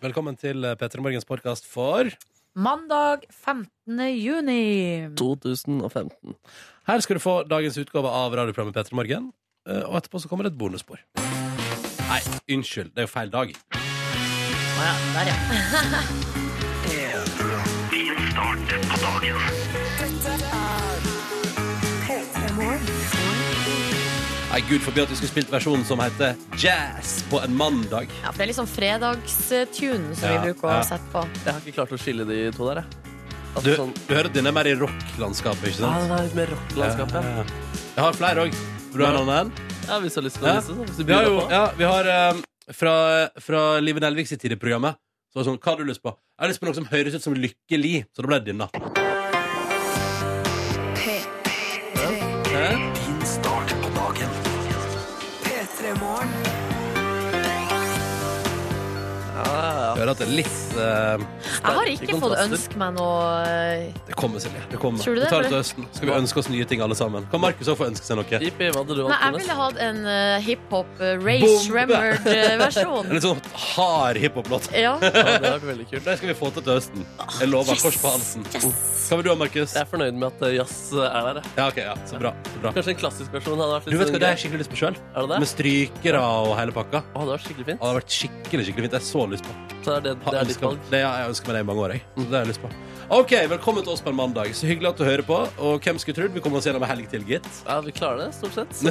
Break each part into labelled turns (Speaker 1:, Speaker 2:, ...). Speaker 1: Velkommen til P3 Morgens podkast for
Speaker 2: Mandag 15. juni.
Speaker 3: 2015.
Speaker 1: Her skal du få dagens utgave av radioprogrammet P3 Morgen. eh, Og etterpå så kommer det et bonusspor. Nei, unnskyld. Det er jo feil dag.
Speaker 2: Å ja, der, ja.
Speaker 1: Nei, Gud forby at vi skulle spilt versjonen som heter Jazz på en mandag.
Speaker 2: ja. For det er liksom fredagstunen som
Speaker 1: Ja,
Speaker 2: vi bruker
Speaker 1: ja.
Speaker 2: å sette på.
Speaker 3: Jeg har ikke klart å skille de to der, jeg. At
Speaker 1: Du,
Speaker 3: sånn,
Speaker 1: du hører at den er mer i rocklandskapet, ikke
Speaker 3: ja,
Speaker 1: sant?
Speaker 3: den er litt mer rocklandskap, ja.
Speaker 1: Ja. Jeg har flere òg. Vil du ha en annen?
Speaker 3: ja. Hvis du har lyst til å
Speaker 1: Ja.
Speaker 3: vise, så. Hvis du
Speaker 1: Vi har
Speaker 3: byr
Speaker 1: jo
Speaker 3: deg på.
Speaker 1: ja, vi har, eh, fra, fra Live Nelvik sitt tid i programmet. Så var det sånn, Hva har du lyst på? Jeg har lyst på noe som høres ut som Lykke Li. Så da ble det denne. Hæ?
Speaker 4: Din start på dagen.
Speaker 3: Ja, ja.
Speaker 1: Hører at det er litt eh,
Speaker 2: Jeg har
Speaker 3: Sterke
Speaker 2: ikke fått
Speaker 3: kontraster.
Speaker 2: ønske meg noe eh,
Speaker 1: Det kommer, Silje. Det kommer.
Speaker 2: Tror du
Speaker 1: vi
Speaker 2: det,
Speaker 1: tar det
Speaker 2: eller?
Speaker 1: til høsten. Skal vi ønske oss nye ting, alle sammen. Kan Markus òg få ønske seg noe?
Speaker 3: Jippi, hva hadde du
Speaker 2: Nei,
Speaker 3: valgt,
Speaker 2: jeg
Speaker 3: Jonas?
Speaker 2: ville hatt en eh, hiphop eh, Ray
Speaker 1: Bombe! En
Speaker 2: Shremmerd-versjon.
Speaker 1: litt sånn hard hiphop-låt.
Speaker 2: Ja.
Speaker 3: Ja, det hadde vært veldig kult.
Speaker 1: Det skal vi få til til høsten. Jeg lover.
Speaker 2: Yes!
Speaker 1: Kors på halsen.
Speaker 2: Yes!
Speaker 1: Hva vil du ha, Markus?
Speaker 3: Jeg er fornøyd med at eh, jazz er der. jeg.
Speaker 1: Ja, ok, ja. Så bra. Så bra.
Speaker 3: Kanskje en klassisk versjon hadde vært
Speaker 1: Du
Speaker 3: litt
Speaker 1: vet hva,
Speaker 3: sånn
Speaker 1: det har
Speaker 3: gøy.
Speaker 1: jeg skikkelig lyst på sjøl.
Speaker 3: Er det
Speaker 1: Med
Speaker 3: det?
Speaker 1: strykere og hele pakka.
Speaker 3: Å, det hadde vært skikkelig
Speaker 1: Å,
Speaker 3: fint.
Speaker 1: det har vært skikkelig skikkelig fint. Jeg har så lyst på
Speaker 3: Så er det,
Speaker 1: Har
Speaker 3: det er ditt
Speaker 1: ønsket-
Speaker 3: valg.
Speaker 1: det. Jeg ønsker meg det i mange år. Jeg. Så Det har jeg lyst på. Ok, Velkommen til oss på en mandag. Så hyggelig at du hører på. Og hvem skulle trodd vi kommer oss gjennom en helg til, gitt.
Speaker 3: Ja, vi klarer det, stort sett.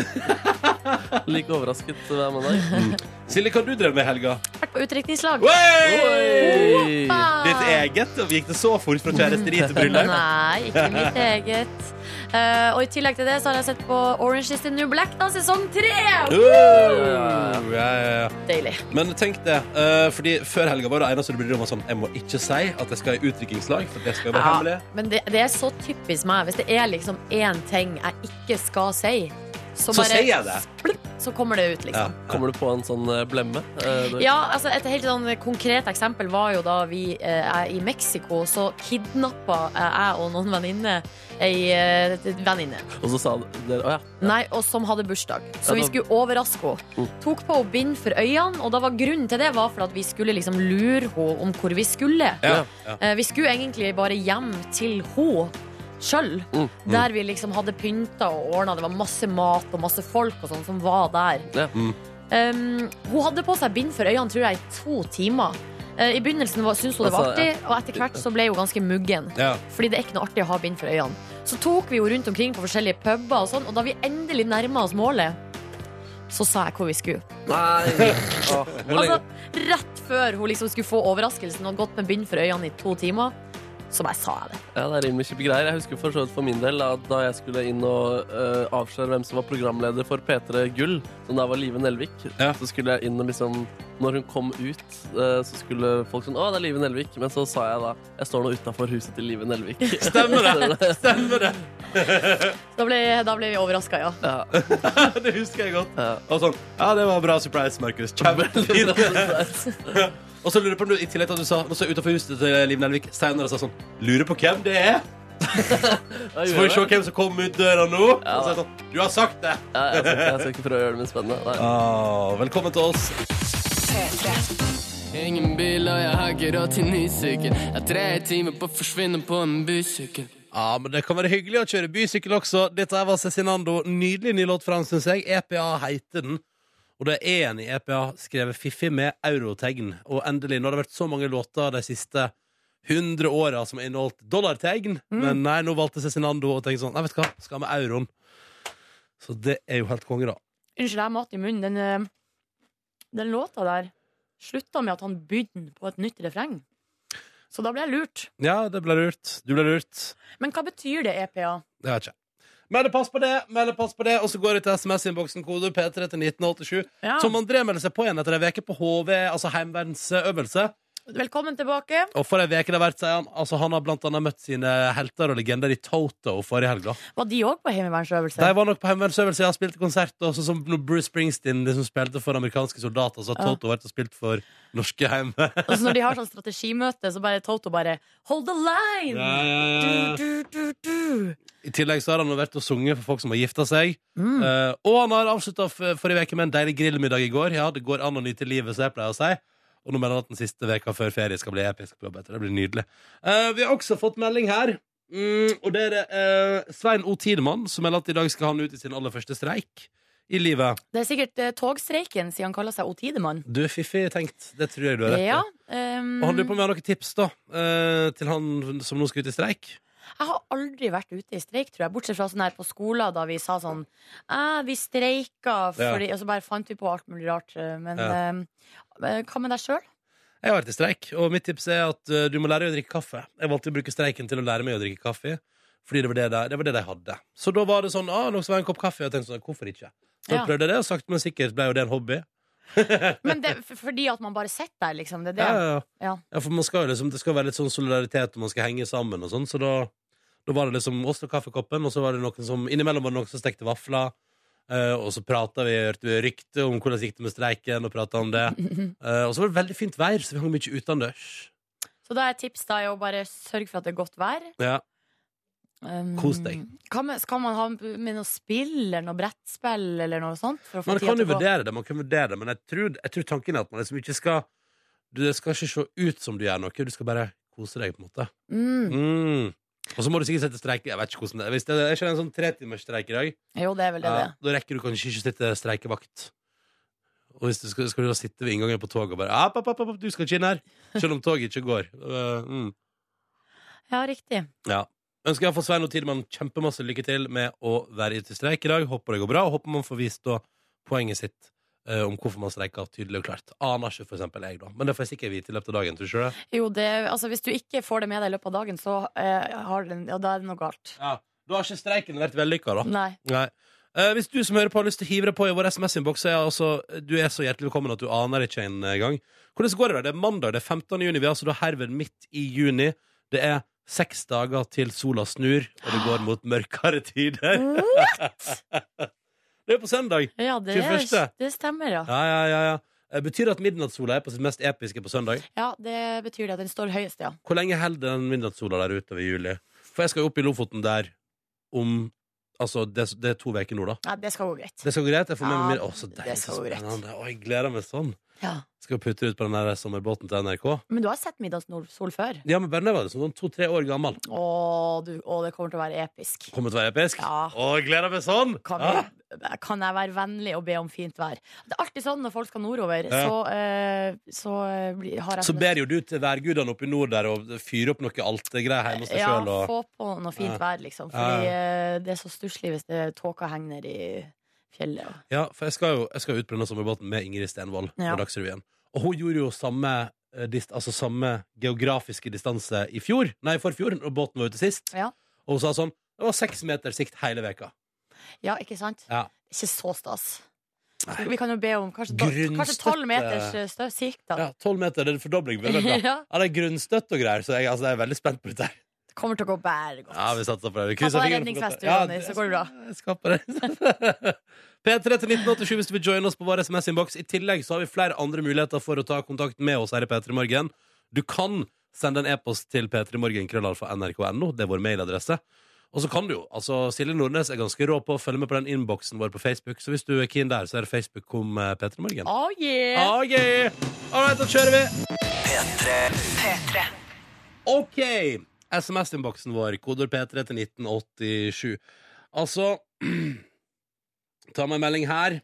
Speaker 3: Like overrasket hver mandag.
Speaker 1: Silje, hva har du drevet med i helga?
Speaker 2: Vært på utdrikningslag.
Speaker 1: Oi!
Speaker 3: Oi!
Speaker 1: Ditt eget? og Gikk det så fort fra kjæresteri til bryllup?
Speaker 2: Nei, ikke mitt eget. Eh, og i tillegg til det så har jeg sett på Orange is the New Black, da, sesong tre.
Speaker 1: Uh, ja, ja, ja.
Speaker 2: Deilig.
Speaker 1: Men tenk det, eh, fordi før helga var det eneste du brydde deg om var sånn Jeg må ikke si at jeg skal i utdrikningslag, for det skal jo være
Speaker 2: Ja,
Speaker 1: hemmelig.
Speaker 2: men det, det er så typisk meg. Hvis det er liksom én ting jeg ikke skal si, så,
Speaker 1: Så
Speaker 2: bare
Speaker 1: sier jeg det.
Speaker 2: Splipp, så kommer det ut,
Speaker 1: Ja.
Speaker 2: liksom.
Speaker 3: Kommer du på en sånn eh, blemme? Eh,
Speaker 2: Ja.
Speaker 3: du-
Speaker 2: altså Et helt sånn konkret eksempel var jo da vi eh, er i Mexico. Så kidnappa eh, jeg og noen venninner ei eh, venninne
Speaker 3: Og så sa dere Å ja.
Speaker 2: Nei, og som hadde bursdag. Så
Speaker 3: Ja,
Speaker 2: vi
Speaker 3: da- Mm.
Speaker 2: skulle overraske henne. Tok på henne bind for øynene, og da var grunnen til det var for at vi skulle liksom lure henne om hvor vi skulle.
Speaker 1: Ja, ja.
Speaker 2: Eh, Vi skulle egentlig bare hjem til henne sjøl,
Speaker 3: Mm,
Speaker 2: der vi liksom hadde pynta og ordna. Det var masse mat og masse folk og sånn som var der.
Speaker 3: Ja.
Speaker 1: Mm.
Speaker 2: Um, hun hadde på seg bind for øynene, tror jeg, i to timer. Eh, I begynnelsen var- syntes hun det var
Speaker 3: Altså,
Speaker 2: artig,
Speaker 3: ja.
Speaker 2: og etter hvert så ble hun ganske muggen.
Speaker 1: Ja.
Speaker 2: Fordi det er ikke noe artig å ha bind for øynene. Så tok vi jo rundt omkring på forskjellige puber, og sånn Og da vi endelig nærma oss målet, så sa jeg hvor vi skulle.
Speaker 3: Nei! Å, hvor lenge
Speaker 2: Altså, rett før hun liksom skulle få overraskelsen og gått med bind for øynene i to timer, så bare sa jeg det.
Speaker 3: Ja, det er rimelig kjipe greier. Jeg husker for så vidt for min del at da jeg skulle inn og eh, avsløre hvem som var programleder for P3 Gull, som da var Live Nelvik,
Speaker 1: Ja.
Speaker 3: så skulle jeg inn og liksom Når hun kom ut, eh, så skulle folk sånn Å, det er Live Nelvik. Men så sa jeg da Jeg står nå utafor huset til Live Nelvik.
Speaker 1: Stemmer det! Stemmer det!
Speaker 2: Da ble, da ble vi overraska, ja.
Speaker 3: Ja.
Speaker 1: det husker jeg godt.
Speaker 3: Ja.
Speaker 1: Og sånn Ja, det var bra surprise, Markus. Kjempefint. Og så lurer jeg på om du i tillegg til at du sa Nå så utenfor huset til eh, Liv Nelvik senere sa sånn Lurer på hvem det er? Så får vi se hvem som kommer ut døra nå. Og så er det sånn Du har sagt det!
Speaker 3: Ja, jeg, skal, ikke- jeg skal ikke prøve å gjøre det mer spennende. Nei.
Speaker 1: Ah, velkommen til oss.
Speaker 5: Ingen bil, og jeg har ikke råd til ny sykkel. Jeg er tre timer på å forsvinne på en bysykkel.
Speaker 1: Ja, men Det kan være hyggelig å kjøre bysykkel også. Dette her var Cezinando. Nydelig ny låt fra han, syns jeg. EPA heter den. Og det er en i EPA skrevet fiffig med eurotegn. Og endelig, nå har det vært så mange låter de siste 100 åra som har inneholdt dollartegn. Men nei, nå valgte Cezinando å tenke sånn Nei, vet du hva, skal med euroen. Så det er jo helt konge, da.
Speaker 6: Unnskyld, jeg har mat i munnen. Den, eh, den låta der slutta med at han bydde på et nytt refreng. Så da ble jeg lurt.
Speaker 1: Ja, det ble lurt. Du ble lurt.
Speaker 6: Men hva betyr det, E EPA?
Speaker 1: Det vet jeg ikke. Melde pass på det, melde pass på det, og så går det til SMS-innboksen kode P3 til 1987.
Speaker 6: Ja.
Speaker 1: Som André melder seg på igjen etter ei uke på HV, altså heimevernsøvelse.
Speaker 2: Velkommen tilbake.
Speaker 1: Og for ei uke det har vært, sier han. Altså, han har blant annet møtt sine helter og legender i Toto forrige helg. da.
Speaker 2: Var de òg på heimevernsøvelse?
Speaker 1: De var nok på hjemmeværelsesøvelse. Jeg har spilt konsert, og så som når Bruce Springsteen liksom spilte for amerikanske soldater, så har
Speaker 2: Ja.
Speaker 1: Toto vært og spilt for norske hjemme.
Speaker 2: Og så når de har sånn strategimøte, så bare Toto bare Hold the line! Du, du, du, du.
Speaker 1: I tillegg så har han vært og sunget for folk som har gifta seg.
Speaker 2: Mm.
Speaker 1: Eh, og han har avslutta forrige uke med en deilig grillmiddag i går. Ja, det går an å nyte livet, som jeg pleier å si. Og nå mener han at den siste veka før ferie skal bli episk på jobb etter. Det blir nydelig. Eh, vi har også fått melding her. Mm, og det er det eh, Svein O. Tidemann som melder at i dag skal han ut i sin aller første streik i livet.
Speaker 2: Det er sikkert eh, togstreiken, siden han kaller seg Otidemann.
Speaker 1: Du er fiffig tenkt. Det tror jeg du har rett i.
Speaker 2: Ja, ehm,
Speaker 1: Og han lurer på om vi har noen tips da eh, til han som nå skal ut i streik.
Speaker 2: jeg har aldri vært ute i streik, tror jeg. Bortsett fra sånn her på skolen, da vi sa sånn eh, Vi streika fordi Og så bare fant vi på alt mulig rart. eh, Men
Speaker 1: Ja.
Speaker 2: ehm, eh, hva med deg sjøl?
Speaker 1: Jeg har vært i streik, og mitt tips er at eh, du må lære deg å drikke kaffe. Jeg valgte å bruke streiken til å lære meg å drikke kaffe, fordi det var det de, det var det de hadde. Så da var det sånn ah, nå skal jeg ha en kopp kaffe. Og jeg tenkte sånn, hvorfor ikke? Så
Speaker 2: Ja.
Speaker 1: prøvde jeg det, og sakte, men sikkert ble jo det en hobby.
Speaker 2: Men det, f- fordi at man bare sitter der, liksom. Det er det.
Speaker 1: Ja, ja, ja.
Speaker 2: Ja.
Speaker 1: ja for man skal jo liksom, det skal være litt sånn solidaritet, og man skal henge sammen og sånn, så da, da var det liksom oss og kaffekoppen, og så var det noen som Innimellom var det noen som stekte vafler. eh, og så prata vi, hørte vi rykte om hvordan gikk det med streiken, og prata om det. Eh, og så var det veldig fint vær, så vi hang mye utendørs.
Speaker 2: Så da er tips da er å bare sørge for at det er godt vær.
Speaker 1: Ja.
Speaker 2: Um,
Speaker 1: Kos deg.
Speaker 2: Hva med, skal man ha med noe spill eller noe brettspill eller noe sånt? For å få
Speaker 1: Man
Speaker 2: tida
Speaker 1: kan jo
Speaker 2: til å gå?
Speaker 1: vurdere det, man kan vurdere det men jeg tror, jeg tror tanken er at man liksom ikke skal Du det skal ikke se ut som du gjør noe, du skal bare kose deg, på en måte.
Speaker 2: Mm.
Speaker 1: Mm. Og så må du sikkert sette streik Jeg vet ikke hvordan det er. Hvis det er ikke en sånn tretimersstreik i dag,
Speaker 2: Jo, det er vel det
Speaker 1: ja,
Speaker 2: det.
Speaker 1: da rekker du kanskje ikke å sitte streikevakt. Og hvis du skal, skal du da sitte ved inngangen på toget og bare "Ah, app, app, app, app, 'Du skal ikke inn her!' Selv om toget ikke går. Uh, mm.
Speaker 2: Ja, riktig.
Speaker 1: Ja. Ønsker iallfall Svein og Tidemann kjempemasse lykke til med å være ute i streik i dag. Håper det går bra, og håper man får vist da poenget sitt eh, om hvorfor man streiker tydelig og klart. Aner ikke, for eksempel jeg, da. Men det får jeg sikkert vite i løpet av dagen. Tror du ikke det?
Speaker 2: Jo, det, altså, hvis du ikke får det med deg i løpet av dagen, så eh, har den, ja, da er det noe galt.
Speaker 1: Ja. Da har ikke streiken vært vellykka, da.
Speaker 2: Nei.
Speaker 1: Nei. Eh, hvis du som hører på har lyst til å hive deg på i vår SMS-innboks, så er jeg altså- du er så hjertelig velkommen at du aner ikke engang. Hvordan går det? da? Det er mandag, det er 15. juni. Vi er altså da herved midt i juni. Det er seks dager til sola snur, og det går mot mørkere tider. Det er på søndag.
Speaker 2: Ja, det, er-
Speaker 1: 21..
Speaker 2: det stemmer, ja.
Speaker 1: Ja, ja, ja, ja. Eh, Betyr det at midnattssola er på sitt mest episke på søndag?
Speaker 2: Ja, Det betyr det at den står høyest, ja.
Speaker 1: Hvor lenge holder den midnattssola der utover i juli? For jeg skal jo opp i Lofoten der om Altså, det, det er to uker nå, da.
Speaker 2: Nei, det skal gå greit.
Speaker 1: Det skal gå greit. Jeg får med
Speaker 2: Ja,
Speaker 1: meg mer. Å, så
Speaker 2: det
Speaker 1: deilig.
Speaker 2: skal
Speaker 1: Så
Speaker 2: gå greit.
Speaker 1: spennende. Å, jeg gleder meg sånn.
Speaker 2: Ja.
Speaker 1: Skal putte det ut på den der sommerbåten til NRK.
Speaker 2: Men du har sett middagssol før?
Speaker 1: Ja, men Berne var liksom sånn to-tre år gammel.
Speaker 2: Å, du, å, det kommer til å være episk.
Speaker 1: Kommer til å være episk.
Speaker 2: Ja.
Speaker 1: Å, jeg gleder meg sånn!
Speaker 2: Kan,
Speaker 1: Ja.
Speaker 2: jeg, kan jeg være vennlig og be om fint vær? Det er alltid sånn når folk skal nordover,
Speaker 1: Ja.
Speaker 2: så, eh, så eh, blir- har jeg
Speaker 1: Så ber jo du til værgudene oppe i nord der og fyrer opp noe altergreier hjemme hos deg
Speaker 2: ja,
Speaker 1: sjøl. Og...
Speaker 2: få på noe fint
Speaker 1: Ja.
Speaker 2: vær, liksom.
Speaker 1: Ja.
Speaker 2: Fordi eh, det er så stusslig hvis det tåka henger ned i fjellet. og-
Speaker 1: Ja, for jeg skal jo jeg skal jo ut på denne sommerbåten med Ingrid Stenvold
Speaker 2: Ja.
Speaker 1: på Dagsrevyen. Og hun gjorde jo samme, eh, dist, altså samme geografiske distanse i fjor, nei, i forfjor, når båten var ute sist.
Speaker 2: Ja.
Speaker 1: Og hun sa sånn Det var seks meter sikt hele veka.
Speaker 2: Ja, ikke sant?
Speaker 1: Ja.
Speaker 2: Ikke så stas. Vi kan jo be om kanskje, da,
Speaker 1: Grunnstøtte.
Speaker 2: kanskje 12 meters eh, støv, sikt, da.
Speaker 1: Ja, Tolv meter, det er en fordobling. Det er veldig bra.
Speaker 2: Ja.
Speaker 1: Ja, det er grunnstøtt og greier, så jeg, altså, jeg er veldig spent på dette. her.
Speaker 2: Det kommer til å gå bære godt.
Speaker 1: Ja, vi satser på det. Vi
Speaker 2: Ta på
Speaker 1: krysser
Speaker 2: deg
Speaker 1: fingrene for
Speaker 2: redningsvest,
Speaker 1: godt. Ja,
Speaker 2: Ronny, så går det bra.
Speaker 1: Jeg skaper det. P3 til 1987 hvis du vil joine oss på vår SMS-innboks. I tillegg så har vi flere andre muligheter for å ta kontakt med oss her i P3 Morgen. Du kan sende en e-post til p3morgenkrøllalfa.nrk.no. Det er vår mailadresse. Og så kan du jo, altså Silje Nordnes er ganske rå på å følge med på den innboksen vår på Facebook, så hvis du er keen der, så er det Facebook kom eh, P3 Morgen.
Speaker 2: Oh, yeah.
Speaker 1: Ok, alright, da kjører vi Ok, sms-inboksen vår Koder P3 til 1987 Altså Ta meg en melding her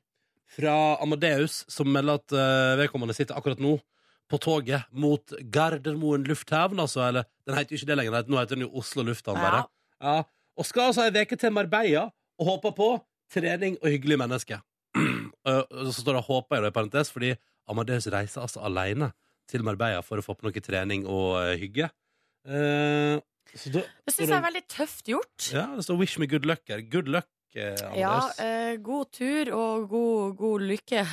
Speaker 1: Fra Amadeus Som melder at eh, vedkommende sitter akkurat nå På toget mot Gardermoen lufthavn altså, eller, Den heter jo ikke det lenger den heter- Nå heter den jo Oslo lufthavn bare. Ja. Og skal altså en veke til Marbella Og håper på trening og hyggelig menneske Eh, og Så står det 'håper jeg' da i parentes, fordi Amadeus reiser altså alene til Marbella for å få på noe trening og eh, hygge. Eh, så da,
Speaker 2: Det syns jeg er veldig tøft gjort.
Speaker 1: ja, det står 'wish me good luck' her. Good luck
Speaker 2: Ja,
Speaker 1: Anders.
Speaker 2: eh, god tur og god, god lykke.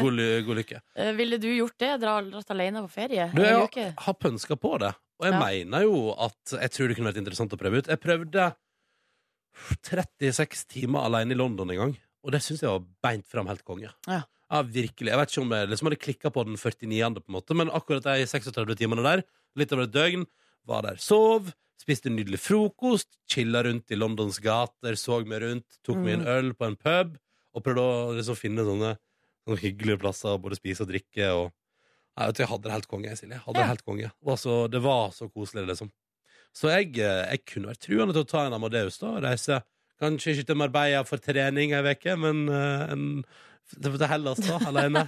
Speaker 1: god, ly- god lykke.
Speaker 2: Eh, ville du gjort det? Dra, dratt alene på ferie?
Speaker 1: Du,
Speaker 2: en
Speaker 1: jeg
Speaker 2: uke?
Speaker 1: har- har pønska på det, og jeg
Speaker 2: Ja.
Speaker 1: mener jo at Jeg tror det kunne vært interessant å prøve ut. Jeg prøvde 36 timer alene i London en gang, og det syns jeg var beint fram helt konge.
Speaker 2: Ja.
Speaker 1: virkelig. Jeg vet ikke om jeg liksom hadde klikka på den 49., på en måte, men akkurat de 36 timene der, litt over et døgn, var der. Sov, spiste nydelig frokost, chilla rundt i Londons gater, så meg rundt, tok meg en øl på en pub, og prøvde å liksom finne sånne, sånne hyggelige plasser å både spise og drikke og Nei, vet du, jeg hadde det helt konge, jeg, Silje. Jeg Hadde det
Speaker 2: Ja.
Speaker 1: helt konge. Det var så, det var så koselig, liksom. Så jeg, eh, jeg kunne vært truende til å ta en Amadeus da, og reise kanskje ikke til Marbella for trening ei uke, men eh, en, til til Hellas da, alene.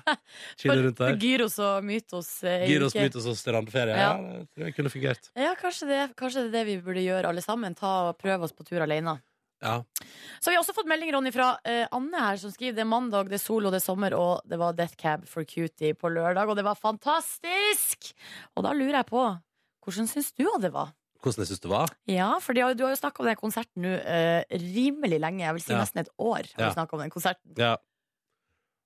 Speaker 1: Chille rundt der.
Speaker 2: Gyros og mytos. eh, i
Speaker 1: Gyros,
Speaker 2: uke.
Speaker 1: mytos og strandferie. Ja.
Speaker 2: Ja.
Speaker 1: det tror jeg kunne fungert.
Speaker 2: Ja, kanskje det, kanskje det er det vi burde gjøre alle sammen. Ta og Prøve oss på tur alene.
Speaker 1: Ja.
Speaker 2: Så har vi også fått melding Ronny, fra eh, Anne her, som skriver det er mandag, det er sol og det er sommer, og det var Death Cab for Cutie på lørdag, og det var fantastisk! Og da lurer jeg på, hvordan syns du at det var?
Speaker 1: Hvordan jeg syns det var?
Speaker 2: Ja, for de har, du har jo snakka om den konserten nå eh, rimelig lenge. Jeg vil si
Speaker 1: Ja.
Speaker 2: nesten et år. har
Speaker 1: Ja.
Speaker 2: vi snakket om den konserten
Speaker 1: Ja.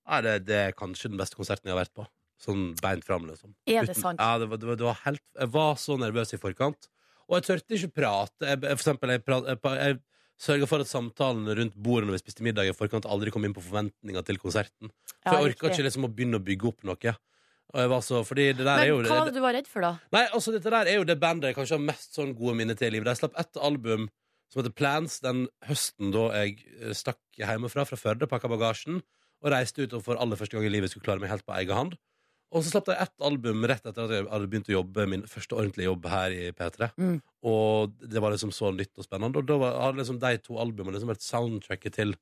Speaker 1: Nei, det, det er kanskje den beste konserten jeg har vært på. Sånn beint fram, liksom.
Speaker 2: Er det
Speaker 1: Uten-
Speaker 2: sant?
Speaker 1: Ja, det var, det var, det var helt, jeg var så nervøs i forkant. Og jeg tørte ikke prate. Jeg, jeg- for eksempel, jeg, prat- jeg, pa- jeg sørga for at samtalen rundt bordet når vi spiste middag i forkant, aldri kom inn på forventninga til konserten. For
Speaker 2: Ja,
Speaker 1: jeg orka
Speaker 2: riktig.
Speaker 1: ikke liksom å begynne å bygge opp noe. Og jeg var så, fordi det der er
Speaker 2: Men
Speaker 1: jo
Speaker 2: hva var det du var redd for, da?
Speaker 1: Nei, altså dette der er jo det bandet jeg kanskje har mest sånn gode minner til i livet. De slapp ett album som heter Plans den høsten da jeg eh, stakk hjemmefra fra Førde, pakka bagasjen og reiste ut og for aller første gang i livet skulle klare meg helt på egen hånd. Og så slapp de ett album rett etter at jeg hadde begynt å jobbe min første ordentlige jobb her i P3.
Speaker 2: Mm.
Speaker 1: Og det var liksom så nytt og spennende. Og da var, hadde liksom de to albumene liksom vært soundtracket til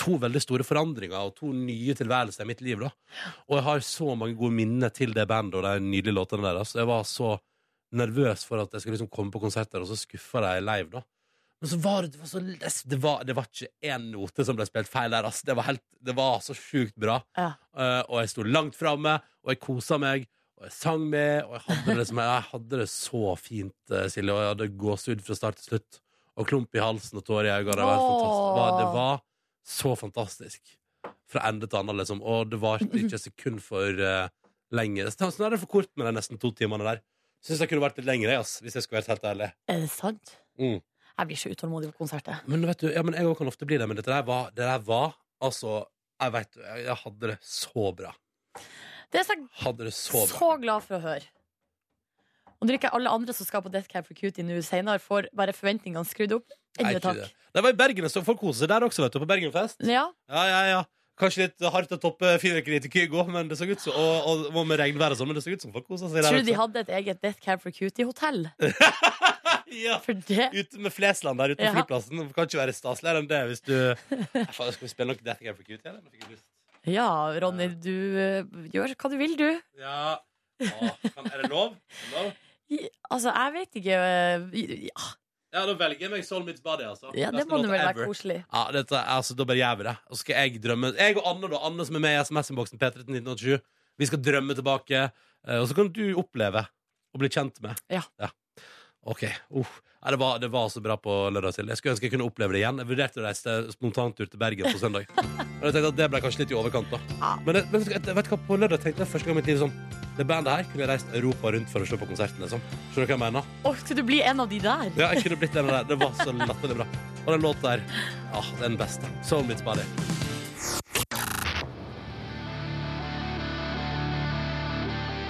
Speaker 1: to veldig store forandringer og to nye tilværelser i mitt liv. da og jeg har så mange gode minner til det bandet og de nydelige låtene der. Altså. Jeg var så nervøs for at jeg skulle liksom komme på konserter, og så skuffa de live, da. Men så var det, det var så det var, det var ikke én note som ble spilt feil der, altså. Det var, helt, det var så sjukt bra.
Speaker 2: Ja.
Speaker 1: Eh, og jeg sto langt framme, og jeg kosa meg, og jeg sang med, og jeg hadde det, liksom, jeg hadde det så fint, eh, Silje, og jeg hadde gåsehud fra start til slutt. Og klump i halsen og tårer i øynene. Det var, helt fantastisk. Det var, det var så fantastisk fra ende til annen, liksom. Og det varte ikke et sekund for eh, lenge. Snarere for kort med de nesten to timene der. Syns jeg kunne vært litt lengre, jeg, ass, hvis jeg skulle vært helt ærlig.
Speaker 2: Er det sant?
Speaker 1: Mm.
Speaker 2: Jeg blir så utålmodig på konsertet.
Speaker 1: Men vet du, ja, men jeg òg kan ofte bli det, men dette der var, det der var altså jeg vet, jeg jeg hadde det så bra.
Speaker 2: Det er så
Speaker 1: Hadde det
Speaker 2: så,
Speaker 1: så bra.
Speaker 2: glad for å høre. Og nå er ikke alle andre som skal på Death Cab for Cutie nå senere, får bare forventningene skrudd opp.
Speaker 1: Nei,
Speaker 2: Ennå
Speaker 1: ikke
Speaker 2: takk.
Speaker 1: det. Det var i Bergen, så folk koser seg der også, vet du. På Bergenfest.
Speaker 2: Ja,
Speaker 1: Ja, ja, ja. Kanskje litt hardt å toppe fyrverkeriet til Kygo, men det så ut som, og, og, og med regnvær og sånn, men det så ut som folk kosa seg der
Speaker 2: Tror du de
Speaker 1: også.
Speaker 2: hadde et eget Death Cab for Cutie-hotell?
Speaker 1: ja.
Speaker 2: For det
Speaker 1: Ute med Flesland der ute på
Speaker 2: Ja.
Speaker 1: flyplassen. Det kan ikke være staseligere enn det hvis du Nei, Faen, skal vi spille noe Death Game for Cutie, eller? Nå fikk jeg lyst.
Speaker 2: Ja, Ronny, du eh, gjør hva du vil, du.
Speaker 1: Ja. Å, kan, er det lov? Er det lov?
Speaker 2: I- Altså, jeg vet ikke eh, Ja,
Speaker 1: Ja, da velger jeg meg Soul Meets Body, altså.
Speaker 2: ja det
Speaker 1: Beste
Speaker 2: må nå
Speaker 1: låta
Speaker 2: vel
Speaker 1: ever.
Speaker 2: være koselig.
Speaker 1: Ja, dette, altså, da bare gjør vi det. Og så skal jeg drømme Jeg og Anne, da. Anne som er med i SMS-innboksen P3 til 1987. Vi skal drømme tilbake. eh, Og så kan du oppleve og bli kjent med.
Speaker 2: Ja.
Speaker 1: OK. Uff. Nei, det, var, det var så bra på lørdag til. Jeg skulle ønske jeg kunne oppleve det igjen. Jeg vurderte å reise spontantur til Bergen på søndag. Men jeg tenkte at det ble kanskje litt i overkant, da.
Speaker 2: Ja.
Speaker 1: Men, jeg- men vet, du- vet du hva, på lørdag tenkte jeg første gang i mitt liv sånn Det bandet her kunne jeg reist Europa rundt for å se på konserten, liksom. Skjønner du hva jeg mener?
Speaker 2: Å, skal du bli en av de der?
Speaker 1: Ja, jeg kunne blitt den der. Det var så latterlig bra. Og den låta der, ja, den beste. Soul Meets Body.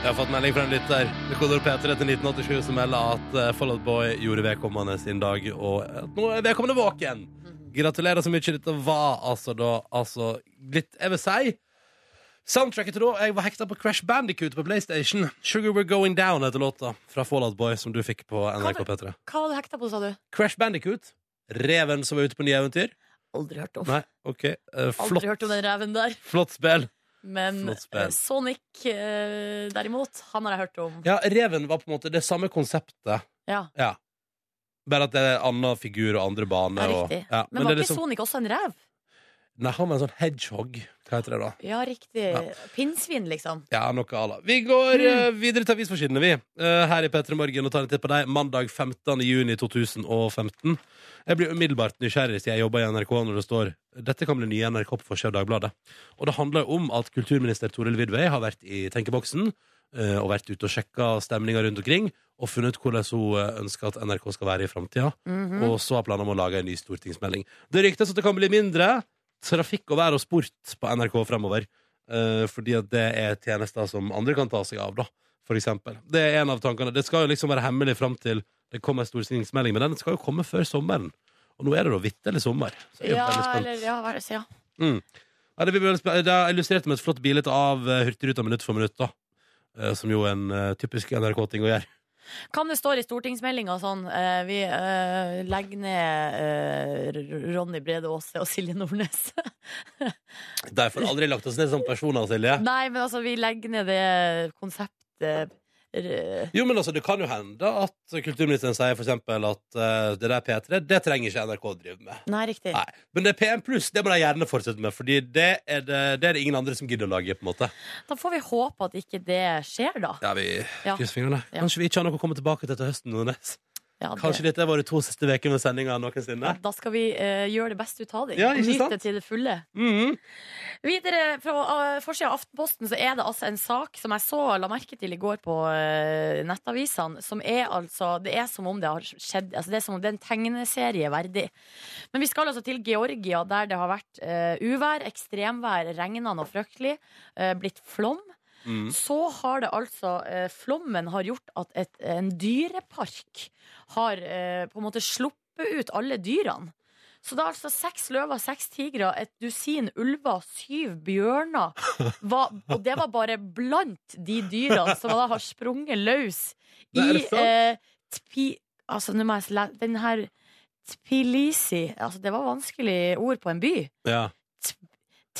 Speaker 1: Jeg har fått melding fra en lytter med kodord P3 til 1987 som melder at eh, Fall Out Boy gjorde vedkommende sin dag, og at nå er vedkommende våken. Gratulerer så mye. Dette var altså da altså litt Jeg vil si Soundtracket til da jeg var hekta på Crash Bandicoot på PlayStation. 'Sugar We're Going Down' heter låta fra Fall Out Boy som du fikk på NRK P3.
Speaker 2: Hva var du hekta på, sa du?
Speaker 1: Crash Bandicoot. Reven som er ute på nye eventyr.
Speaker 2: Aldri hørt om.
Speaker 1: Nei, OK. eh, flott,
Speaker 2: Aldri hørt om den reven der.
Speaker 1: flott spill.
Speaker 2: Men
Speaker 1: Flott spill.
Speaker 2: eh, Sonic eh, derimot, han har jeg hørt om.
Speaker 1: Ja, Reven var på en måte det samme konseptet,
Speaker 2: Ja,
Speaker 1: bare at det er annen figur og andre bane.
Speaker 2: Ja,
Speaker 1: og,
Speaker 2: riktig.
Speaker 1: ja.
Speaker 2: Men,
Speaker 1: Men det
Speaker 2: var
Speaker 1: er
Speaker 2: ikke
Speaker 1: liksom,
Speaker 2: Sonic også en rev?
Speaker 1: nei, han var en sånn hedgehog. Hva heter det da?
Speaker 2: Ja, riktig.
Speaker 1: Ja.
Speaker 2: Pinnsvin, liksom.
Speaker 1: Ja, noe à la. Vi går eh,
Speaker 2: Mm.
Speaker 1: videre til avisforsidene, vi. eh, her i P3 Morgen og tar en titt på deg mandag 15. juni 2015. Jeg blir umiddelbart nysgjerrig siden jeg jobber i NRK når det står dette kan bli nye NRK på forsida av Dagbladet. Og det handler om at kulturminister Toril Vidvei har vært i tenkeboksen eh, og vært ute og sjekka stemninga rundt omkring og funnet ut hvordan hun eh, ønsker at NRK skal være i framtida.
Speaker 2: Mhm.
Speaker 1: Og så har planen om å lage en ny stortingsmelding. Det ryktes at det kan bli mindre trafikk og vær og sport på NRK fremover. Eh, fordi at det er tjenester som andre kan ta seg av, da. For eksempel. Det er en av tankene. Det skal jo liksom være hemmelig fram til det kommer en stortingsmelding, men den skal jo komme før sommeren. Og nå er det da vitterlig sommer. Så jeg er jo
Speaker 2: Ja,
Speaker 1: veldig spent.
Speaker 2: eller ja, hva er det, ja.
Speaker 1: Ja, det, blir veldig spen- det er illustrert med et flott bilde av eh, Hurtigruta minutt for minutt, da. Eh, Som jo er en eh, typisk NRK-ting å gjøre.
Speaker 2: Kan det stå i stortingsmeldinga sånn eh, Vi eh, legger ned eh, R- Ronny Brede Aase og Silje Nordnes.
Speaker 1: Derfor har aldri lagt oss ned som personer, Silje.
Speaker 2: Nei, men altså, vi legger ned det konseptet eh, r-
Speaker 1: Jo, men altså, Det kan jo hende at kulturministeren sier for eksempel at eh, det der P3 det trenger ikke NRK å drive med.
Speaker 2: Nei, riktig.
Speaker 1: Nei. Men det er P1 pluss, det må de gjerne fortsette med, Fordi det er det, det er det ingen andre som gidder å lage. på en måte
Speaker 2: Da får vi håpe at ikke det skjer, da.
Speaker 1: Ja, vi
Speaker 2: Ja.
Speaker 1: krysser fingrene
Speaker 2: Ja.
Speaker 1: Kanskje vi ikke har noe å komme tilbake til til høsten. Nordnes.
Speaker 2: Ja, det-
Speaker 1: Kanskje dette er våre to siste uker med sendinga
Speaker 2: Ja,
Speaker 1: noensinne.
Speaker 2: Da skal vi eh, gjøre det beste ut av det.
Speaker 1: Ja,
Speaker 2: og
Speaker 1: ikke
Speaker 2: nyte
Speaker 1: sant?
Speaker 2: det til det fulle.
Speaker 1: Mhm.
Speaker 2: Videre fra uh, forsida av Aftenposten så er det altså en sak som jeg så la merke til i går på eh, nettavisene, som er altså Det er som om det har skjedd altså Det er som om det er en tegneserie verdig. Men vi skal altså til Georgia, der det har vært eh, uvær, ekstremvær, regnende og fryktelig, eh, blitt flom.
Speaker 1: Mhm.
Speaker 2: Så har det altså eh, Flommen har gjort at et, en dyrepark har eh, på en måte sluppet ut alle dyrene. Så det er altså seks løver, seks tigre, et dusin ulver, syv bjørner. Var, og det var bare blant de dyrene som da har sprunget løs
Speaker 1: Er
Speaker 2: i
Speaker 1: det sant?
Speaker 2: eh, tpi, Altså, nå må jeg sle... Den her Tbilisi Altså, det var vanskelig ord på en by.
Speaker 1: Ja.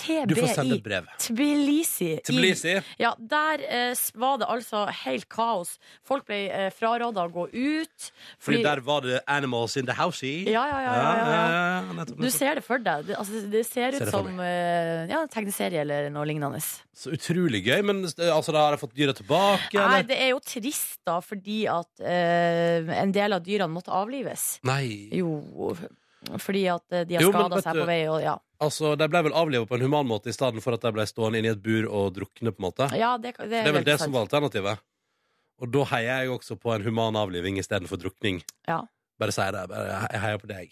Speaker 1: Du får sende
Speaker 2: TBI.
Speaker 1: et brev.
Speaker 2: Tbilisi. i-
Speaker 1: Tbilisi.
Speaker 2: ja, der eh, s- var det altså helt kaos. Folk ble eh, fraråda å gå ut.
Speaker 1: Fordi der var det Animals in the House i.
Speaker 2: ja, ja, ja, ja, ja, ja.
Speaker 1: ja, nettopp,
Speaker 2: Du
Speaker 1: nettopp.
Speaker 2: ser det for deg. Det, altså, det ser
Speaker 1: Ser
Speaker 2: ut
Speaker 1: det for
Speaker 2: som eh, ja, en tegneserie eller noe lignende.
Speaker 1: Så utrolig gøy. Men eh, altså, da har jeg fått dyra tilbake,
Speaker 2: Nei,
Speaker 1: eller?
Speaker 2: det er jo trist, da, fordi at eh, en del av dyrene måtte avlives.
Speaker 1: Nei.
Speaker 2: Jo, fordi at eh, de har
Speaker 1: Jo, men
Speaker 2: skada
Speaker 1: vet
Speaker 2: seg
Speaker 1: du-
Speaker 2: på vei og ja.
Speaker 1: Altså, De ble vel avliva på en human måte i stedet for at de ble stående inne i et bur og drukne. på en måte
Speaker 2: ja det, det,
Speaker 1: Det er vel
Speaker 2: veldig
Speaker 1: det som
Speaker 2: sant.
Speaker 1: var alternativet. Og da heier jeg også på en human avliving istedenfor drukning.
Speaker 2: Ja.
Speaker 1: Bare si det. Bare, jeg heier på deg.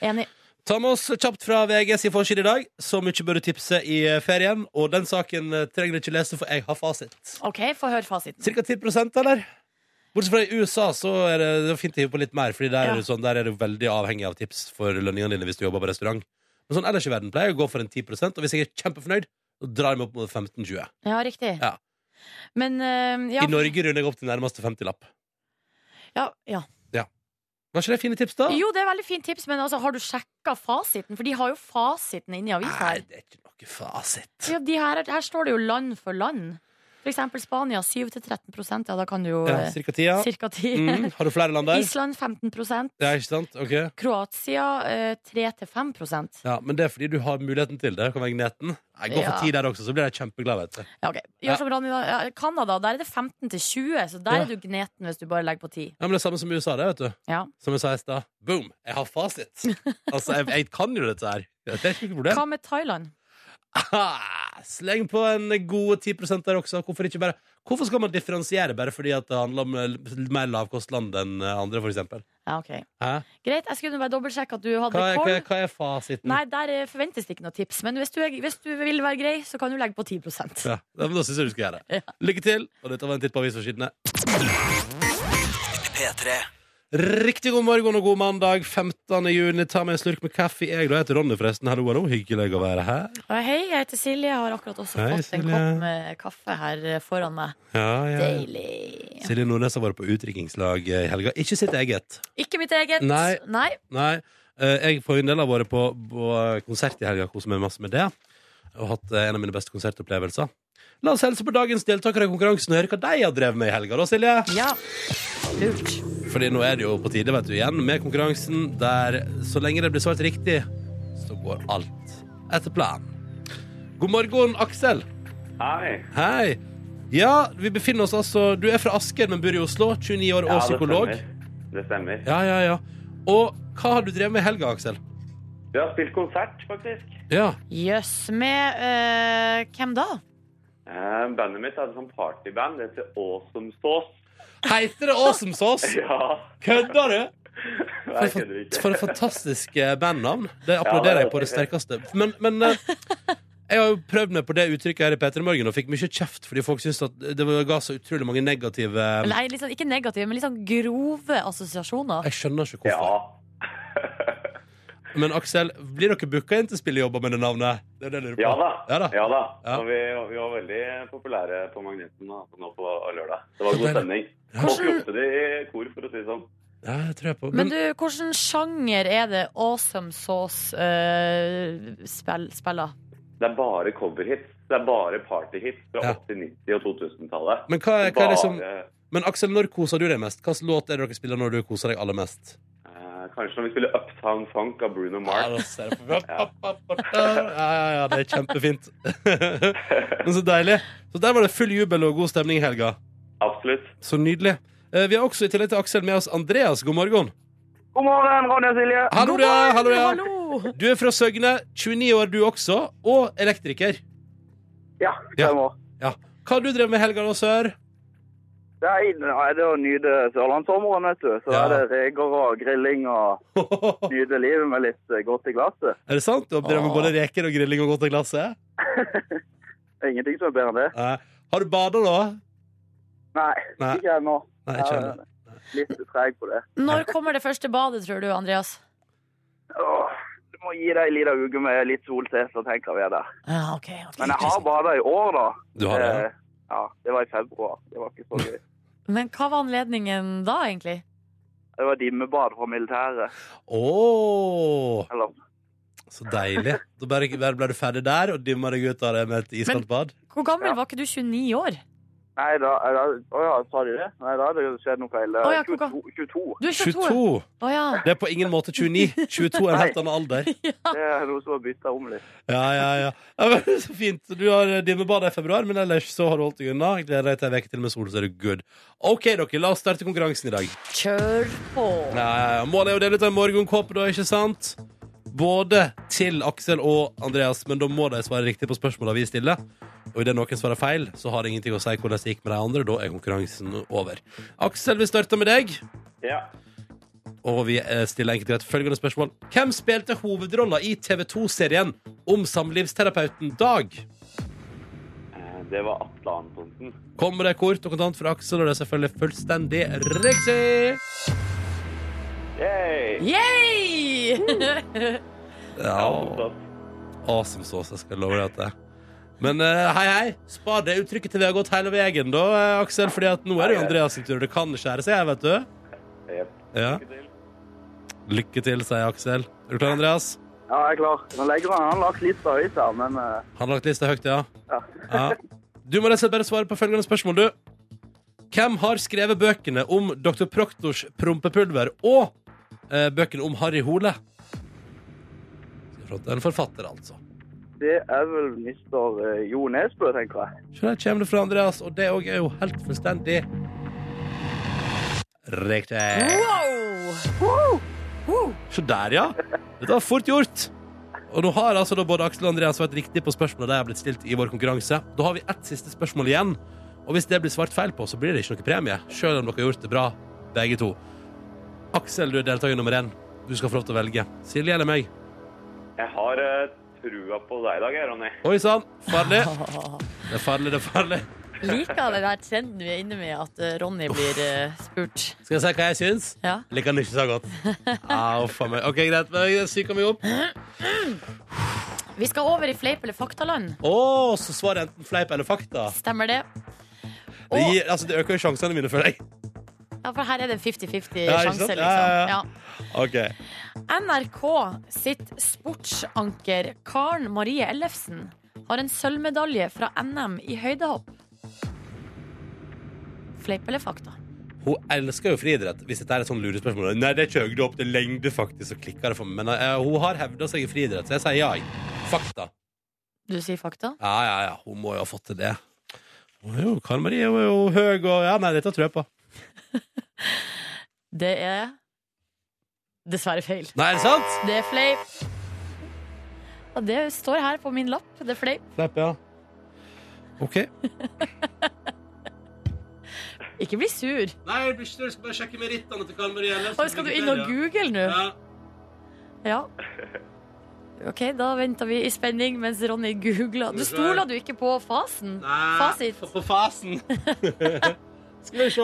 Speaker 2: Enig.
Speaker 1: Ta med oss kjapt fra VG sin forside i dag. Så mye bør du tipse i ferien. Og den saken eh, trenger du ikke lese, for jeg har fasit.
Speaker 2: OK, få høre fasiten.
Speaker 1: Cirka 10 eller? Bortsett fra i USA, så er det, det er fint å hive på litt mer. Fordi der,
Speaker 2: Ja.
Speaker 1: er det sånn, der er du veldig avhengig av tips for lønningene dine hvis du jobber på restaurant. Men sånn ellers i verden pleier jeg å gå for en 10 og hvis jeg er kjempefornøyd, så drar jeg meg opp mot 15-20.
Speaker 2: Ja, riktig.
Speaker 1: Ja.
Speaker 2: Men eh, ja,
Speaker 1: I Norge runder jeg opp til nærmeste 50-lapp.
Speaker 2: ja, ja.
Speaker 1: Var ikke det fine tips, da?
Speaker 2: Jo, det er veldig fint tips, men altså, har du sjekka fasiten? For de har jo fasiten inni avisa
Speaker 1: Nei,
Speaker 2: her.
Speaker 1: det er ikke noe fasit.
Speaker 2: Ja, de her. Her står det jo land for land. For eksempel Spania 7-13 ja da kan du jo
Speaker 1: Ja,
Speaker 2: eh,
Speaker 1: cirka 10, ja.
Speaker 2: cirka 10.
Speaker 1: Mm, har du flere land der?
Speaker 2: Island 15
Speaker 1: Ja, ikke sant? Ok.
Speaker 2: Kroatia eh, 3-5
Speaker 1: Ja, men det er fordi du har muligheten til det. Kan være gneten. Jeg går
Speaker 2: Ja.
Speaker 1: for 10 der også, så blir jeg kjempeglad, vet du.
Speaker 2: ja, ok.
Speaker 1: Ja.
Speaker 2: Gjør som Ronny da. Ja, Canada, der er det 15-20, så der
Speaker 1: Ja.
Speaker 2: er du gneten hvis du bare legger på 10.
Speaker 1: Ja, men det er samme som i USA, det, vet du.
Speaker 2: Ja.
Speaker 1: Som jeg sa i stad. Boom! Jeg har fasit. Altså, jeg, jeg kan jo dette her. Det er ikke noe problem.
Speaker 2: Hva med Thailand?
Speaker 1: Ah, Sleng på en gode 10 der også. Hvorfor ikke bare Hvorfor skal man differensiere bare fordi at det handler om eh, mer lavkostland enn eh, andre, for eksempel?
Speaker 2: Ja, ok.
Speaker 1: Hæ?
Speaker 2: Greit, jeg skulle bare dobbeltsjekke at du hadde
Speaker 1: Hva, er- hva,
Speaker 2: koll.
Speaker 1: er- hva er fasiten?
Speaker 2: Nei, der eh, forventes det ikke noe tips, men hvis du, er, hvis du vil være grei, så kan du legge på 10
Speaker 1: Ja, ja, men Da syns jeg du skal gjøre det. Lykke til. Og dette var en titt på avisforsidene. Riktig god morgen og god mandag 15. juni. Ta meg en slurk med kaffe. Jeg da heter Ronny, forresten. Hallo, hallo. Hyggelig å være her.
Speaker 2: Ja, Hei, jeg heter Silje. Jeg har akkurat også
Speaker 1: Hei,
Speaker 2: fått en
Speaker 1: Silje.
Speaker 2: kopp med kaffe her eh, foran meg.
Speaker 1: Ja, ja.
Speaker 2: Deilig.
Speaker 1: Silje Nordnes har vært på utdrikningslag eh, i helga. Ikke sitt eget.
Speaker 2: Ikke mitt eget.
Speaker 1: Nei. Nei. eh, Jeg for en del har vært på, på konsert i helga, koser meg masse med det. Og hatt eh, en av mine beste konsertopplevelser. La oss hilse på dagens deltakere i konkurransen og høre hva de har drevet med i helga, da, Silje.
Speaker 2: Ja. Lurt.
Speaker 1: Fordi nå er det jo på tide, vet du, igjen med konkurransen der så lenge det blir svart riktig, så går alt etter planen. God morgen, Aksel.
Speaker 4: Hei.
Speaker 1: Hei. Ja, vi befinner oss altså Du er fra Asker, men bor i Oslo. 29 år og psykolog.
Speaker 4: Det stemmer. Det stemmer.
Speaker 1: Ja, ja, ja. Og hva har du drevet med i helga, Aksel?
Speaker 4: Vi har spilt konsert, faktisk.
Speaker 1: Ja.
Speaker 6: Jøss. Med eh, hvem da?
Speaker 4: Eh, bandet mitt hadde sånn partyband. Det heter Awesome Sauce.
Speaker 1: Heiter det Awesome Sauce?
Speaker 4: Ja.
Speaker 1: Kødder du?
Speaker 4: Nei,
Speaker 1: For,
Speaker 4: jeg kødder
Speaker 1: et-
Speaker 4: ikke.
Speaker 1: for et fantastisk eh, bandnavn. Det applauderer jeg på det sterkeste. Men, men eh, jeg har jo prøvd meg på det uttrykket her i P3 Morgen og fikk mye kjeft fordi folk syntes at det var- ga så utrolig mange negative eh,
Speaker 6: Nei, litt sånn- ikke negative, men litt sånn grove assosiasjoner.
Speaker 1: Jeg skjønner ikke
Speaker 4: Ja.
Speaker 1: hvorfor. Men Aksel, blir dere booka inn til spillejobber med det navnet? Det er det jeg lurer på.
Speaker 4: ja da.
Speaker 1: Ja da.
Speaker 4: Ja da.
Speaker 1: Ja.
Speaker 4: Og vi, vi var veldig populære på Magneten da, nå på lørdag. Det var god stemning.
Speaker 1: Ja.
Speaker 4: Folk ropte det i kor, for å si det sånn.
Speaker 1: Ja, det tror jeg på.
Speaker 6: Men
Speaker 1: Men,
Speaker 6: du, hvilken sjanger er det Awesome Sauce eh, spill, spiller?
Speaker 4: Det er bare coverhits. Det er bare partyhits fra
Speaker 1: Ja.
Speaker 4: 80-, 90- og 2000-tallet.
Speaker 1: men, hva er, hva er liksom,
Speaker 4: Bare,
Speaker 1: men Aksel, når koser du deg mest? Hvilken låt er det dere spiller når du koser deg aller mest?
Speaker 4: eh, kanskje når vi spiller Uptown Funk av Bruno Mars.
Speaker 1: Ja, da ser jeg på- ja, ja, ja, det er kjempefint. Men så deilig. Så der var det full jubel og god stemning i helga.
Speaker 4: Absolutt.
Speaker 1: Så nydelig. Eh, Vi har også i tillegg til Aksel med oss Andreas. God morgen.
Speaker 7: God morgen, Ronny og Silje.
Speaker 1: Hallo, ja, hallo, ja.
Speaker 6: Hallo!
Speaker 1: Du er fra Søgne, 29 år du også, og elektriker.
Speaker 7: Ja,
Speaker 1: Ja.
Speaker 7: stemmer.
Speaker 1: Ja. Hva har du drevet med i helga da, sør?
Speaker 7: Det er inn- ja, det er å nyte sørlandssommeren, vet du. Så
Speaker 1: Ja.
Speaker 7: er det reker og grilling og nyte livet med litt eh, godt i glasset.
Speaker 1: Er det sant? Du har drevet med både reker og grilling og godt av glasset?
Speaker 7: Det er Ingenting som er bedre enn det.
Speaker 1: Eh, Har du bada da?
Speaker 7: Nei,
Speaker 1: Nei.
Speaker 7: ikke ennå.
Speaker 1: Nei,
Speaker 7: Jeg
Speaker 1: ikke
Speaker 7: er
Speaker 1: heller.
Speaker 7: Litt treg på det.
Speaker 6: Når kommer det første badet, tror du, Andreas?
Speaker 7: Åh, du må gi deg en liten uke med litt sol til, så tenker vi er der.
Speaker 6: Ja, ok, ok.
Speaker 7: Men jeg har bada i år, da.
Speaker 1: Du har det, ja.
Speaker 7: Eh, ja, det var i februar. Det var ikke så gøy.
Speaker 6: Men hva var anledningen da, egentlig?
Speaker 7: Det var dimmebad fra militæret.
Speaker 1: Eh, Åh,
Speaker 7: Eller
Speaker 1: så deilig. Da bare, bare ble du ferdig der og dimma deg ut av det med et iskaldt bad?
Speaker 6: Hvor gammel
Speaker 7: Ja.
Speaker 6: var ikke du? 29 år?
Speaker 7: Nei, da Å ja, sa de det? Nei, da hadde det skjedd noe feil. Det er
Speaker 6: Å ja, hvor ga-
Speaker 7: 22. 22.
Speaker 6: Du er 22.
Speaker 1: 22.
Speaker 6: Å ja.
Speaker 1: Det er på ingen måte 29. 22 er en helt annen alder.
Speaker 7: Det er noe som har bytta om litt.
Speaker 1: Ja, ja, ja. ja men, så fint. Du har dimmebad i februar, men ellers så har du holdt deg unna. Gleder deg til ei uke til med sol, så er du good. OK, dere, la oss starte konkurransen i dag.
Speaker 6: Kjør på.
Speaker 1: Ja, ja, ja. Målet er å dele ut en morgenkåpe, da, ikke sant? Både til Aksel og Andreas, men da må de svare riktig på spørsmåla vi stiller. Og idet noen svarer feil, så har det ingenting å si hvordan det gikk med de andre. Da er konkurransen over. Aksel, vi starter med deg,
Speaker 4: Ja.
Speaker 1: og vi eh, stiller enkelt og greit følgende spørsmål. Hvem spilte hovedrolla i TV2-serien om samlivsterapeuten Dag?
Speaker 4: Eh, Det var Atle Antonsen.
Speaker 1: Kommer det kort og kontant fra Aksel, og det er selvfølgelig fullstendig riktig!
Speaker 4: Yay!
Speaker 6: Yay!
Speaker 1: Ja. Awesome sauce, jeg skal love deg at det er. Men eh, hei, hei. Spar det uttrykket til vi har gått hele veien, da, eh, Aksel. Fordi at nå er det jo Andreas sin tur. Det kan skjære seg, vet du.
Speaker 4: Jep.
Speaker 1: Ja.
Speaker 4: Lykke til.
Speaker 1: Lykke til, sier Aksel. Er du klar, Andreas?
Speaker 7: Ja, jeg er klar. Nå legger han, han har lagt lista høyt her, men eh,
Speaker 1: Han har lagt lista høyt, ja.
Speaker 7: Ja.
Speaker 1: ja. Du må rett og slett bare svare på følgende spørsmål, du. Hvem har skrevet bøkene om Dr. Proktors prompepulver og eh, bøkene om Harry Hole? Skal vi se, En forfatter, altså.
Speaker 7: det er vel mister eh, Jo Nesbø, tenker jeg.
Speaker 1: Så der kommer det fra Andreas, og det òg er jo helt fullstendig Riktig.
Speaker 6: Wow!
Speaker 1: Så der, ja. Dette var fort gjort. Og nå har altså da både Aksel og Andreas vært riktig på spørsmålet de har blitt stilt i vår konkurranse. Da har vi ett siste spørsmål igjen, og hvis det blir svart feil på, så blir det ikke noe premie. Selv om dere har gjort det bra, begge to. Aksel, du er deltaker nummer én. Du skal få lov til å velge. Silje eller meg?
Speaker 4: Jeg har eh, trua på deg i dag, jeg, Ronny.
Speaker 1: Oi sann, farlig. Det er farlig, det er farlig.
Speaker 6: Liker den der trenden vi er inne med, at eh, Ronny blir eh, spurt.
Speaker 1: Skal jeg si hva jeg syns?
Speaker 6: Ja.
Speaker 1: Liker den ikke så godt. Au, faen meg. OK, greit. men Jeg psyker meg opp. Å,
Speaker 6: Vi skal over i fleip eller faktaland.
Speaker 1: så svaret er enten fleip eller fakta.
Speaker 6: Stemmer det?
Speaker 1: Det, gir, altså, det øker jo sjansene mine, føler jeg.
Speaker 6: Ja, for her er det en 50-50
Speaker 1: Ja, ikke sant?
Speaker 6: sjanse, liksom.
Speaker 1: Ja, ja, ja.
Speaker 6: Ja.
Speaker 1: OK.
Speaker 6: NRK sitt sportsanker Karen Marie Ellefsen har en sølvmedalje fra NM i høydehopp. Fleip eller fakta?
Speaker 1: Hun elsker jo friidrett. Hvis dette er et sånn lurespørsmål Nei, det er ikke høyde opp, det er lengde, faktisk, så klikker det for meg. Men eh, hun har hevda seg i friidrett, så jeg sier ja. jeg. Fakta.
Speaker 2: Du sier fakta?
Speaker 1: Ja, ja, ja, hun må jo ha fått til det. Hun er jo, Karen Marie hun er jo høy og Ja, nei, dette tror jeg på.
Speaker 2: Det er dessverre feil.
Speaker 1: Nei, er det sant?
Speaker 2: Det er fleip. Ja, det står her på min lapp. Det er fleip.
Speaker 1: Sleip, ja. OK.
Speaker 2: Ikke bli sur.
Speaker 1: Nei, jeg blir ikke sur. Jeg skal bare sjekke merittene til Karen Marie.
Speaker 2: Oi, skal du inn og google nå? Ja. OK, da venter vi i spenning mens Ronny googler. Du stoler du ikke på fasen? Fasit.
Speaker 1: På fasen. skal vi se.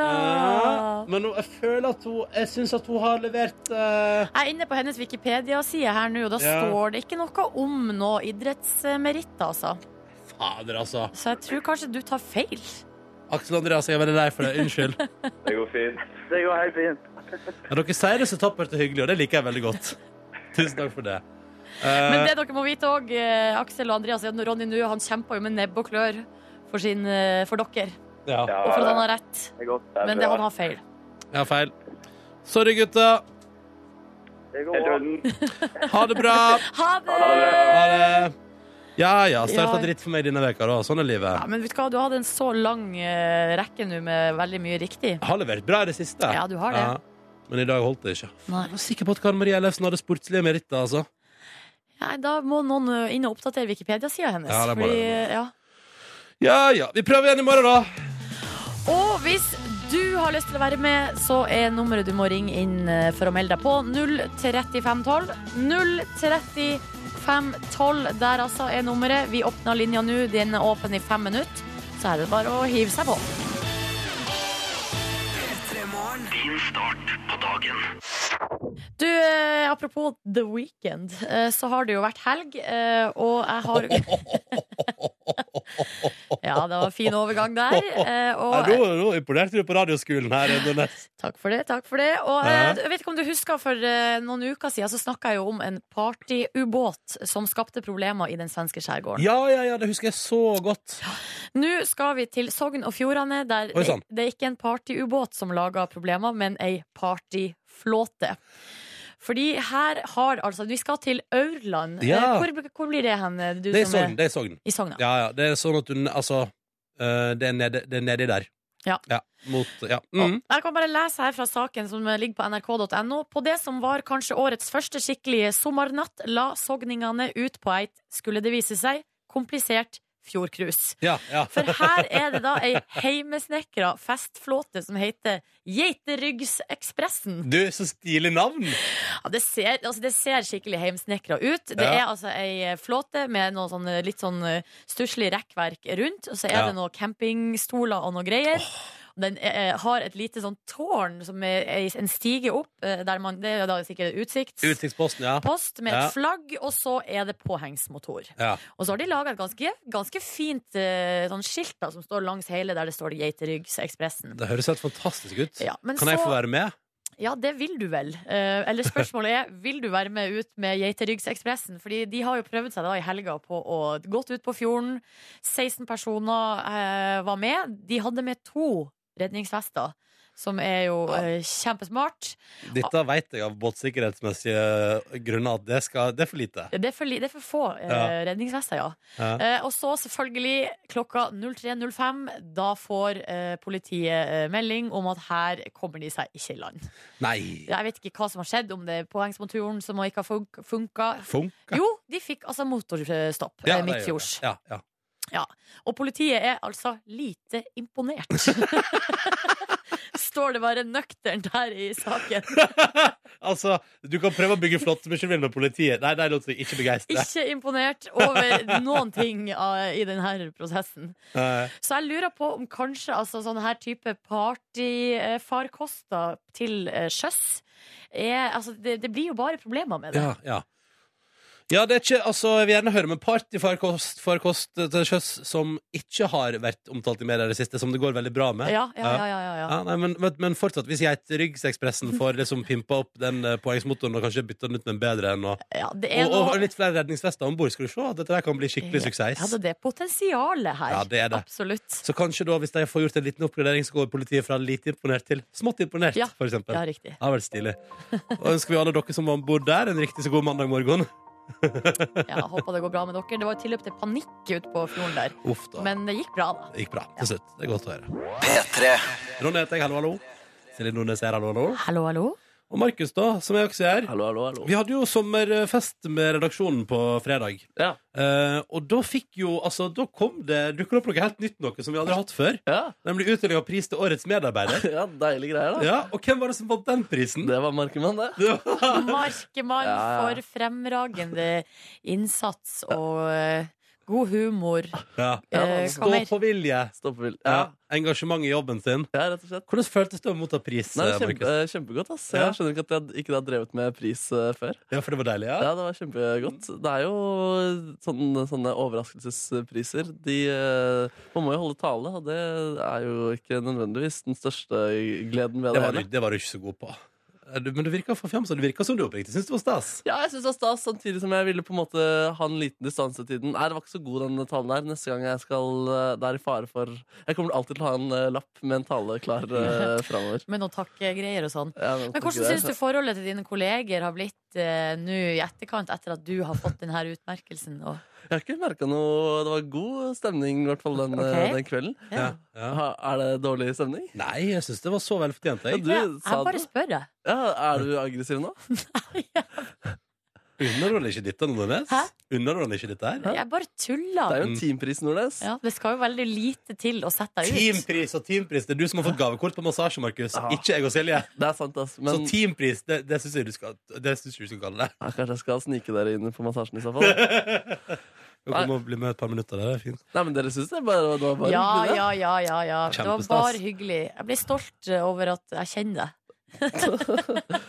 Speaker 2: Ah.
Speaker 1: Men nå- jeg føler at hun Jeg syns at hun har levert eh,
Speaker 2: Jeg er inne på hennes Wikipedia-side her nå, og da
Speaker 1: Ja.
Speaker 2: står det ikke noe om noe idrettsmeritt, altså.
Speaker 1: Fader, altså.
Speaker 2: Så jeg tror kanskje du tar feil.
Speaker 1: Aksel Andreas, jeg er veldig lei for det. Unnskyld.
Speaker 4: Det går fint.
Speaker 7: Det går helt fint.
Speaker 1: Ja, dere sier det så tappert og hyggelig, og det liker jeg veldig godt. Tusen takk for det. Eh,
Speaker 2: Men det dere må vite òg, Aksel og Andreas, er at Ronny nå han kjemper jo med nebb og klør for, sin, eh, for dere.
Speaker 1: ja.
Speaker 4: Ja,
Speaker 2: Og for at han
Speaker 4: det
Speaker 2: har rett.
Speaker 4: er godt. Det er
Speaker 2: Men det,
Speaker 4: bra.
Speaker 2: han har feil.
Speaker 1: Jeg har feil. Sorry, gutta.
Speaker 7: Det går
Speaker 4: Helt i
Speaker 7: bra.
Speaker 4: orden.
Speaker 1: Ha det bra.
Speaker 2: Ha det!
Speaker 1: Ha det. Ja ja, starta
Speaker 2: Ja.
Speaker 1: dritt for meg denne veka da. Sånn er
Speaker 2: Ja,
Speaker 1: livet.
Speaker 2: men vet du hva, du hadde en så lang eh, rekke nå med veldig mye riktig.
Speaker 1: Jeg har levert bra i det siste.
Speaker 2: Ja, du har det.
Speaker 1: Ja. Men i dag holdt det ikke.
Speaker 2: Nei.
Speaker 1: Jeg var sikker på at Karen Marie Ellefsen hadde sportslige meritter, altså.
Speaker 2: Nei, da må noen eh, inn og oppdatere Wikipedia-sida hennes.
Speaker 1: Ja, det må
Speaker 2: fordi, eh,
Speaker 1: det.
Speaker 2: ja.
Speaker 1: Ja ja. Vi prøver igjen i morgen, da.
Speaker 2: Og hvis du har lyst til å være med, så er nummeret du må ringe inn eh, for å melde deg på 03512. 03512 der altså er nummeret. Vi åpner linja nå. Den er åpen i fem minutter. Så er det bare å hive seg på. Du, eh, apropos The Weekend, eh, så har det jo vært helg, eh, og jeg har Ja, det var en fin overgang der. eh,
Speaker 1: Nei,
Speaker 2: og-
Speaker 1: Nå nå imponerte du på radioskolen her. Nordnes.
Speaker 2: Takk for det. takk for det Og
Speaker 1: Ja.
Speaker 2: eh, Jeg vet ikke om du husker For eh, noen uker siden så snakka jeg jo om en partyubåt som skapte problemer i den svenske skjærgården.
Speaker 1: Ja ja ja, det husker jeg så godt.
Speaker 2: Nå skal vi til Sogn og Fjordane, der
Speaker 1: Oi, sånn. sann.
Speaker 2: det er ikke en partyubåt som lager problemer, men ei partyflåte. Fordi her har altså Vi skal til Aurland.
Speaker 1: Ja.
Speaker 2: Eh, Hvor, hvor blir det hen, eh, du
Speaker 1: Det er i
Speaker 2: som
Speaker 1: Sogn.
Speaker 2: er
Speaker 1: Det er i Sogn.
Speaker 2: i Sogna?
Speaker 1: Ja, ja. Det er sånn at du Altså, eh, det, er nede, det er nedi der.
Speaker 2: Ja.
Speaker 1: Mot Ja.
Speaker 2: Og
Speaker 1: Mm.
Speaker 2: Jeg kan bare lese her fra saken som ligger på nrk.no. På det som var kanskje årets første skikkelige sommernatt, la sogningene ut på eit, skulle det vise seg, komplisert fjordcruise.
Speaker 1: Ja, ja.
Speaker 2: For her er det da ei heimesnekra festflåte som heter Geiteryggsekspressen.
Speaker 1: Du, så stilig navn!
Speaker 2: Ja, det, ser, altså det ser skikkelig heimsnekra ut. Det
Speaker 1: Ja.
Speaker 2: er altså ei flåte med noe sånn, eh, litt sånn eh, stusslig rekkverk rundt. Og så er
Speaker 1: Ja.
Speaker 2: det noen campingstoler og noe greier. Den eh, har et lite sånn tårn som er er en stige opp, eh, der man, det er da sikkert utsiktspost
Speaker 1: Utsiktsposten, ja.
Speaker 2: med
Speaker 1: Ja.
Speaker 2: et flagg, og så er det påhengsmotor.
Speaker 1: ja.
Speaker 2: Og så har de laga et ganske, ganske fint eh, sånn skilt da, som står langs hele, der det står Geiteryggsekspressen.
Speaker 1: Det høres helt fantastisk ut.
Speaker 2: Ja, men
Speaker 1: Kan jeg
Speaker 2: så-
Speaker 1: få være med?
Speaker 2: Ja, det vil du vel. Eh, eller spørsmålet er vil du være med ut med Geiteryggsekspressen. Fordi de har jo prøvd seg da i helga på å gått ut på fjorden. 16 personer eh, var med. De hadde med to redningsvester, som er jo eh, kjempesmart.
Speaker 1: Dette veit jeg av båtsikkerhetsmessige grunner at det, skal, det er for lite.
Speaker 2: Det er for, li- det er for få eh,
Speaker 1: Ja.
Speaker 2: redningsvester, ja.
Speaker 1: Ja.
Speaker 2: Eh, og så selvfølgelig klokka 03.05. Da får eh, politiet eh, melding om at her kommer de seg ikke i land.
Speaker 1: Nei!
Speaker 2: Jeg vet ikke hva som har skjedd, om det er påhengsmotoren som ikke har fun- funka.
Speaker 1: Funka?
Speaker 2: Jo, de fikk altså motorstopp eh,
Speaker 1: Ja, det gjør
Speaker 2: midtfjords.
Speaker 1: det. Ja, ja.
Speaker 2: Og politiet er altså lite imponert. Står det bare nøkternt her i saken.
Speaker 1: Altså, du kan prøve å bygge flott, men ikke vil med politiet. Nei, de lot seg ikke begeistre.
Speaker 2: Ikke imponert over noen ting eh, i denne prosessen.
Speaker 1: Eh,
Speaker 2: Så jeg lurer på om kanskje altså, sånn her type partyfarkoster til eh, sjøs er, altså, det, det blir jo bare problemer med det.
Speaker 1: Ja, ja. Ja, det er ikke, altså, Jeg vil gjerne høre om en partyfarkost farkost til sjøs som ikke har vært omtalt i media i det siste, som det går veldig bra med.
Speaker 2: Ja, ja, ja, ja, ja, ja.
Speaker 1: Ja, nei, men, men, men fortsatt, hvis Geiteryggsekspressen får liksom pimpa opp den eh, påhengsmotoren og kanskje bytta den ut med en bedre enn å
Speaker 2: ja det er
Speaker 1: og, og
Speaker 2: noe-
Speaker 1: litt flere redningsvester om bord, skal du se at dette der kan bli skikkelig suksess.
Speaker 2: Ja, det er det potensialet her.
Speaker 1: Ja, det er det.
Speaker 2: Absolutt.
Speaker 1: Så kanskje da, hvis de får gjort en liten oppgradering, så går politiet fra lite imponert til smått imponert,
Speaker 2: Ja.
Speaker 1: for eksempel.
Speaker 2: Ja,
Speaker 1: Ja,
Speaker 2: riktig.
Speaker 1: det har vært stilig. Og ønsker vi alle dere som var om bord der, en riktig så god mandag morgen.
Speaker 2: Ja, Håper det går bra med dere. Det var jo tilløp til panikk ute på fjorden der.
Speaker 1: Uff Oh, da.
Speaker 2: Men det gikk bra, da.
Speaker 1: Det gikk bra til slutt. Det er godt å høre. Ronny heter jeg, hallo, hallo. Silje Nordnes her, hallo, hallo.
Speaker 2: Hallo, hallo.
Speaker 1: Og Markus, da, som jeg også er.
Speaker 3: Hallo, hallo, hallo.
Speaker 1: Vi hadde jo sommerfest med redaksjonen på fredag.
Speaker 3: Ja.
Speaker 1: Eh, og da fikk jo Altså, da kom det dukket opp noe helt nytt, noe som vi aldri har hatt før.
Speaker 3: Ja,
Speaker 1: Nemlig utdeling av pris til årets medarbeider.
Speaker 3: ja deilige greier, da.
Speaker 1: Ja, Og hvem var det som vant den prisen?
Speaker 3: Det var Markemann, det.
Speaker 1: Det var-
Speaker 2: Markemann
Speaker 3: Ja, ja.
Speaker 2: for fremragende innsats og eh, god humor.
Speaker 1: Ja.
Speaker 2: Eh, hva
Speaker 1: Stå
Speaker 2: mer?
Speaker 1: på vilje.
Speaker 3: Stoppevill.
Speaker 1: Ja.
Speaker 3: altså, Ja.
Speaker 1: Engasjement i jobben sin.
Speaker 3: ja, rett og slett.
Speaker 1: Hvordan føltes det å motta pris?
Speaker 3: Nei,
Speaker 1: eh,
Speaker 3: kjempe,
Speaker 1: Markus?
Speaker 3: kjempegodt, ass.
Speaker 1: Ja.
Speaker 3: Jeg skjønner ikke at jeg ikke har drevet med pris eh, før.
Speaker 1: Ja, for det var deilig, ja?
Speaker 3: Ja, det var kjempegodt. Det er jo sånne, sånne overraskelsespriser. De, eh, man må jo holde tale, og det er jo ikke nødvendigvis den største gleden ved
Speaker 1: Det
Speaker 3: det.
Speaker 1: var, du-
Speaker 3: hele.
Speaker 1: det var du ikke så god på. Eh, du- Men du virka forfjamsa. Du virka som du oppriktig syntes det var stas.
Speaker 3: Ja, jeg synes det var stas, samtidig som jeg ville på en måte ha en liten distanse til den. Nei, det var ikke så god den talen der. Neste gang jeg skal eh, Det er i fare for Jeg kommer alltid til å ha en eh, lapp med en tale klar uh, framover.
Speaker 2: Med noen takkegreier og sånn.
Speaker 3: Ja,
Speaker 2: Men hvordan syns du forholdet til dine kolleger har blitt eh, nå i etterkant, etter at du har fått denne utmerkelsen? Og,
Speaker 3: Jeg har ikke merka noe Det var god stemning i hvert fall den, eh,
Speaker 2: Ok.
Speaker 3: den kvelden.
Speaker 2: ja.
Speaker 1: Ja.
Speaker 3: Ha, er det dårlig stemning?
Speaker 1: Nei, jeg syns det var så vel fortjent.
Speaker 3: Ja,
Speaker 1: Jeg.
Speaker 3: du
Speaker 2: jeg,
Speaker 3: sa
Speaker 2: jeg bare
Speaker 3: det.
Speaker 2: spør, jeg.
Speaker 3: Ja, er du aggressiv nå?
Speaker 1: Underholder ikke dette, Nordnes?
Speaker 2: Hæ?
Speaker 1: Underholder ikke dette her?
Speaker 2: Jeg bare
Speaker 3: Det er
Speaker 2: tuller.
Speaker 3: jo en teampris, Nordnes.
Speaker 2: Ja, det skal jo veldig lite til å sette deg ut.
Speaker 1: Teampris og teampris. Det er du som har fått gavekort på massasje, Markus.
Speaker 3: Ja.
Speaker 1: Ikke jeg og Silje.
Speaker 3: Det er sant, ass. Men
Speaker 1: Så teampris, det, det syns jeg du skal Det synes jeg du skal kalle det.
Speaker 3: ja, kanskje jeg skal snike dere inn på massasjen i så fall.
Speaker 1: Du kan komme og bli med et par minutter. Det er fint.
Speaker 3: Nei, men dere syns det bare det var bare
Speaker 2: Ja,
Speaker 3: hyggelig, det?
Speaker 2: ja, ja, ja, ja. Det var
Speaker 1: Kjempestas.
Speaker 2: bare hyggelig. Jeg blir stolt eh, over at jeg kjenner deg.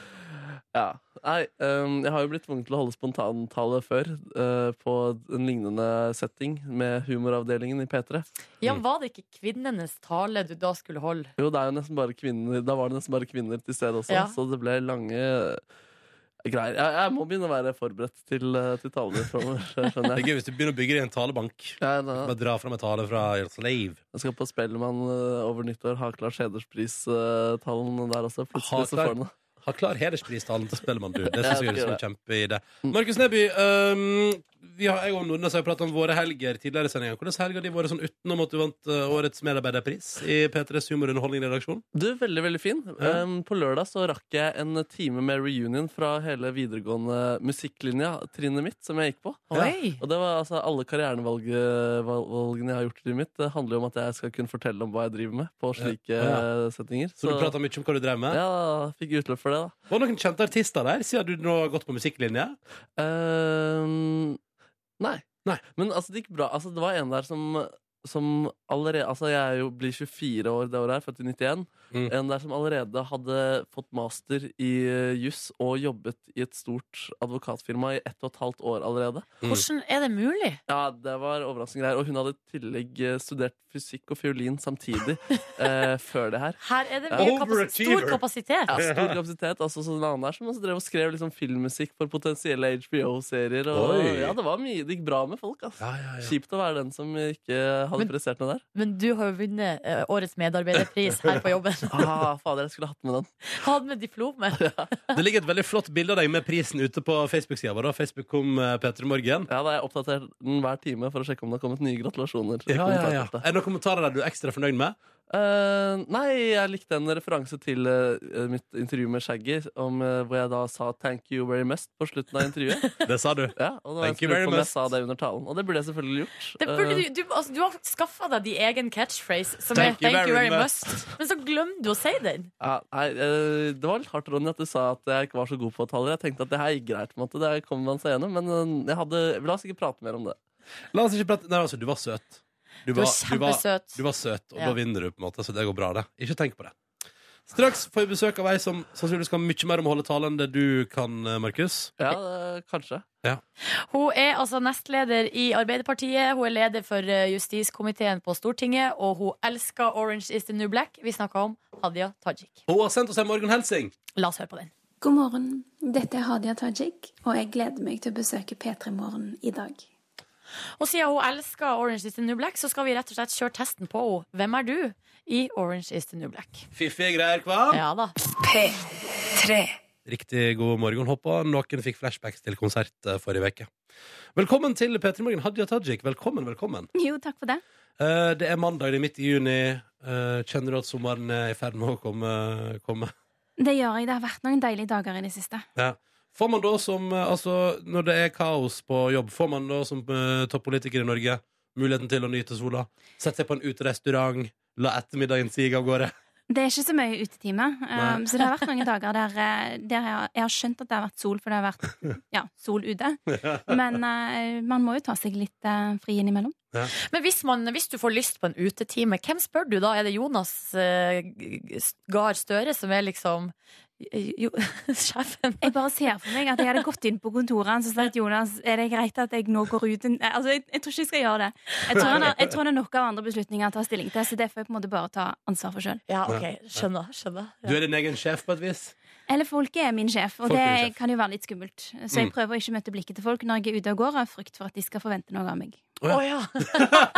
Speaker 3: Ja. Nei, ehm, jeg har jo blitt tvunget til å holde spontantale før, eh, på en lignende setting med humoravdelingen i P3.
Speaker 2: Ja,
Speaker 3: Mm.
Speaker 2: Var det ikke kvinnenes tale du da skulle holde?
Speaker 3: Jo, det er jo nesten bare kvinner Da var det nesten bare kvinner til stede også,
Speaker 2: Ja.
Speaker 3: så det ble lange eh, greier. Jeg, jeg må begynne å være forberedt til, eh, til talene framover, skjønner
Speaker 1: Det er
Speaker 3: jeg.
Speaker 1: gøy hvis du begynner å bygge deg en talebank.
Speaker 3: Ja, da-
Speaker 1: Bare dra fram en tale fra Jens Leiv.
Speaker 3: Jeg skal på Spellemann eh, over nyttår. Ha Lars Hederspris-tallen der også. Plutselig så
Speaker 1: Haklar.
Speaker 3: får den
Speaker 1: Ha klar hederspristalen til Spellemann, du. Det synes jeg er
Speaker 3: Ja,
Speaker 1: liksom en
Speaker 3: det
Speaker 1: kjempeidé. Markus Neby, øhm, vi har, jeg og Nordnes har jo pratet om våre helger tidligere i sendinga. Hvordan helger de våre sånn utenom at du vant øh, årets medarbeiderpris i P3s humor- og underholdningsredaksjon?
Speaker 3: Du, veldig, veldig fin. Um, på lørdag så rakk jeg en time med reunion fra hele videregående musikklinja, trinnet mitt, som jeg gikk på.
Speaker 2: Oi!
Speaker 3: Og det var altså alle karrierevalgene jeg har gjort i livet mitt. Det handler jo om at jeg skal kunne fortelle om hva jeg driver med på slike
Speaker 1: Ja.
Speaker 3: eh, settinger.
Speaker 1: Så du prata mye om hva du drev med?
Speaker 3: ja, fikk utløp for det, da.
Speaker 1: Var det noen kjente artister der, siden du nå har gått på musikklinje?
Speaker 3: Ehm, nei.
Speaker 1: Nei.
Speaker 3: Men altså, det gikk bra. Altså, det var en der som, som allerede Altså, jeg er jo, blir 24 år det året her, født i 91.
Speaker 1: Mm.
Speaker 3: En der som allerede hadde fått master i eh, juss og jobbet i et stort advokatfirma i ett og et halvt år allerede.
Speaker 1: Mm.
Speaker 2: Hvordan er det mulig?
Speaker 3: Ja, det var overraskende greier. Og hun hadde i tillegg eh, studert fysikk og fiolin samtidig eh, før det her.
Speaker 2: Her er det
Speaker 1: Ja.
Speaker 2: mye kapas stor
Speaker 1: Overachiever.
Speaker 2: kapasitet.
Speaker 3: Ja, stor kapasitet. Altså sånn annen der som også drev og skrev liksom filmmusikk for potensielle HBO-serier. Og
Speaker 1: Oi.
Speaker 3: ja, det var mye Det gikk bra med folk, altså.
Speaker 1: Ja, ja, ja.
Speaker 3: Kjipt å være den som ikke hadde
Speaker 2: Men-
Speaker 3: prestert noe der.
Speaker 2: Men du har jo vunnet eh, årets medarbeiderpris her på jobben.
Speaker 3: Ah, fader, jeg skulle hatt med den.
Speaker 2: Han med diplomet.
Speaker 1: Det ligger et veldig flott bilde av deg med prisen ute på Facebook-sida vår. da. Facebook kom eh, Petra Morgen.
Speaker 3: Ja, da har jeg oppdatert den hver time for å sjekke om det har kommet nye gratulasjoner. i kommentarfeltet.
Speaker 1: Er det noen kommentarer der du er ekstra fornøyd med?
Speaker 3: Eh, nei, jeg likte en referanse til eh, mitt intervju med Shaggy, om, eh, hvor jeg da sa 'thank you very much' på slutten av intervjuet.
Speaker 1: Det sa du.
Speaker 3: Ja, og det var
Speaker 1: Thank
Speaker 3: en som
Speaker 1: you very
Speaker 3: lurte på om jeg
Speaker 1: much.
Speaker 3: sa det under talen. Og det burde jeg selvfølgelig gjort.
Speaker 2: Det burde
Speaker 3: Eh,
Speaker 2: du, du, altså, du har skaffa deg din egen catchphrase, som
Speaker 1: Thank
Speaker 2: er
Speaker 1: you
Speaker 2: 'thank you
Speaker 1: very
Speaker 2: very much'. Men så glemmer du å si den.
Speaker 3: Ja, nei, eh, det var litt hardt, Ronny, at du sa at jeg ikke var så god på taler. Jeg tenkte at det her gikk greit, på en måte. Det kommer man seg gjennom. Men eh, jeg hadde, la oss ikke prate mer om det.
Speaker 1: La oss ikke prate Nei, altså, du var søt. Du
Speaker 2: Du
Speaker 1: var,
Speaker 2: er
Speaker 1: du var,
Speaker 2: kjempesøt.
Speaker 1: du var søt, og da
Speaker 2: Ja.
Speaker 1: vinner du, på en måte. Så det går bra, det. Ikke tenk på det. Straks får vi besøk av ei som sannsynligvis kan mye mer om å holde tale enn det du kan, eh, Markus.
Speaker 3: Ja, eh, kanskje.
Speaker 2: Hun er altså nestleder i Arbeiderpartiet, hun er leder for eh, justiskomiteen på Stortinget, og hun elsker 'Orange is the New Black'. Vi snakka om Hadia Tajik.
Speaker 1: Hun har sendt oss en Morgan Helsing.
Speaker 2: La oss høre på den.
Speaker 8: God morgen, dette er Hadia Tajik, og jeg gleder meg til å besøke P3 Morgen i dag.
Speaker 2: Og siden hun elsker 'Orange is the New Black', så skal vi rett og slett kjøre testen på henne. Hvem er du i 'Orange is the New Black'?
Speaker 1: Fiffige greier, hva?
Speaker 2: Ja da.
Speaker 1: Riktig god morgen, håper noen fikk flashbacks til konsert eh, forrige uke. Velkommen til P3 Morgen, Hadia Tajik. Velkommen, velkommen.
Speaker 8: Jo, takk for det.
Speaker 1: Eh, det er mandag, det er midt i juni. Eh, kjenner du at sommeren er i ferd med å komme? komme?
Speaker 8: Det gjør jeg. Det har vært noen deilige dager i det siste.
Speaker 1: Får man da som, eh, altså når det er kaos på jobb, får man da som eh, toppolitiker i Norge muligheten til å nyte sola? Sette seg på en uterestaurant, la ettermiddagen sige av gårde?
Speaker 8: Det er ikke så mye utetime,
Speaker 1: Nei.
Speaker 8: um, så det har vært noen dager der, eh, der jeg, har- jeg har skjønt at det har vært sol, for det har vært ja, sol ute. Men eh, man må jo ta seg litt eh, fri innimellom.
Speaker 2: Men hvis, man, hvis du får lyst på en utetime, hvem spør du da? Er det Jonas eh, Gahr Støre som er liksom eh, jo, sjefen?
Speaker 8: Jeg bare ser for meg at jeg hadde gått inn på kontoret hans og sagt Jonas, er det greit at jeg nå går ut en Nei, Altså, jeg, jeg tror ikke jeg skal gjøre det. Jeg tror, han har, jeg tror det er nok av andre beslutninger å ta stilling til, så det får jeg på en måte bare ta ansvar for sjøl.
Speaker 2: Ja, ok, skjønner. skjønner.
Speaker 1: Du er din egen sjef på et vis?
Speaker 8: Eller folket er min sjef, og
Speaker 1: Folket er din
Speaker 8: det
Speaker 1: sjef. Mm.
Speaker 8: kan jo være litt skummelt. Så jeg prøver å ikke møte blikket til folk når jeg er ute og går, av frykt for at de skal forvente noe av meg.
Speaker 1: Å,
Speaker 2: Å
Speaker 1: ja.
Speaker 2: ja.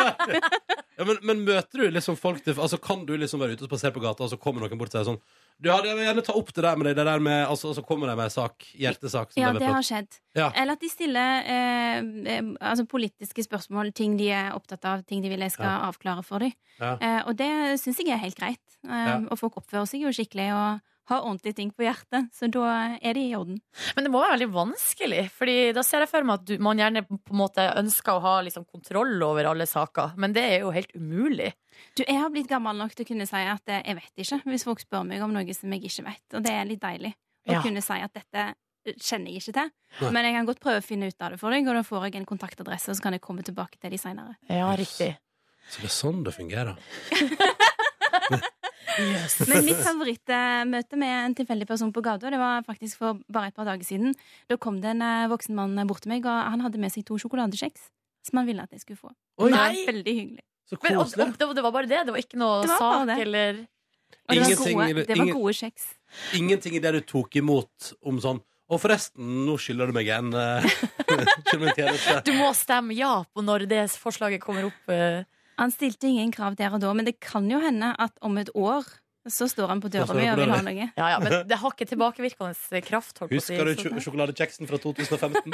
Speaker 1: Ja, men, men møter du liksom folk til, altså Kan du liksom være ute og spasere på gata, og så kommer noen bort og sier sånn Du hadde jeg vil gjerne ta opp det der med deg, det der med altså, Og så kommer de med en sak, hjertesak. Som
Speaker 8: Ja,
Speaker 1: de vil
Speaker 8: det
Speaker 1: prate-
Speaker 8: har skjedd.
Speaker 1: Ja.
Speaker 8: Eller at de stiller eh, eh, altså politiske spørsmål, ting de er opptatt av, ting de vil jeg skal avklare for dem.
Speaker 1: Ja.
Speaker 8: Eh, og det syns jeg er helt greit. Eh,
Speaker 1: Ja.
Speaker 8: Og folk oppfører seg jo skikkelig og har ordentlige ting på hjertet, så da er de i orden.
Speaker 2: Men det må være veldig vanskelig, Fordi da ser jeg for meg at du, man gjerne på en måte ønsker å ha liksom kontroll over alle saker, men det er jo helt umulig.
Speaker 8: Du, jeg har blitt gammel nok til å kunne si at eh, jeg vet ikke, hvis folk spør meg om noe som jeg ikke vet. Og det er litt deilig å
Speaker 2: Ja.
Speaker 8: kunne si at dette eh, kjenner jeg ikke til,
Speaker 1: Nei.
Speaker 8: men jeg kan godt prøve å finne ut av det for deg, og da får jeg en kontaktadresse, og så kan jeg komme tilbake til de seinere.
Speaker 2: Ja,
Speaker 1: riktig. Så det er sånn det fungerer.
Speaker 8: Men mitt favorittmøte med en tilfeldig person på gata, det var faktisk for bare et par dager siden. Da kom det en eh, voksen mann bort til meg, og han hadde med seg to sjokoladekjeks. Som han ville at jeg skulle få.
Speaker 1: Oi,
Speaker 8: Det var
Speaker 2: Nei.
Speaker 8: veldig hyggelig.
Speaker 1: så
Speaker 2: Men, og,
Speaker 1: koselig.
Speaker 2: og, det, var- det var bare det? Det var ikke noe
Speaker 8: Det var bare
Speaker 2: sak,
Speaker 8: det.
Speaker 2: eller
Speaker 8: Og det var,
Speaker 1: Ingenting-
Speaker 8: gode, det var
Speaker 1: ingen-
Speaker 8: gode kjeks.
Speaker 1: Ingenting i det du tok imot om sånn Og forresten, nå skylder du meg en eh, skylder meg en tjeneste.
Speaker 2: Du må stemme ja på når det forslaget kommer opp. eh.
Speaker 8: Han stilte ingen krav der og da, men det kan jo hende at om et år så står han på
Speaker 1: står
Speaker 8: døra
Speaker 1: han på
Speaker 8: mi og vil ha
Speaker 1: døra
Speaker 8: noe.
Speaker 2: Ja, ja, men det har ikke tilbakevirkende kraft. Holdt på å si.
Speaker 1: Husker du
Speaker 2: Så-
Speaker 1: sj- sjokoladekjeksen fra 2015?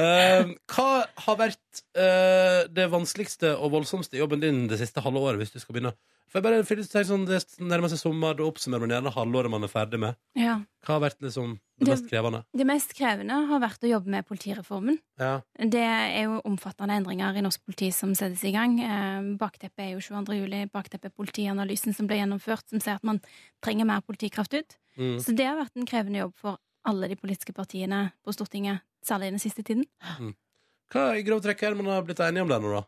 Speaker 1: Eh, hva har vært eh, det vanskeligste og voldsomste i jobben din det siste halve året? Hvis du skal begynne For jeg bare for jeg tenker sånn, Det nærmer seg sommer, da oppsummerer man gjerne halvåret man er ferdig med.
Speaker 8: Ja.
Speaker 1: Hva har vært liksom det
Speaker 8: Det-
Speaker 1: mest krevende?
Speaker 8: Det mest krevende har vært å jobbe med politireformen.
Speaker 1: Ja.
Speaker 8: Det er jo omfattende endringer i norsk politi som settes i gang. Eh, Bakteppet er jo 22. juli, bakteppet er politianalysen som ble gjennomført, som sier at man trenger mer politikraft ut.
Speaker 1: Mm.
Speaker 8: Så det har vært en krevende jobb for alle de politiske partiene på Stortinget, særlig den siste tiden.
Speaker 1: Hva i grove trekk er det man har blitt enige om der nå, da?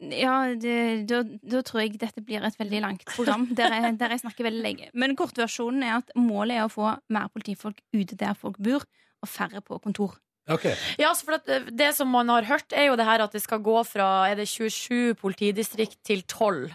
Speaker 8: Ja, det, da, da tror jeg dette blir et veldig langt program der jeg, der jeg snakker veldig lenge. Men kortversjonen er at målet er å få mer politifolk ute der folk bor, og færre på kontor.
Speaker 1: Ok,
Speaker 2: Ja, altså, for at eh, Det som man har hørt, er jo det her at det skal gå fra er det 27 politidistrikt til 12.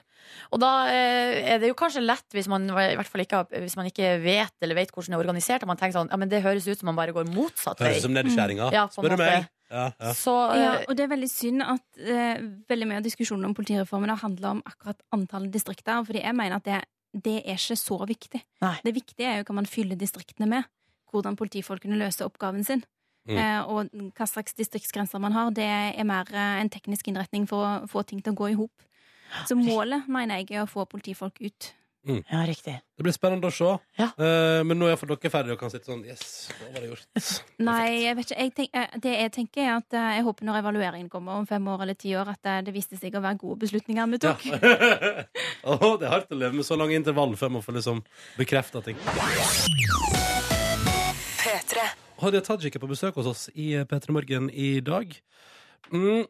Speaker 2: Og da eh, er det jo kanskje lett, hvis man, i hvert fall ikke, har- hvis man ikke vet eller vet hvordan det er organisert, at man tenker sånn, ja, men det høres ut som man bare går motsatt vei.
Speaker 1: Høres ut som nedskjæringa.
Speaker 2: Ja, på en
Speaker 1: Spør du
Speaker 2: måte.
Speaker 1: meg? Ja, ja.
Speaker 2: Så eh,
Speaker 8: Ja, og det er veldig synd at eh, veldig mye av diskusjonen om politireformen har handla om akkurat antallet distrikter, fordi jeg mener at det, det er ikke så viktig.
Speaker 2: Nei.
Speaker 8: Det viktige er jo hva man fyller distriktene med. Hvordan politifolkene løser oppgaven sin.
Speaker 1: Mm.
Speaker 8: Eh, og hva slags distriktsgrenser man har. Det er mer eh, en teknisk innretning for å få ting til å gå i hop. Så målet, mener jeg, er å få politifolk ut.
Speaker 2: Ja, riktig.
Speaker 1: Det blir spennende å se.
Speaker 2: Ja.
Speaker 1: Eh, men nå er iallfall dere ferdige og kan sitte sånn Yes, hva var det gjort?
Speaker 8: Nei, jeg vet ikke. Jeg tenk, eh, det jeg tenker, er at eh, jeg håper når evalueringen kommer om fem år eller ti år, at eh, det viste seg å være gode beslutninger vi tok.
Speaker 1: Ja. Åh, det er hardt å leve med så lange intervall før man får liksom bekrefta ting. Hadia Tajik er på besøk hos oss i P3 Morgen i dag. Mm,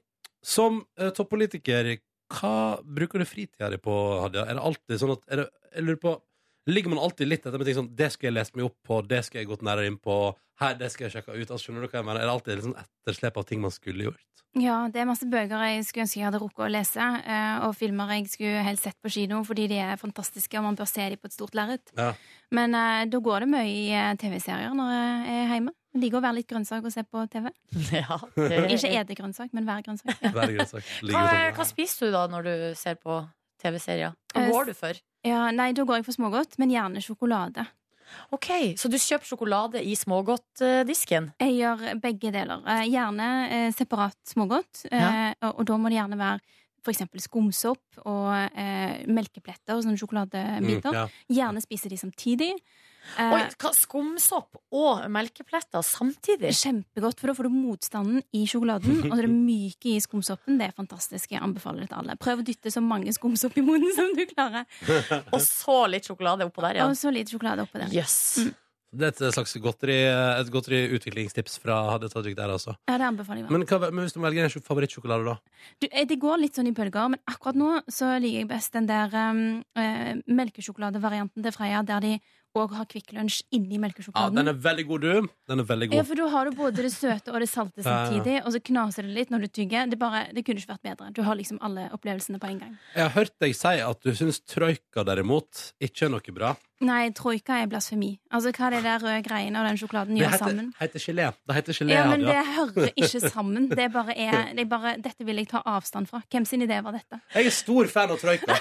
Speaker 1: som eh, toppolitiker, hva bruker du fritida di på, Hadia? Er det alltid sånn at er det, Jeg lurer på Ligger man alltid litt etter med ting sånn Det skal jeg lese meg opp på, det skal jeg gått nærmere inn på, her, det skal jeg sjekke ut. Altså, skjønner du hva jeg mener? Er det alltid liksom etterslep av ting man skulle gjort?
Speaker 8: Ja, det er masse bøker jeg skulle ønske jeg hadde rukket å lese, eh, og filmer jeg skulle helst sett på kino fordi de er fantastiske, og man bør se dem på et stort lerret.
Speaker 1: Ja.
Speaker 8: Men eh, da går det mye i eh, TV-serier når jeg er hjemme. Jeg liker å være litt grønnsak og se på TV.
Speaker 2: Ja,
Speaker 1: Eh.
Speaker 2: det-
Speaker 8: Ikke ete grønnsak, men være grønnsak. Ja.
Speaker 1: Hver grønnsak ligger
Speaker 2: hva,
Speaker 1: sånn.
Speaker 2: hva spiser du da når du ser på TV-serier? Hva
Speaker 8: Eh,
Speaker 2: går du for?
Speaker 8: Ja, nei, da går jeg for smågodt, men gjerne sjokolade.
Speaker 2: Ok, Så du kjøper sjokolade i smågodtdisken?
Speaker 8: Jeg gjør begge deler. Eh, Gjerne eh, separat smågodt. eh,
Speaker 2: Ja.
Speaker 8: og, og da må det gjerne være f.eks. skumsopp og eh, melkepletter og sånne
Speaker 1: Mm,
Speaker 8: sjokoladebiter.
Speaker 1: ja.
Speaker 8: Gjerne spise de samtidig. Eh,
Speaker 2: Oi, hva, skumsopp og melkepletter
Speaker 8: det
Speaker 2: samtidig?
Speaker 8: er Kjempegodt, for da får du motstanden i sjokoladen. Og det myke i skumsoppen. Det er fantastisk. Jeg anbefaler det til alle. Prøv å dytte så mange skumsopp i munnen som du klarer.
Speaker 2: Og så litt sjokolade oppå der, ja.
Speaker 8: Og så Mm. litt sjokolade oppå den.
Speaker 2: Jøss. Yes.
Speaker 1: Det er et slags godteri, et godteriutviklingstips fra dette trykket der, altså.
Speaker 8: Ja, det anbefaler jeg. varmt.
Speaker 1: Men, hva, men hvis du må velge en favorittsjokolade, da?
Speaker 8: Du, eh, det går litt sånn i bølger, men akkurat nå så liker jeg best den der um, eh, melkesjokoladevarianten til Freia, der de òg har Kvikk Lunsj inni
Speaker 1: Ja,
Speaker 8: melkesjokoladen.
Speaker 1: den er veldig god, du. Den er veldig
Speaker 8: Ja,
Speaker 1: god.
Speaker 8: for da har du både det søte og det
Speaker 1: Ja,
Speaker 8: salte
Speaker 1: ja.
Speaker 8: samtidig, og så knaser det litt når du tygger. Det, bare, det kunne ikke vært bedre. Du har liksom alle opplevelsene på en gang.
Speaker 1: Jeg har hørt deg si at du syns troika derimot ikke er noe bra.
Speaker 8: Nei, troika er blasfemi. Altså, hva er det der røde greiene og den sjokoladen
Speaker 1: Det
Speaker 8: gjør
Speaker 1: heter,
Speaker 8: sammen?
Speaker 1: heter gelé. Det heter gelé,
Speaker 8: Ja, men
Speaker 1: Hadia.
Speaker 8: det hører ikke sammen. Det bare er, det er bare, dette vil jeg ta avstand fra. Hvem sin idé var dette?
Speaker 1: Jeg er stor fan av troika.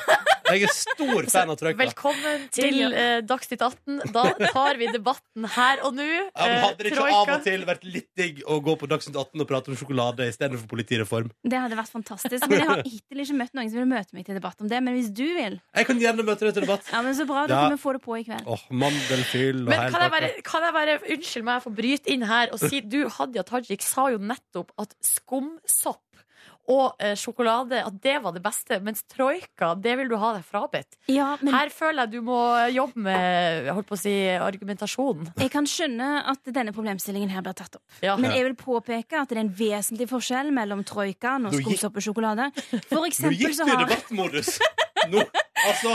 Speaker 1: Jeg er stor fan av troika.
Speaker 2: Velkommen til eh, Dagsnytt 18. Da tar vi debatten her og nå.
Speaker 1: Ja, men hadde det
Speaker 2: Eh,
Speaker 1: ikke
Speaker 2: troika.
Speaker 1: av og til vært litt digg å gå på Dagsnytt 18 og prate om sjokolade istedenfor politireform?
Speaker 8: Det hadde vært fantastisk. Men jeg har hittil ikke møtt noen som vil møte meg til debatt om det. Men hvis du vil,
Speaker 1: Jeg kan gjerne møte deg til debatt.
Speaker 8: ja, men så bra. Da
Speaker 1: Ja.
Speaker 8: kan vi få det på i kveld.
Speaker 1: Åh, Mandelfyll og
Speaker 2: Men
Speaker 1: hele
Speaker 2: kan jeg, bare,
Speaker 1: pakka.
Speaker 2: kan jeg bare, unnskyld meg, jeg får bryte inn her og si Du, Hadia Tajik, sa jo nettopp at skumsopp og eh, sjokolade, at det var det beste, mens troika, det vil du ha deg frabedt.
Speaker 8: Ja, men
Speaker 2: Her føler jeg du må jobbe med, holdt på å si, argumentasjonen.
Speaker 8: jeg kan skjønne at denne problemstillingen her blir tatt opp.
Speaker 2: Ja.
Speaker 8: Men jeg vil påpeke at det er en vesentlig forskjell mellom troikaen og
Speaker 1: Du gikk-
Speaker 8: skumsopp og sjokolade. For
Speaker 1: Nå
Speaker 8: eksempel
Speaker 1: gikk
Speaker 8: så
Speaker 1: du i
Speaker 8: har
Speaker 1: debattmodus! Nå, altså,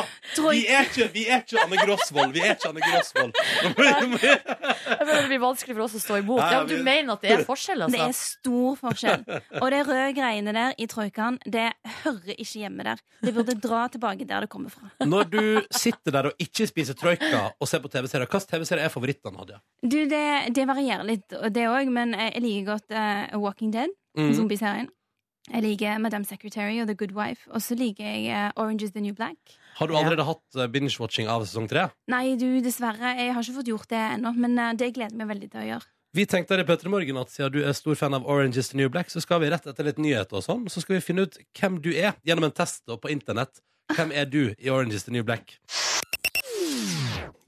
Speaker 1: vi er ikke, vi er ikke Anne Grosvold. Vi er ikke Anne Grosvold. Nå må- nå må-
Speaker 2: Jeg mener, det blir vanskelig for oss å stå imot.
Speaker 1: Ja,
Speaker 2: Ja, men
Speaker 1: vi-
Speaker 2: du mener at det er forskjell,
Speaker 8: Det
Speaker 2: altså?
Speaker 8: er stor forskjell. Og de røde greiene der i troikaen, det hører ikke hjemme der. Det burde dra tilbake der det kommer fra.
Speaker 1: Når du sitter der og ikke spiser troika og ser på TV-serier, hvilken TV-serie er favoritten, Hadia?
Speaker 8: Du, det, det varierer litt, og det òg, men jeg liker godt eh, Walking Dead,
Speaker 1: Mm.
Speaker 8: zombieserien. Jeg liker Madame Secretary og The Good Wife. Og så liker jeg eh, Orange is the New Black.
Speaker 1: Har du allerede hatt eh, binge-watching av sesong tre?
Speaker 8: Nei, du, dessverre. Jeg har ikke fått gjort det ennå, men eh, det gleder jeg meg veldig til å gjøre.
Speaker 1: Vi tenkte her i Petter Morgen at siden du er stor fan av Orange is the New Black, så skal vi rett etter litt nyheter og sånn, så skal vi finne ut hvem du er gjennom en test da, på internett. Hvem er du i Orange is the New Black?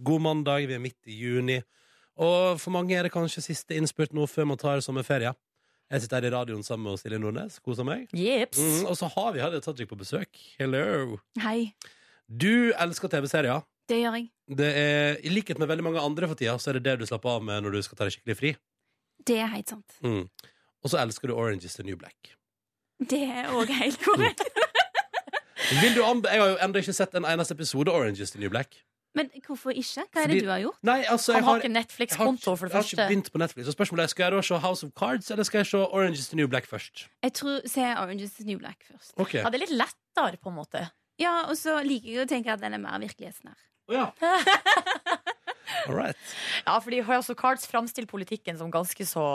Speaker 1: God mandag, vi er midt i juni. Og for mange er det kanskje siste innspurt nå før man tar sommerferie. Jeg sitter her i radioen sammen med Silje Nordnes, koser meg.
Speaker 2: Jips.
Speaker 1: Mm, og så har vi Hadia Tajik på besøk. Hello!
Speaker 8: Hei.
Speaker 1: Du elsker TV-serier.
Speaker 8: Det gjør jeg.
Speaker 1: Det er, I likhet med veldig mange andre for tida, så er det det du slapper av med når du skal ta deg skikkelig fri.
Speaker 8: Det er helt sant.
Speaker 1: Mm. Og så elsker du Orange is the New Black.
Speaker 8: Det er òg helt korrekt.
Speaker 1: Vil du anbe jeg har jo ennå ikke sett en eneste episode av Orange is the New Black.
Speaker 8: Men hvorfor ikke? Hva er
Speaker 1: Fordi-
Speaker 8: det du har gjort?
Speaker 1: Nei, altså, jeg
Speaker 2: Han har
Speaker 1: har,
Speaker 2: ikke
Speaker 1: jeg har,
Speaker 2: Netflix-konto, for
Speaker 1: jeg
Speaker 2: det
Speaker 1: har ikke
Speaker 2: første.
Speaker 1: begynt på Netflix. Så spørsmålet er, Skal jeg da se House of Cards eller skal jeg se Orange is the New Black først?
Speaker 8: Jeg tror, Se Orange is the New Black først.
Speaker 1: Ok
Speaker 2: Ja, det er litt lettere, på en måte.
Speaker 8: Ja, og så liker jeg å tenke at den er mer virkelighetsnær.
Speaker 1: Å, ja. All right.
Speaker 2: Ja, fordi House of Cards framstiller politikken som ganske så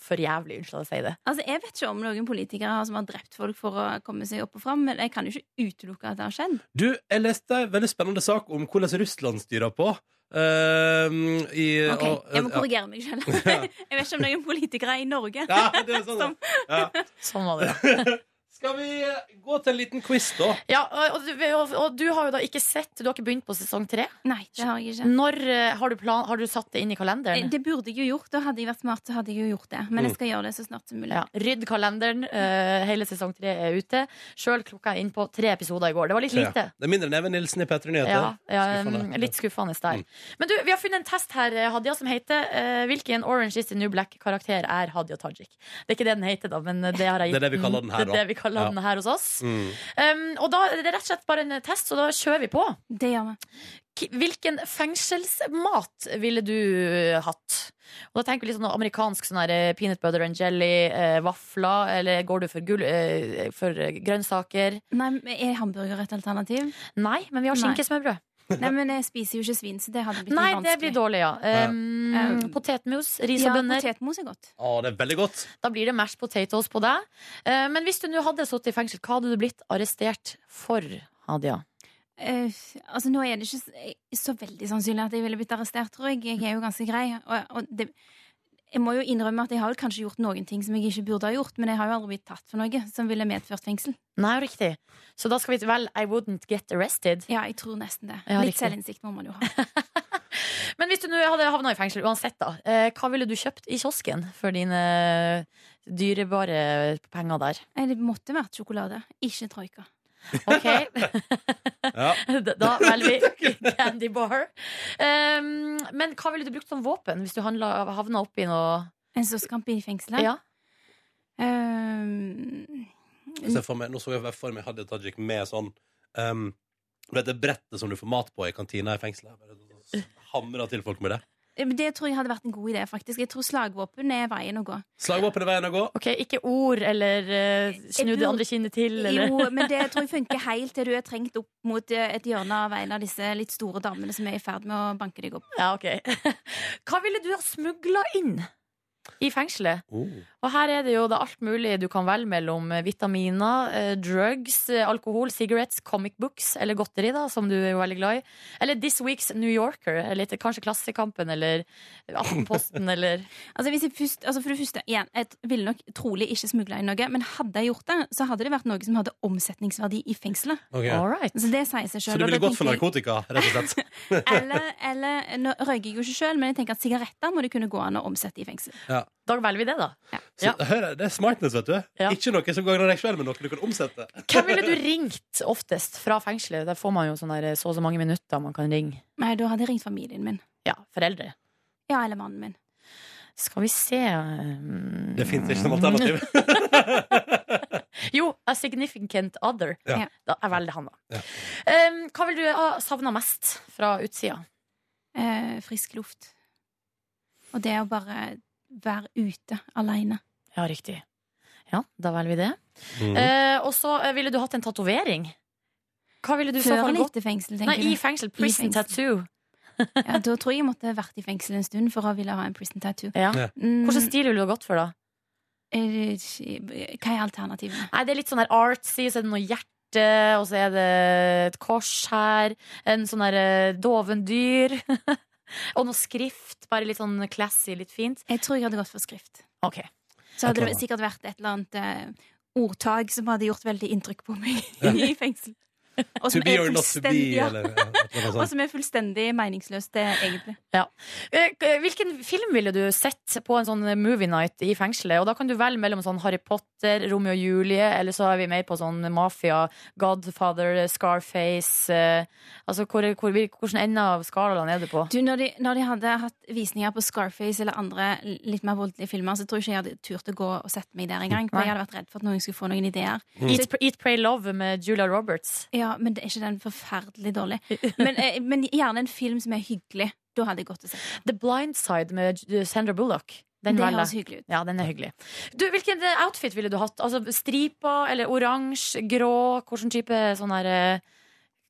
Speaker 2: for jævlig, unnskyld at jeg sier det.
Speaker 8: Altså, Jeg vet ikke om noen politikere har- som har drept folk for å komme seg opp og fram, men jeg kan jo ikke utelukke at det har skjedd.
Speaker 1: Du, jeg leste en veldig spennende sak om hvordan Russland styrer på. ehm, i,
Speaker 8: Ok,
Speaker 1: og- eh,
Speaker 8: Jeg må korrigere meg selv. Jeg vet ikke om noen politikere i Norge
Speaker 1: ja, det er sånn, ja.
Speaker 2: Sånn var det.
Speaker 1: Skal vi eh, gå til en liten quiz, da?
Speaker 2: Ja, og, og, du- og, og du har jo da ikke sett Du har ikke begynt på sesong tre.
Speaker 8: Nei, det har jeg ikke. Eh,
Speaker 2: Når eh, har du, plan, har du satt det inn i kalenderen?
Speaker 8: Det burde jeg jo gjort, og hadde jeg vært smart, så hadde jeg jo gjort det.
Speaker 1: Mm.
Speaker 8: Men jeg skal gjøre det så snart som mulig.
Speaker 2: Ja, Rydd kalenderen. eh, hele sesong tre er ute. Sjøl klokka er inn på tre episoder i går. Det var litt lite.
Speaker 1: Ja. Det er mindre enn Even Nilsen i P3 Nyheter.
Speaker 2: Ja, ja,
Speaker 1: Skuffende. Mm.
Speaker 2: mm, litt skuffende der. Men du, vi har funnet en test her, eh, Hadia, som heter eh, 'Hvilken Orange is the New Black-karakter er Hadia Tajik?' Det er ikke det den heter, da, men det har jeg
Speaker 1: Det er
Speaker 2: gitt
Speaker 1: det vi kaller den
Speaker 2: det er
Speaker 1: her, da.
Speaker 2: det vi kaller
Speaker 1: Ja.
Speaker 2: den her hos oss.
Speaker 1: Mm.
Speaker 2: Um, og da er det rett og slett bare en test, så da kjører vi på.
Speaker 8: Det gjør vi.
Speaker 2: K- Hvilken fengselsmat ville du eh, hatt? Og da tenker vi litt sånn amerikansk sånn her, eh, peanut butter and jelly, eh, vafler, eller går du for, gull, eh, for eh, grønnsaker?
Speaker 8: Nei, men Er hamburger et alternativ?
Speaker 2: Nei, men vi har
Speaker 8: Nei.
Speaker 2: skinkesmørbrød.
Speaker 8: Nei, men jeg spiser jo ikke svin, så det hadde blitt
Speaker 2: Nei,
Speaker 8: vanskelig.
Speaker 2: det blir dårlig, ja. Um,
Speaker 8: Um,
Speaker 2: potetmos, ris
Speaker 8: Ja,
Speaker 2: og bønner.
Speaker 8: potetmos er godt.
Speaker 1: Å, det er veldig godt.
Speaker 2: Da blir det mashed potatoes på deg. Ehm, Eh, men hvis du nå hadde sittet i fengsel, hva hadde du blitt arrestert for, Hadia?
Speaker 8: eh, altså Nå er det ikke så- så veldig sannsynlig at jeg ville blitt arrestert, tror jeg. Jeg er jo ganske grei. Og, og det, jeg må jo innrømme at jeg har jo kanskje gjort noen ting som jeg ikke burde ha gjort, men jeg har jo aldri blitt tatt for noe som ville medført fengsel.
Speaker 2: Nei, riktig. Så da skal vi til vel I wouldn't get arrested.
Speaker 8: Ja, jeg tror nesten det.
Speaker 2: Ja,
Speaker 8: Litt
Speaker 2: riktig.
Speaker 8: selvinnsikt må man jo ha.
Speaker 2: Men hvis du nå hadde havna i fengsel uansett, da, eh, hva ville du kjøpt i kiosken for dine dyrebare penger der?
Speaker 8: Nei, Eh, Det måtte vært sjokolade, ikke troika.
Speaker 2: Ok,
Speaker 1: Ja.
Speaker 2: Da velger vi candy bar. Um, men hva ville du brukt som våpen hvis du handla, havna oppi noe
Speaker 8: En slåsskamp i fengselet.
Speaker 2: Ja.
Speaker 8: Ehm,
Speaker 1: Jeg ser for meg, nå så jeg for meg Hadia Tajik med sånn um, Du vet det brettet som du får mat på i kantina i fengselet? Bare Hamra til folk med det.
Speaker 8: eh, men det tror jeg hadde vært en god idé, faktisk. Jeg tror slagvåpen er veien å gå.
Speaker 1: Slagvåpen er veien å gå.
Speaker 2: Ok, ikke ord eller eh, snu det
Speaker 8: burde-
Speaker 2: andre kinnet til, eller
Speaker 8: Jo, men det tror jeg funker helt til du er trengt opp mot eh, et hjørne av en av disse litt store damene som er i ferd med å banke deg opp.
Speaker 2: Ja, ok. Hva ville du ha smugla inn i fengselet?
Speaker 1: Oh.
Speaker 2: Og her er det jo da alt mulig du kan velge mellom vitaminer, eh, drugs, eh, alkohol, cigarettes, comic books eller godteri, da, som du er jo veldig glad i. Eller This Week's New Yorker, eller litt, kanskje Klassekampen eller Aftenposten eller
Speaker 8: Altså, hvis jeg først, altså For det første, igjen, jeg ville nok trolig ikke smugla inn noe, men hadde jeg gjort det, så hadde det vært noe som hadde omsetningsverdi i fengselet.
Speaker 1: Ok.
Speaker 2: All right.
Speaker 8: Så det sier seg
Speaker 1: Så
Speaker 8: sjøl.
Speaker 1: du ville gått for narkotika, rett og slett?
Speaker 8: Eller, eller Nå røyker jeg jo ikke sjøl, men jeg tenker at sigaretter må det kunne gå an å omsette i fengsel.
Speaker 2: Da velger vi det, da.
Speaker 1: Så,
Speaker 2: Ja.
Speaker 1: hør, her, det er smartness, vet du.
Speaker 2: Ja.
Speaker 1: Ikke noe som gagner deg sjøl, men noe du kan omsette.
Speaker 2: Hvem ville du ringt oftest fra fengselet? Der får man jo sånn der, så og så mange minutter man kan ringe.
Speaker 8: Nei, da hadde jeg ringt familien min.
Speaker 2: Ja, foreldre.
Speaker 8: Ja, eller mannen min.
Speaker 2: Skal vi se um,
Speaker 1: Det fins ikke som alternativ.
Speaker 2: Jo, a significant other.
Speaker 1: Ja.
Speaker 2: Da er vel det han, da.
Speaker 1: Ja.
Speaker 2: Um, hva vil du ha savna mest fra utsida?
Speaker 8: Eh, frisk luft. Og det å bare være ute aleine.
Speaker 2: Ja, riktig. Ja, da velger vi det.
Speaker 1: Mhm. Mm.
Speaker 2: Eh, og så eh, ville du hatt en tatovering. Hva ville du i så
Speaker 8: Før
Speaker 2: fall
Speaker 8: eller
Speaker 2: gått
Speaker 8: etter fengsel,
Speaker 2: Nei, i
Speaker 8: tenker du.
Speaker 2: fengsel. Prison
Speaker 8: fengsel.
Speaker 2: tattoo.
Speaker 8: Ja, da tror jeg jeg måtte vært i fengsel en stund for å ville ha en prison tattoo.
Speaker 2: Ja.
Speaker 1: Ja.
Speaker 8: Mm,
Speaker 2: Hvilken stil ville du ha gått for, da?
Speaker 8: eh, hva er alternativene?
Speaker 2: Nei, det er litt sånn her artsy, så er det noe hjerte, og så er det et kors her. En sånn her eh, dovendyr. og noe skrift. Bare litt sånn classy, litt fint.
Speaker 8: Jeg tror jeg hadde gått for skrift.
Speaker 2: Ok.
Speaker 8: Så hadde det
Speaker 1: klarer.
Speaker 8: sikkert vært et eller annet eh, ordtak som hadde gjort veldig inntrykk på meg i fengsel.
Speaker 2: altså,
Speaker 1: To
Speaker 8: Og som
Speaker 1: be
Speaker 8: er
Speaker 1: or not to be,
Speaker 8: fullstendig- ja,
Speaker 1: eller ja, et eller
Speaker 8: Og
Speaker 1: annet sånt.
Speaker 8: som er fullstendig meningsløst, det, egentlig.
Speaker 2: Eh, k- Hvilken film ville du sett på en sånn movie night i fengselet? Og da kan du velge mellom sånn Harry Potter, Romeo og Julie, eller så er vi mer på sånn mafia, Godfather, Scarface eh, Altså hvor, hvor, hvor, hvordan ende av skalaen er du på?
Speaker 8: Du, når de, når de hadde hatt visninger på Scarface eller andre l- litt mer voldelige filmer, så tror jeg ikke jeg hadde turt å gå og sette meg der engang. For
Speaker 2: Nei.
Speaker 8: jeg hadde vært redd for at noen skulle få noen ideer.
Speaker 2: Eat, Pr- Eat Pray Love med Julia Roberts.
Speaker 8: Ja, Men det er ikke den forferdelig dårlig. Men, eh, men gjerne en film som er hyggelig. Da hadde jeg gått og sett. den.
Speaker 2: The Blind Side med J- Sandra Bullock. Den
Speaker 8: Det
Speaker 2: velger
Speaker 8: høres
Speaker 2: jeg.
Speaker 8: hyggelig ut.
Speaker 2: Ja, den er hyggelig. Du, Hvilken eh, outfit ville du hatt? Altså Stripa eller oransje, grå? Hvilken type sånn her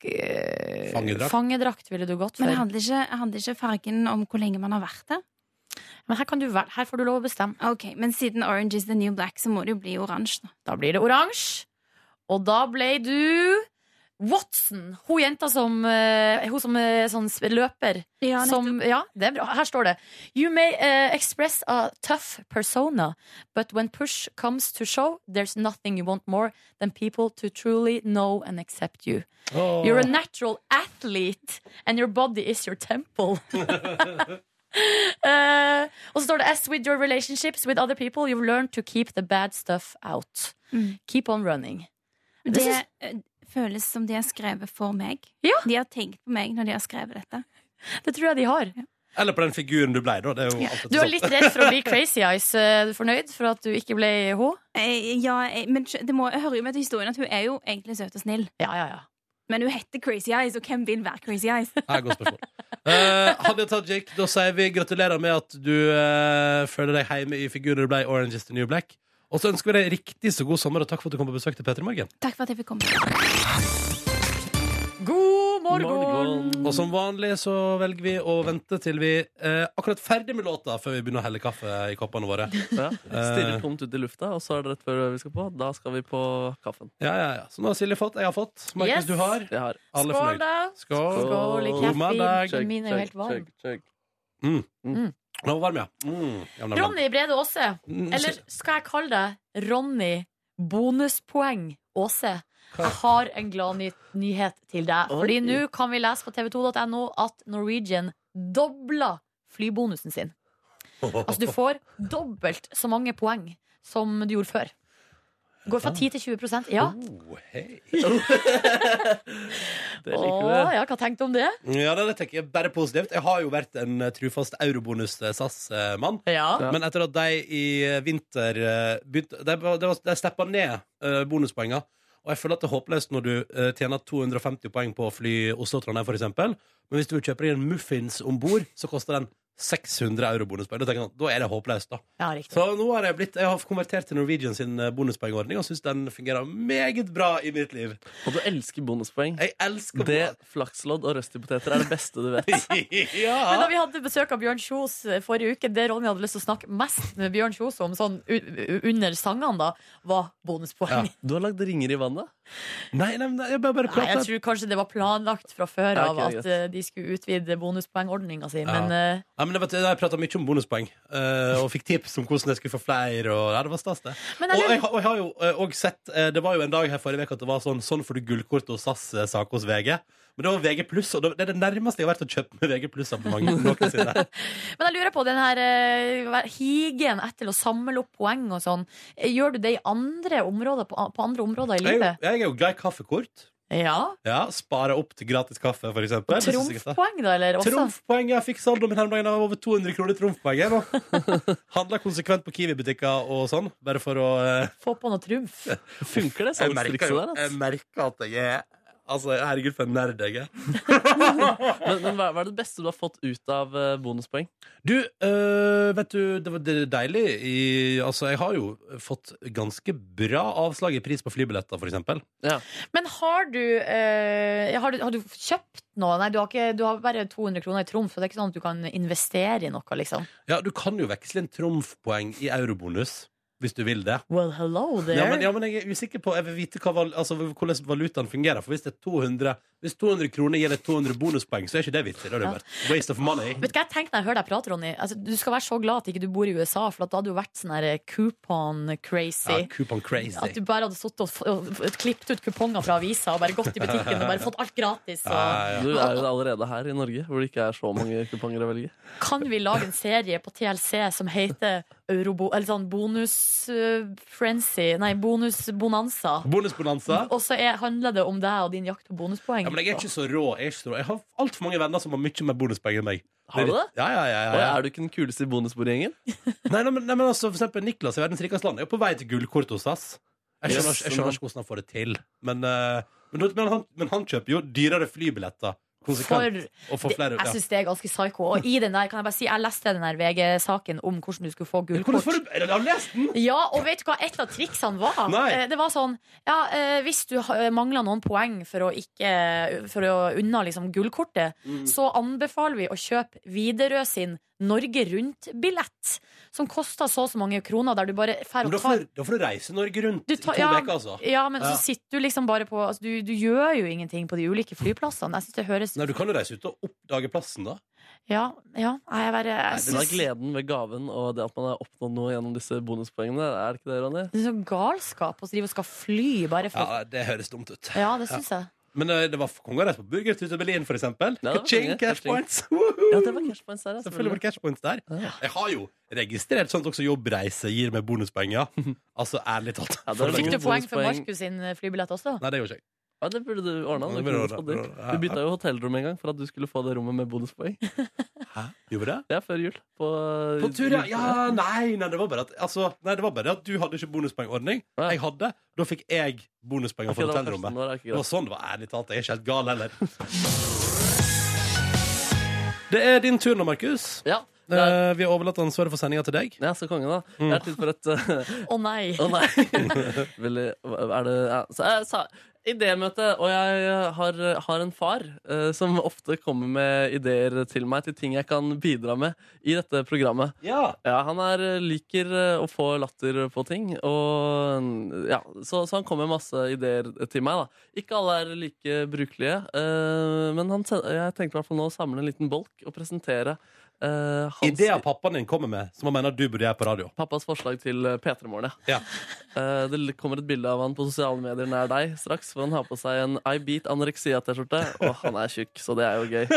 Speaker 2: eh,
Speaker 1: Fangedrakt.
Speaker 2: Fangedrakt ville du gått for?
Speaker 8: Men handler ikke, handler ikke fargen om hvor lenge man har vært der?
Speaker 2: Men her, kan du vel, her får du lov å bestemme.
Speaker 8: Ok, Men siden Orange is the New Black, så må det jo bli oransje. da.
Speaker 2: Da blir det oransje. Og da ble du Watson. Hun jenta som eh, Hun som er sånn sp- løper. som, ja, det er bra. Her står det You may eh, express a tough persona, but when push comes to show, there's nothing you want more than people to truly know and accept you.
Speaker 1: Åh.
Speaker 2: Altså, You're a natural athlete, and your body is your temple. Eh, og så står det As with your relationships with other people, you've learned to keep the bad stuff out.
Speaker 8: Mm.
Speaker 2: Keep on running.
Speaker 8: Det
Speaker 2: synes-
Speaker 8: eh, føles som de har skrevet for meg.
Speaker 2: Ja.
Speaker 8: De har tenkt på meg når de har skrevet dette.
Speaker 2: Det tror jeg de har.
Speaker 1: Eller på den figuren du blei, da. Det er jo alltid
Speaker 2: Du er
Speaker 1: sånn.
Speaker 2: litt redd for å bli Crazy Eyes. Eh, Er du fornøyd for at du ikke ble hun?
Speaker 8: Eh, ja, eh, men skj- det må, jeg hører jo med til historien at hun er jo egentlig søt og snill.
Speaker 2: Ja, ja, ja.
Speaker 8: Men hun heter Crazy Eyes, og hvem vil være Crazy Eyes?
Speaker 1: Ja, godt spørsmål. Eh, Hadia Tajik, da sier vi gratulerer med at du eh, føler deg hjemme i figurer du blei Orange is the New Black. Og så ønsker vi deg riktig så god sommer, og takk for at du kom på besøk til Petter i morgen.
Speaker 8: Takk for at jeg fikk komme.
Speaker 2: God morgen!
Speaker 1: Og som vanlig så velger vi å vente til vi eh, akkurat ferdig med låta før vi begynner å helle kaffe i koppene våre.
Speaker 3: Ja.
Speaker 1: Eh.
Speaker 3: Stirrer tomt ut i lufta, og så er det rett før vi skal på. Da skal vi på kaffen.
Speaker 1: Ja, ja, ja. Så nå har Silje fått, jeg har fått. Markus,
Speaker 2: Yes.
Speaker 1: du har.
Speaker 3: Jeg har
Speaker 1: Alle er
Speaker 2: Skål,
Speaker 1: fornøyd.
Speaker 2: da!
Speaker 1: Skål.
Speaker 2: Skål i
Speaker 3: God
Speaker 1: mandag.
Speaker 2: kaffe. Min er jo helt varm.
Speaker 1: Nå var varm, ja. Mm. Ja, men,
Speaker 2: Ronny Brede Aase.
Speaker 1: men-
Speaker 2: Eller skal jeg kalle deg Ronny bonuspoeng Åse? Jeg har en glad ny nyhet til deg. Fordi
Speaker 3: Oi.
Speaker 2: nå kan vi lese på tv2.no at Norwegian dobla flybonusen sin. Altså du får dobbelt så mange poeng som du gjorde før. Går fra 10 til 20 Ja.
Speaker 1: Oh, hei.
Speaker 3: Det liker
Speaker 2: Å,
Speaker 3: vi.
Speaker 2: ja, hva tenkte du om det?
Speaker 1: Ja, det tenker jeg bare positivt. Jeg har jo vært en eh, trufast eurobonus-SAS-mann.
Speaker 2: Ja.
Speaker 1: Men etter at de i vinter eh, begynte De, var- det var- de steppa ned eh, bonuspoenga. Og jeg føler at det er håpløst når du eh, tjener 250 poeng på å fly Oslo-Trondheim, f.eks. Men hvis du kjøper deg en muffins om bord, så koster den 600 euro bonuspoeng. Da, tenker jeg, sånn, da er det håpløst, da.
Speaker 2: ja, riktig.
Speaker 1: Så nå har jeg blitt Jeg har konvertert til Norwegian sin eh, bonuspoengordning og syns den fungerer meget bra i mitt liv.
Speaker 3: Og du elsker bonuspoeng.
Speaker 1: Jeg elsker
Speaker 3: Det, flakslodd og røstipoteter er det beste du vet.
Speaker 2: Men da
Speaker 1: ja.
Speaker 2: vi hadde besøk av Bjørn Kjos eh, forrige uke, det Ronny hadde lyst til å snakke mest med Bjørn Kjos om sånn u- under sangene, da, var bonuspoeng.
Speaker 3: Du har lagd ringer i vannet.
Speaker 1: Nei, nei, nei, jeg bare, bare
Speaker 2: Nei, jeg
Speaker 1: prater.
Speaker 2: tror kanskje det var planlagt fra før
Speaker 3: Ja,
Speaker 2: av
Speaker 3: ok,
Speaker 2: at eh, de skulle utvide bonuspoengordninga si, men eh,
Speaker 1: Nei, men jeg, vet, jeg prata mye om bonuspoeng, eh, og fikk tips om hvordan jeg skulle få flere. Og, ja, det var stas, det.
Speaker 2: Men
Speaker 1: Og
Speaker 2: jeg
Speaker 1: jeg,
Speaker 2: lurer
Speaker 1: har- og jeg har jo eh, og sett eh, Det var jo en dag her forrige uke at det var sånn Sånn får du gullkort hos SAS-sak hos VG. Men det var VG pluss, og det det er det nærmeste jeg har vært å kjøpe med VG pluss-abonnement noensinne.
Speaker 2: men jeg lurer på den her eh, hver- higen etter å samle opp poeng og sånn. Eh, Gjør du det i andre områder, på, på andre områder i
Speaker 1: Jeg, er jo-
Speaker 2: livet?
Speaker 1: jeg er jo glad i kaffekort.
Speaker 2: Ja.
Speaker 1: Ja, Spare opp til gratis kaffe, for eksempel. Det synes jeg er stas.
Speaker 2: Trumfpoeng, da, eller? Også?
Speaker 1: Trumfpoeng, jeg fikk saldo min her om dagen av over 200 kroner trumfpoeng. jeg, nå. Handla konsekvent på Kiwi-butikker og sånn, bare for å eh,
Speaker 2: Få på noe trumf.
Speaker 3: Funker det salgstrikset der?
Speaker 1: jeg
Speaker 3: Altså.
Speaker 1: merker at jeg er Altså, herregud, for en nerd jeg er.
Speaker 3: Men, men hva, hva er det beste du har fått ut av eh, bonuspoeng?
Speaker 1: Du, øh, vet du, det var det er deilig i Altså, jeg har jo fått ganske bra avslag i pris på flybilletter, for eksempel.
Speaker 2: Men har du, eh, har, du, har du kjøpt noe? Nei, du har, ikke, du har bare 200 kroner i trumf, så det er ikke sånn at du kan investere i noe, liksom.
Speaker 1: Ja, du kan jo veksle en trumfpoeng i eurobonus, hvis du vil det.
Speaker 2: Well, hello there.
Speaker 1: Ja men, ja, men jeg er usikker på Jeg vil vite hva, val- altså, hvordan valutaen fungerer. For hvis det er 200 Hvis 200 kroner gir deg 200 bonuspoeng, så er ikke det vitsig. Da har det
Speaker 2: Ja.
Speaker 1: vært waste of money.
Speaker 2: Vet du hva jeg tenkte når jeg hører deg prate, Ronny? Altså, du skal være så glad at ikke du bor i USA, for at da hadde du vært sånn her
Speaker 1: Ja,
Speaker 2: coupon-crazy.
Speaker 1: coupon crazy.
Speaker 2: At du bare hadde sittet og, f- og f- klippet ut kuponger fra avisa og bare gått i butikken og bare fått alt gratis.
Speaker 1: Ja,
Speaker 2: Og...
Speaker 1: ja, ja.
Speaker 3: Du er jo allerede her i Norge, hvor det ikke er så mange kuponger å velge.
Speaker 2: Kan vi lage en serie på TLC som heter Eurobo... Eller sånn bonus-frenzy Nei, bonus-bonanza.
Speaker 1: Bonusbonanza.
Speaker 2: Og så er, handler det om deg og din jakt på bonuspoeng.
Speaker 1: Ja, men jeg er ikke så rå. Jeg, er ikke så rå. jeg har altfor mange venner som har mye mer bonuspoeng enn meg.
Speaker 3: Har du det?
Speaker 1: Ja, ja, ja, ja,
Speaker 3: Og
Speaker 1: ja.
Speaker 3: er du ikke den kuleste i bonusbordgjengen?
Speaker 1: Nei, nei, men, nei, men altså, for eksempel Niklas i Verdens rikeste land er jo på vei til gullkort hos SAS. Jeg skjønner,
Speaker 3: Yes.
Speaker 1: jeg skjønner ikke hvordan han får det til. Men, eh, men, men, han, men han kjøper jo dyrere flybilletter konsekvent. og får
Speaker 2: Det,
Speaker 1: flere,
Speaker 2: jeg
Speaker 1: ja.
Speaker 2: syns det er ganske psyko. Og i den der, kan jeg bare si, jeg leste den der VG-saken om hvordan du skulle få
Speaker 1: Men Hvordan
Speaker 2: gullkort.
Speaker 1: får du Har du lest den?
Speaker 2: Ja, og vet du hva et av triksene var?
Speaker 1: Nei.
Speaker 2: Eh, Det var sånn ja, eh, Hvis du mangla noen poeng for å, ikke, eh, for å unna liksom, gullkortet,
Speaker 1: Mm.
Speaker 2: så anbefaler vi å kjøpe Widerøe sin Norge Rundt-billett, som koster så og så mange kroner, der du bare
Speaker 1: Men
Speaker 2: fær og
Speaker 1: Da
Speaker 2: tar
Speaker 1: får, da får du reise Norge rundt
Speaker 2: Du
Speaker 1: i
Speaker 2: tar-
Speaker 1: to
Speaker 2: ja.
Speaker 1: uker, altså.
Speaker 2: ja, men
Speaker 1: Ja.
Speaker 2: så sitter du liksom bare på altså, du, du gjør jo ingenting på de ulike flyplassene. Jeg syns det høres
Speaker 1: Nei, Du kan jo reise ut og oppdage plassen, da.
Speaker 2: Ja, ja nei, jeg bare jeg
Speaker 3: Den er
Speaker 2: synes-
Speaker 3: gleden ved gaven og det at man har oppnådd noe gjennom disse bonuspoengene. Er det ikke det, Ronny?
Speaker 2: Det er sånn galskap å drive og skal fly bare for
Speaker 1: Ja, Det høres dumt ut.
Speaker 2: Ja, det syns jeg.
Speaker 1: Men eh, det var konge å reise på burgertur til Berlin, for eksempel.
Speaker 3: Ja, det var
Speaker 1: Ka-ching,
Speaker 3: konge.
Speaker 1: cash
Speaker 3: Ka-ching.
Speaker 1: points! Woohoo!
Speaker 3: Ja, det var cash points der, ja,
Speaker 1: Selvfølgelig var det cash points der.
Speaker 3: Ja.
Speaker 1: Jeg har jo registrert sånn at også jobbreise gir meg bonuspoeng, ja. Altså, ærlig talt.
Speaker 3: Ja, det er
Speaker 2: Fikk du
Speaker 3: lov.
Speaker 2: poeng for
Speaker 3: Bonuspoeng.
Speaker 2: Markus sin flybillett også?
Speaker 1: Nei, det gjorde jeg ikke.
Speaker 3: Ja, det burde du ordna.
Speaker 1: Ja, det burde jeg ordne. Ja, ja.
Speaker 3: Du bytta jo hotellrom en gang for at du skulle få det rommet med bonuspoeng.
Speaker 1: Hæ? Gjorde jeg?
Speaker 3: Ja, før jul. På,
Speaker 1: På tur, ja. ja nei, nei, det var bare at, altså, nei, det var bare at du hadde ikke bonuspoengordning.
Speaker 3: Ja.
Speaker 1: Jeg hadde. Da fikk jeg bonuspoeng
Speaker 3: Ok,
Speaker 1: for
Speaker 3: det var første
Speaker 1: hotellrommet.
Speaker 3: år, er ikke
Speaker 1: Det var
Speaker 3: greit.
Speaker 1: sånn det var, ærlig talt. Jeg er ikke helt gal heller. Det er din tur nå, Markus.
Speaker 3: Ja, det er,
Speaker 1: Eh, vi har overlatt ansvaret for sendinga til deg.
Speaker 3: ja, så konge, da.
Speaker 1: Mm.
Speaker 3: Jeg er tid for et eh,
Speaker 2: Å nei!
Speaker 3: Å nei! Veldig, er det ja, så, jeg, sa, idémøte, og jeg har, har en far eh, som ofte kommer med ideer til meg til ting jeg kan bidra med i dette programmet.
Speaker 1: Ja.
Speaker 3: Ja, han er, liker eh, å få latter på ting, og mm, ja, så, så han kommer med masse ideer til meg. da. Ikke alle er like brukelige, eh, men han, sen- jeg tenkte i hvert fall nå å samle en liten bolk og presentere eh, hans
Speaker 1: Ideer pappaen din kommer med, som han mener du burde gjøre på radio.
Speaker 3: pappas forslag til eh, P3-morgen.
Speaker 1: Ja.
Speaker 3: Eh, Det l- kommer et bilde av han på sosiale medier nær deg straks, for han har på seg en I Beat Anoreksia-T-skjorte, og han er tjukk, så det er jo gøy.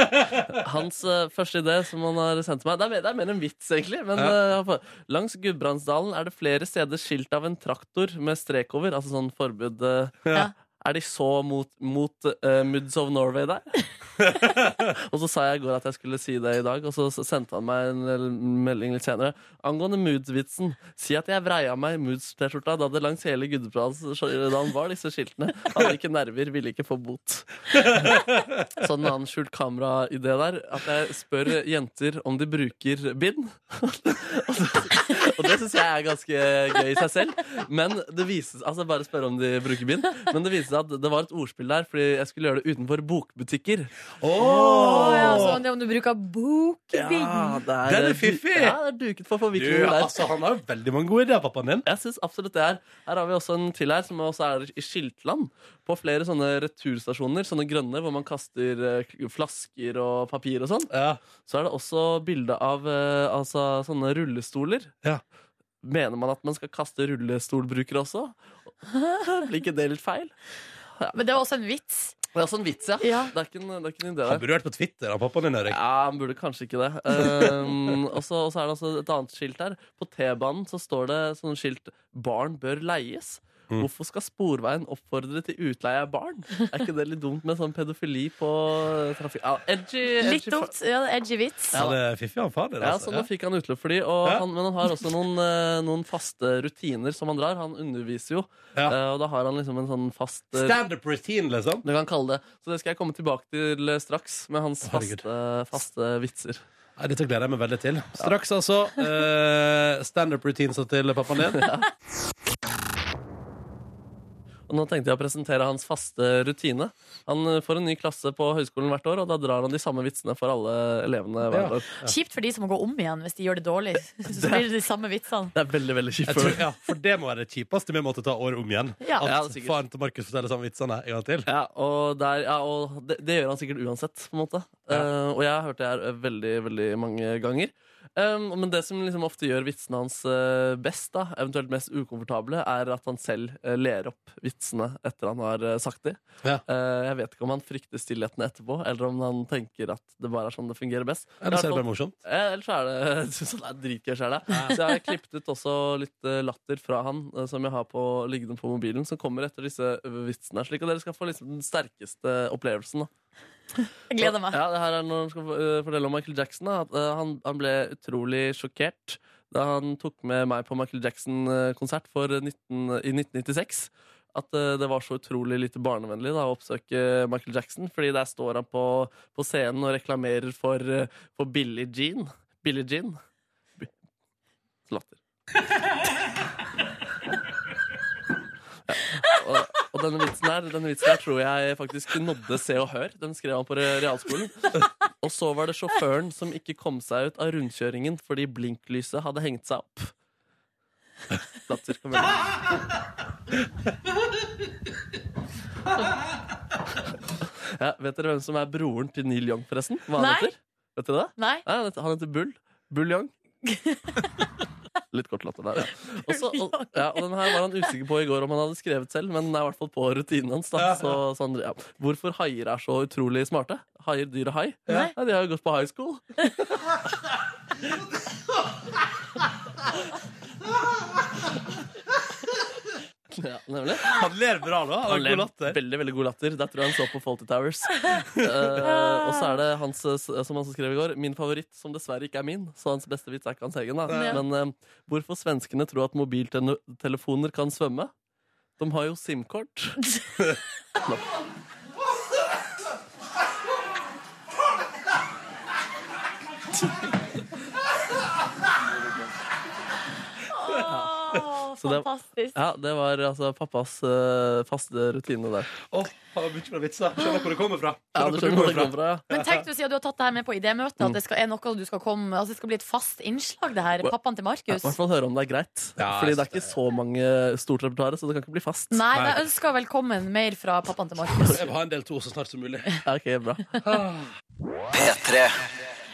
Speaker 3: Hans eh, første idé som han har sendt til meg, det er, mer- det er mer en vits, egentlig, men eh, han får- langs Gudbrandsdalen er det flere steder skilt av en traktor med strek over, altså sånn forbud eh,
Speaker 1: Ja.
Speaker 3: Er de så mot, mot eh, Moods of Norway der? og så sa jeg i går at jeg skulle si det i dag, og så s- sendte han meg en l- melding litt senere. Angående moods-vitsen, si at jeg vreia meg moods-T-skjorta da det langs hele Gudbrandsdalen var disse skiltene. Hadde ikke nerver, ville ikke få bot. Sånn en annen skjult kamera-idé der, at jeg spør jenter om de bruker bind. og det, og det syns jeg er ganske gøy i seg selv. Men det vises, altså bare spørre om de bruker bind. Men det viser seg at det var et ordspill der, fordi jeg skulle gjøre det utenfor bokbutikker.
Speaker 2: Å, ja,
Speaker 1: Oh!
Speaker 2: så det er om du bruker bokbind.
Speaker 3: det er,
Speaker 1: Den er fiffig!
Speaker 3: Ja, det er duket for
Speaker 1: Du,
Speaker 3: forviklinger der.
Speaker 1: altså, han har jo veldig mange gode ideer, pappaen din.
Speaker 3: Jeg synes absolutt det er Her har vi også en til her som også er i Skiltland. På flere sånne returstasjoner, sånne grønne, hvor man kaster eh, k- flasker og papir og sånn,
Speaker 1: Ja.
Speaker 3: så er det også bilde av eh, altså, sånne rullestoler.
Speaker 1: Ja.
Speaker 3: Mener man at man skal kaste rullestolbrukere også? Blir ikke det litt feil?
Speaker 2: Men det var også en vits.
Speaker 3: Det er også en vits, ja.
Speaker 2: Ja.
Speaker 3: Det, er ikke en, det er ikke en idé
Speaker 1: Han
Speaker 3: der.
Speaker 1: burde vært på Twitter, han pappaen din, Erik.
Speaker 3: Ja, han burde kanskje ikke det. Um, og så og så er det altså et annet skilt her. På T-banen så står det sånn skilt 'Barn bør leies'.
Speaker 1: Mm.
Speaker 3: Hvorfor skal Sporveien oppfordre til utleie av barn? Er ikke det litt dumt med sånn pedofili på trafikk... Ja, edgy, edgy
Speaker 2: Litt dumt. Ja, edgy vits.
Speaker 1: Ja, det er fiffig han far din,
Speaker 3: Ja, sånn
Speaker 1: altså.
Speaker 3: så nå fikk han utløp for de, og
Speaker 1: Ja.
Speaker 3: han, men han har også noen, eh, noen faste rutiner som han drar. Han underviser jo,
Speaker 1: Ja.
Speaker 3: eh, og da har han liksom en sånn fast eh,
Speaker 1: Standup routine, liksom.
Speaker 3: du kan kalle det. Så det skal jeg komme tilbake til eh, straks, med hans
Speaker 1: Å, herregud.
Speaker 3: faste, faste vitser.
Speaker 1: Nei, Dette gleder jeg meg veldig til. Straks, altså. Uh, Standup routines til pappaen din.
Speaker 3: Og nå tenkte jeg å presentere hans faste rutine. Han eh, får en ny klasse på høyskolen hvert år, og da drar han de samme vitsene for alle elevene hvert
Speaker 1: Ja.
Speaker 3: år.
Speaker 2: Kjipt for de som må gå om igjen hvis de gjør det dårlig. Så blir det de samme vitsene.
Speaker 3: Det er veldig, veldig
Speaker 1: Jeg
Speaker 3: kjipt.
Speaker 1: tror,
Speaker 3: for-
Speaker 1: ja, for det må være det kjipeste vi måtte ta året om igjen.
Speaker 2: Ja.
Speaker 1: At
Speaker 3: Ja, det er sikkert.
Speaker 1: faren til Markus forteller samme vitsene en gang til.
Speaker 3: Ja, og, der, ja, og det, det gjør han sikkert uansett, på en måte. Eh, og jeg har hørt det her eh, veldig, veldig mange ganger. Um, men det som liksom ofte gjør vitsene hans eh, best, da, eventuelt mest ukomfortable, er at han selv eh, ler opp vitsene etter han har eh, sagt de.
Speaker 1: Ja.
Speaker 3: Eh, jeg vet ikke om han frykter stillheten etterpå, eller om han tenker at det bare er sånn det fungerer best.
Speaker 1: Eller så er det
Speaker 3: I hvert fall-
Speaker 1: bare morsomt.
Speaker 3: Eh, Ellers så er det sånn det er dritgøy sjæl, det. Så jeg har klippet ut også litt eh, latter fra han eh, som jeg har på, liggende på mobilen, som kommer etter disse vitsene. her, Slik at dere skal få liksom den sterkeste opplevelsen. Da.
Speaker 2: Jeg gleder meg.
Speaker 3: Ja, det her er når han skal eh, fortelle om Michael Jackson. Da, at eh, han, han ble utrolig sjokkert da han tok med meg på Michael Jackson-konsert for 19, i 1996. At eh, det var så utrolig lite barnevennlig da, å oppsøke Michael Jackson. Fordi der står han på, på scenen og reklamerer for, eh, for Billie Jean. Billie Jean. Bi- Latter. Og, og denne vitsen her Denne vitsen her tror jeg faktisk nådde Se og Hør. Den skrev han på re- realskolen. Og så var det sjåføren som ikke kom seg ut av rundkjøringen fordi blinklyset hadde hengt seg opp. Latter kom igjen. Ja, vet dere hvem som er broren til Neil Young, forresten? Hva han
Speaker 2: Nei.
Speaker 3: heter? Vet dere det?
Speaker 2: Nei?
Speaker 3: Nei, han heter, han heter Bull. Buljong. Litt kort latter der, ja. Og så- og, ja. Og den her var han usikker på i går om han hadde skrevet selv, men den er i hvert fall på rutinen hans. Da. Så, så han, ja. Hvorfor haier er så utrolig smarte? Haier, dyr og hai? Ja. de har jo gått på high school. Ja, nemlig.
Speaker 1: Han ler bra, da. Han har
Speaker 3: Han
Speaker 1: god
Speaker 3: ler
Speaker 1: latter.
Speaker 3: veldig veldig god latter. Der tror jeg han så på Faulty Towers. Eh, og så er det hans, eh, som han skrev i går, min favoritt, som dessverre ikke er min. Så hans beste vits er ikke hans egen. Da. Men eh, hvorfor svenskene tror at mobiltelefoner kan svømme? De har jo SIM-kort. Nå.
Speaker 2: Å,
Speaker 3: Så det,
Speaker 2: Fantastisk.
Speaker 3: ja, det var altså pappas eh, faste rutine der.
Speaker 1: Åh, det var mye bra vitser. Skjønner hvor det kommer fra.
Speaker 3: Ja, du skjønner hvor det kommer fra, ja.
Speaker 2: Men tenk du sier at du har tatt det her med på idémøtet, at det skal, er noe du skal komme Altså det skal bli et fast innslag, det her.
Speaker 3: Mm. Hva-
Speaker 2: Pappaen til
Speaker 3: Ja, I
Speaker 2: Markus.
Speaker 3: hvert fall høre om det er greit.
Speaker 1: Ja,
Speaker 3: Fordi det
Speaker 1: jeg
Speaker 3: er ikke så mange stort repertoar, så det kan ikke bli fast.
Speaker 2: Nei,
Speaker 1: Nei.
Speaker 2: jeg ønsker velkommen mer fra pappaen til Markus.
Speaker 1: Jeg vil ha en del to så snart som mulig.
Speaker 3: Ja, ok, bra.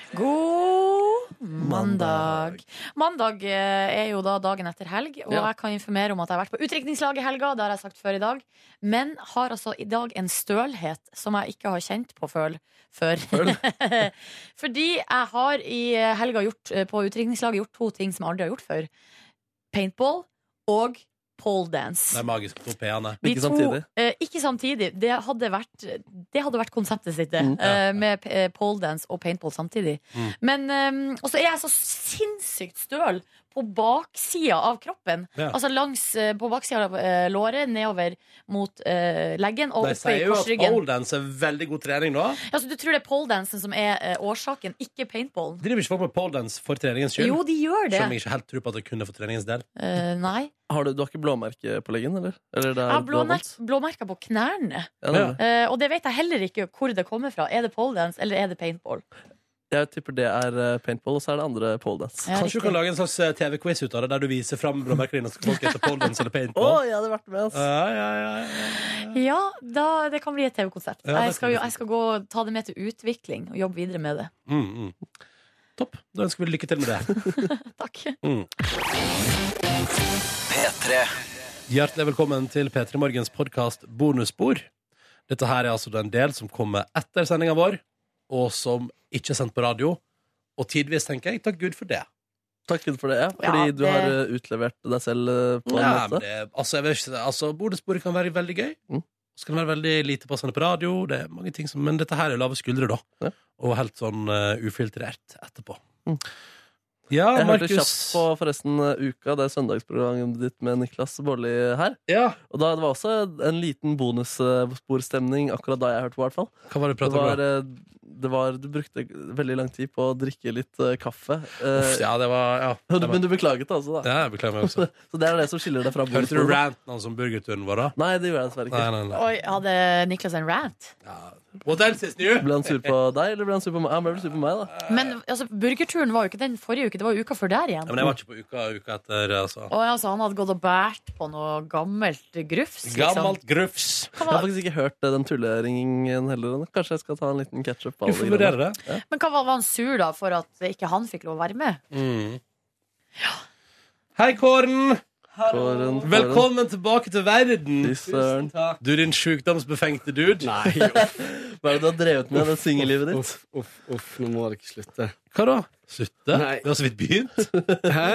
Speaker 2: God mandag. Mandag eh, er jo da dagen etter helg, og
Speaker 3: Ja.
Speaker 2: jeg kan informere om at jeg har vært på utdrikningslag i helga, det har jeg sagt før i dag, men har altså i dag en stølhet som jeg ikke har kjent på føl før. Fordi jeg har i helga gjort, eh, på utdrikningslaget gjort to ting som jeg aldri har gjort før. Paintball og pole dance.
Speaker 1: Det er magisk på P-ene.
Speaker 2: De
Speaker 3: Ikke
Speaker 2: to,
Speaker 3: samtidig.
Speaker 2: eh, ikke samtidig. Det hadde vært, det hadde vært konseptet sitt, det.
Speaker 3: Mm.
Speaker 2: eh, med eh, poledance og paintball samtidig.
Speaker 1: Mm.
Speaker 2: Men eh, Og så er jeg så sinnssykt støl på baksida av kroppen.
Speaker 1: Ja.
Speaker 2: Altså langs eh, på baksida av eh, låret, nedover mot eh, leggen og oppe
Speaker 1: De
Speaker 2: i
Speaker 1: sier jo at
Speaker 2: korsryggen.
Speaker 1: poledance er veldig god trening, da.
Speaker 2: Altså, du tror det er poledancen som er eh, årsaken, ikke paintballen?
Speaker 1: Driver ikke folk med poledance for treningens skyld?
Speaker 2: Jo, de gjør det.
Speaker 1: Som jeg ikke helt tror på at det kunne for treningens del.
Speaker 2: Eh, nei.
Speaker 3: Har du, du har ikke blåmerke på leggen, eller? eller det er
Speaker 2: Jeg har
Speaker 3: det var
Speaker 2: blåmerk,
Speaker 3: vondt?
Speaker 2: blåmerker på knærne.
Speaker 3: Ja, nei,
Speaker 1: Ja.
Speaker 3: nei.
Speaker 2: Eh, og det vet jeg heller ikke hvor det kommer fra. Er det poledance eller er det paintball?
Speaker 3: Jeg tipper det er eh, paintball, og så er det andre poledance.
Speaker 2: Ja, riktig.
Speaker 1: Kanskje du kan lage en slags eh, TV-quiz ut av det, der du viser fram blåmerkene dine, så skal folk hete poledance eller
Speaker 3: Å,
Speaker 1: paintball.
Speaker 3: jeg hadde vært med, ass!
Speaker 1: Ja, ja, ja, ja.
Speaker 2: Ja, da, det kan bli et TV-konsept.
Speaker 1: Ja, det
Speaker 2: jeg, skal
Speaker 1: kan
Speaker 2: jo-
Speaker 1: bli
Speaker 2: jeg skal gå og ta det med til utvikling og jobbe videre med det.
Speaker 1: Mm, mm. Topp. Da ønsker vi lykke til med det.
Speaker 2: Takk.
Speaker 1: Hjertelig velkommen til P3 Morgens podkast Bonusspor. Dette her er altså den del som kommer etter sendinga vår, og som ikke er sendt på radio. Og tidvis tenker jeg takk Gud for det.
Speaker 3: Eh, Takk Gud for det, ja. Fordi
Speaker 2: Ja,
Speaker 3: du har
Speaker 2: det-
Speaker 3: eh, utlevert deg selv eh, på en
Speaker 1: Ja, men
Speaker 3: måte.
Speaker 1: det altså, jeg vet ikke, altså, bonussporet kan være veldig gøy.
Speaker 3: Mm.
Speaker 1: Så kan det være veldig lite passende på radio. Det er mange ting som, men dette her er lave skuldre, da.
Speaker 3: Ja.
Speaker 1: Og helt sånn eh, ufiltrert etterpå.
Speaker 3: Mm.
Speaker 1: Ja,
Speaker 3: Jeg hørte
Speaker 1: Markus.
Speaker 3: kjapt på forresten eh, Uka, det er søndagsprogrammet ditt med Niklas Baarli her.
Speaker 1: Ja.
Speaker 3: Og da, Det var også en liten bonussporstemning akkurat da jeg hørte på, i hvert fall.
Speaker 1: Hva var det du
Speaker 3: Det
Speaker 1: prata om?
Speaker 3: var,
Speaker 1: da?
Speaker 3: eh, det var, du brukte veldig lang tid på å drikke litt eh, kaffe. Eh,
Speaker 1: Uff, ja, det var Ja, det
Speaker 3: men du-
Speaker 1: var,
Speaker 3: Men du beklaget det altså, da.
Speaker 1: ja jeg beklager meg også.
Speaker 3: Så det er det som skiller deg fra
Speaker 1: Hørte du
Speaker 3: bonusbordet.
Speaker 1: ranten hans om burgerturen vår, da?
Speaker 3: Nei, det gjør jeg dessverre
Speaker 1: Nei,
Speaker 3: ikke.
Speaker 1: nei, nei.
Speaker 2: Oi, hadde Niklas en rant?
Speaker 1: Ja. What else is new?
Speaker 3: Ble han sur på deg, eller ble han sur på meg? Han ble vel sur på meg, da.
Speaker 2: Men altså, burgerturen var jo ikke den forrige uke, det var uka før der igjen.
Speaker 1: Ja, men jeg var ikke på uka, uka etter, altså.
Speaker 2: Og altså, han hadde gått og båret på noe gammelt grufs. liksom.
Speaker 1: Gammelt grufs.
Speaker 3: Jeg har faktisk ikke hørt eh, den tulleringingen heller. Kanskje jeg skal ta en liten ketchup på
Speaker 1: Du
Speaker 3: alle
Speaker 1: får
Speaker 3: de greiene.
Speaker 1: vurdere det.
Speaker 2: Liksom. Men hva var, var han sur da for at ikke han fikk lov å være med?
Speaker 1: Mm. Hei, Kåren!
Speaker 3: Kåren, Kåren.
Speaker 1: Velkommen tilbake til verden!
Speaker 3: Fy søren.
Speaker 1: Du, din sjukdomsbefengte dude. Nei,
Speaker 3: Hva er det du har drevet med, det singellivet ditt?
Speaker 9: Uff, uff, uff, nå må dere slutte.
Speaker 1: Hva da? Slutte?
Speaker 9: Nei.
Speaker 1: Vi har så vidt begynt.
Speaker 9: Hæ?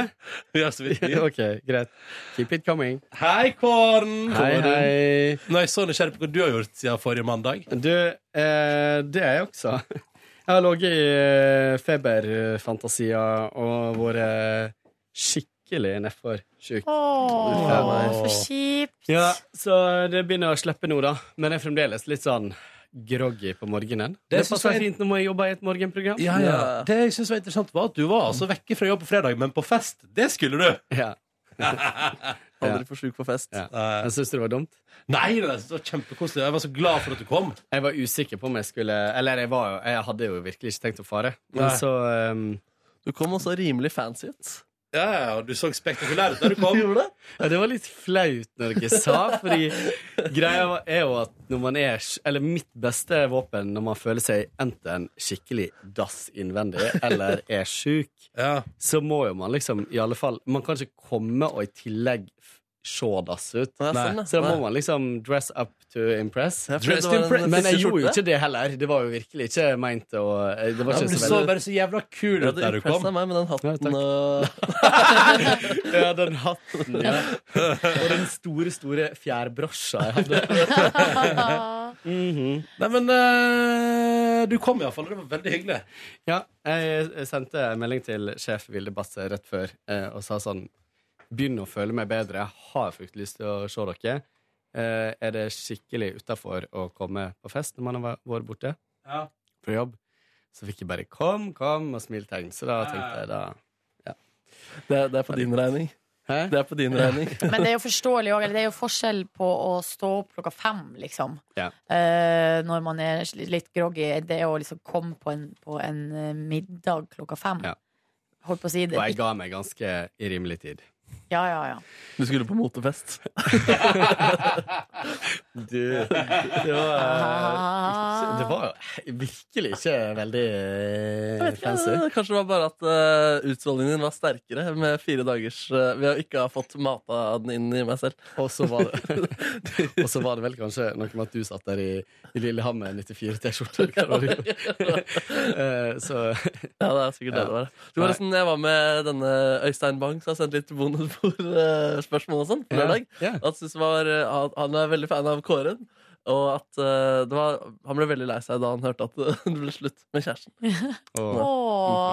Speaker 1: Vi har så vidt begynt.
Speaker 9: OK, greit. Keep it coming.
Speaker 1: Hei, Kåren!
Speaker 9: Hei, hei.
Speaker 1: Nå er jeg så nysgjerrig på hva du har gjort siden forrige mandag.
Speaker 9: Du, eh, det er jeg også. Jeg har ligget i eh, feberfantasier og vært skikkelig nedfor sjuk.
Speaker 2: Åh,
Speaker 1: Uff, ja, nei.
Speaker 2: så kjipt.
Speaker 9: Ja, så det begynner å slippe nå, da. Men jeg er fremdeles litt sånn groggy på morgenen.
Speaker 1: Det
Speaker 9: Det,
Speaker 1: synes
Speaker 9: passer
Speaker 1: jeg-
Speaker 9: fint når jeg jobber i et morgenprogram.
Speaker 1: Ja, ja. Det jeg synes var interessant, var at du var altså vekke fra jobb på fredag, men på fest, det skulle du!
Speaker 9: Ja.
Speaker 3: Aldri for sjuk for fest.
Speaker 9: Ja.
Speaker 1: Eh,
Speaker 9: Jeg syns det var dumt.
Speaker 1: Nei, det var kjempekoselig. Jeg var så glad for at du kom.
Speaker 9: Jeg var usikker på om jeg skulle Eller jeg, var, jo- jeg hadde jo virkelig ikke tenkt å fare. Men
Speaker 1: Nei.
Speaker 9: så ehm,
Speaker 3: Du kom også rimelig fancy ut.
Speaker 1: Ja, ja, og du så spektakulær ut da du kom.
Speaker 3: Gjorde det?
Speaker 9: Ja, det var litt flaut når jeg sa, fordi greia var- er jo at når man er Eller mitt beste våpen når man føler seg enten skikkelig dass innvendig eller er sjuk,
Speaker 1: Ja.
Speaker 9: så må jo man liksom i alle fall Man kan ikke komme og i tillegg f- se dass ut.
Speaker 3: Nei,
Speaker 1: Nei.
Speaker 3: sånn, ja.
Speaker 9: Så da
Speaker 3: Nei.
Speaker 9: må man liksom dress up to impress.
Speaker 3: Jeg
Speaker 1: Dressed
Speaker 3: trodde det
Speaker 1: in
Speaker 3: var en
Speaker 1: press.
Speaker 9: Men jeg
Speaker 3: fiskeskjorte.
Speaker 9: gjorde jo ikke det heller. Det var jo virkelig ikke meint å eh, Det var
Speaker 3: Ja,
Speaker 9: ikke
Speaker 1: Du
Speaker 9: så
Speaker 1: så
Speaker 9: veldig
Speaker 1: bare så jævla kul
Speaker 3: Ja,
Speaker 1: ut
Speaker 3: du
Speaker 1: der du kom.
Speaker 3: impressa meg med den hatten øh,
Speaker 9: Ja,
Speaker 3: og
Speaker 9: Ja, den hatten. Ja. Og den store, store fjærbrosja jeg hadde.
Speaker 1: Nei, men eh, du kom iallfall. Det var veldig hyggelig.
Speaker 9: Ja, jeg sendte en melding til sjef Vilde Basse rett før eh, og sa sånn Begynn å føle meg bedre. Jeg har fryktelig lyst til å se dere. Eh, er det skikkelig utafor å komme på fest når man har væ- vært borte
Speaker 1: Ja.
Speaker 9: fra jobb? Så fikk jeg bare 'kom, kom' og smiltegn. Så da tenkte jeg da
Speaker 3: det, det er på din regning.
Speaker 9: Hæ?
Speaker 3: Det er på din regning.
Speaker 2: Men det er jo forståelig òg. Det er jo forskjell på å stå opp klokka fem, liksom.
Speaker 9: Ja.
Speaker 2: Eh, når man er sli- litt groggy. Det å liksom komme på en, på en eh, middag klokka fem.
Speaker 9: Ja.
Speaker 2: Holdt på å si
Speaker 9: Og
Speaker 2: det.
Speaker 9: jeg ga meg ganske i rimelig tid.
Speaker 2: Ja, ja, ja.
Speaker 3: Du skulle på motefest.
Speaker 9: Du, det var, Eh,
Speaker 2: Ah.
Speaker 9: det var jo virkelig ikke veldig
Speaker 3: Jeg vet ikke,
Speaker 9: altså,
Speaker 3: det- Kanskje det var bare at uh, utstrålingen din var sterkere med fire dagers eh, ved å ikke ha fått mata den inn i meg selv.
Speaker 9: Og så var det Og så var det vel kanskje noe med at du satt der i, i Lillehammer 94-T-skjorte. Eh, så
Speaker 3: Ja, det er sikkert det det var. Det var
Speaker 9: Nei.
Speaker 3: nesten, jeg var med denne Øystein Bang, som har sendt litt bonusbord-spørsmål og sånn. på lørdag.
Speaker 9: Ja.
Speaker 3: At synes det var, eh, han- Han er veldig fan av Kåren. Og at eh, det var, han ble veldig lei seg da han hørte at det ble slutt med kjæresten.
Speaker 9: Og,
Speaker 2: Å,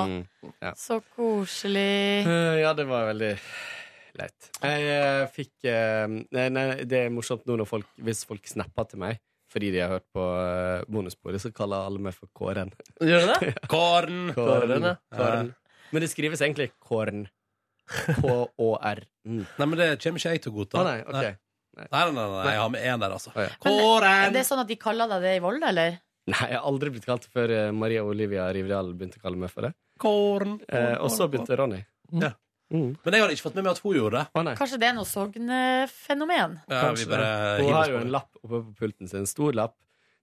Speaker 9: mm.
Speaker 2: så koselig.
Speaker 9: Eh, Ja, det var veldig leit. Jeg eh, fikk eh, nei, nei, Det er morsomt nå når folk, hvis folk snapper til meg fordi de har hørt på eh, bonussporet, så kaller alle meg for Kåren.
Speaker 3: Gjør du det?
Speaker 1: Kåren!
Speaker 3: Kåren, ja.
Speaker 9: Kåren. Eh, Men det skrives egentlig Kåren. K-å-r-n.
Speaker 1: Nei, men det kommer ikke jeg til å godta.
Speaker 9: Å nei, ok.
Speaker 1: nei. Nei, nei, nei, nei, jeg har med én der, altså.
Speaker 9: Å, ja.
Speaker 2: Er
Speaker 1: Kåren!
Speaker 2: det sånn at de kaller deg det i Volda, eller?
Speaker 9: Nei, jeg har aldri blitt kalt det før eh, Maria Olivia Rivdal begynte å kalle meg for det.
Speaker 1: Kåren.
Speaker 9: Eh, og så begynte Ronny.
Speaker 1: Ja.
Speaker 9: Mm.
Speaker 1: Men jeg hadde ikke fått med meg at hun gjorde det.
Speaker 9: Å nei.
Speaker 2: Kanskje det er noe Sogne-fenomen?
Speaker 1: Ja, vi bare
Speaker 9: Hun
Speaker 1: hiver oss
Speaker 9: har jo
Speaker 1: på det.
Speaker 9: en lapp oppe på pulten sin, en stor lapp,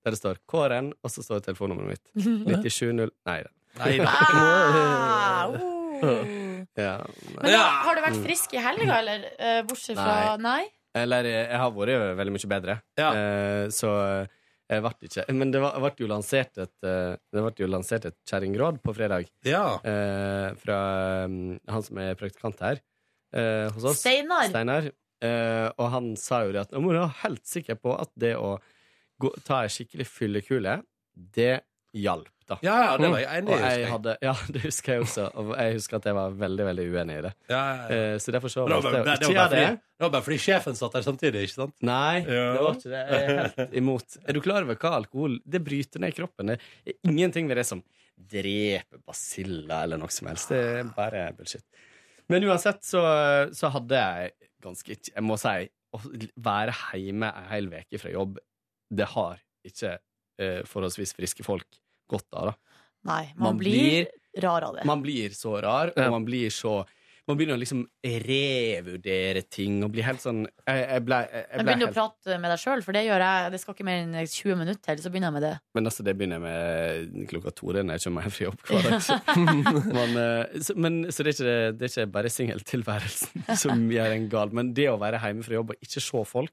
Speaker 9: der det står Kåren, og så står telefonnummeret mitt. 970 Nei da.
Speaker 1: Nei, da.
Speaker 2: Ah, oh.
Speaker 9: Ja.
Speaker 2: Men da, har du vært frisk i helga, eller? Eh, Bortsett fra Nei?
Speaker 9: Eller eh, jeg har vært veldig mye bedre,
Speaker 1: Ja.
Speaker 9: eh, så jeg ble ikke Men det var- det ble jo lansert et, eh, det ble jo lansert et kjerringråd på fredag
Speaker 1: Ja.
Speaker 9: eh, fra mm, han som er praktikant her eh, hos oss.
Speaker 2: Steinar?
Speaker 9: Steinar. Eh, og han sa jo det at nå må du være helt sikker på at det å gå, ta ei skikkelig fyllekule, det hjalp, da.
Speaker 1: ja, ja, det var jeg
Speaker 9: og
Speaker 1: enig i. husker
Speaker 9: jeg
Speaker 1: jeg.
Speaker 9: hadde, ja, det husker jeg også. Og jeg husker at jeg var veldig veldig uenig i det.
Speaker 1: Ja, ja, ja.
Speaker 9: Eh, så derfor
Speaker 1: Men
Speaker 9: så
Speaker 1: Det var,
Speaker 9: valgte
Speaker 1: bare, det,
Speaker 9: jeg å ikke
Speaker 1: var
Speaker 9: gjøre
Speaker 1: bare
Speaker 9: det.
Speaker 1: fordi, det var bare fordi sjefen satt der samtidig, ikke sant?
Speaker 9: Nei,
Speaker 1: Ja.
Speaker 9: det var ikke det. Jeg er helt imot. Er du klar over hva alkohol Det bryter ned kroppen. Det er ingenting ved det som dreper basiller eller noe som helst. Det er bare bullshit. Men uansett så, så hadde jeg ganske ikke Jeg må si å være hjemme ei hel uke fra jobb, det har ikke eh, forholdsvis friske folk godt av, da.
Speaker 2: Nei. Man, blir, rar av det.
Speaker 9: Man blir så rar, og man blir så man begynner å liksom revurdere ting og bli helt sånn Jeg, jeg ble, jeg, jeg
Speaker 2: Men
Speaker 9: ble
Speaker 2: begynner du å
Speaker 9: helt
Speaker 2: prate med deg sjøl, for det gjør jeg. Det skal ikke mer enn 20 minutter til, så begynner jeg med det.
Speaker 9: Men altså, det begynner jeg med eh, klokka to det er når jeg kommer hjem fra jobb hver dag. Så, man, eh, så, men, så det, er ikke, det er ikke bare singeltilværelsen som gjør en gal, men det å være hjemme fra jobb og ikke se folk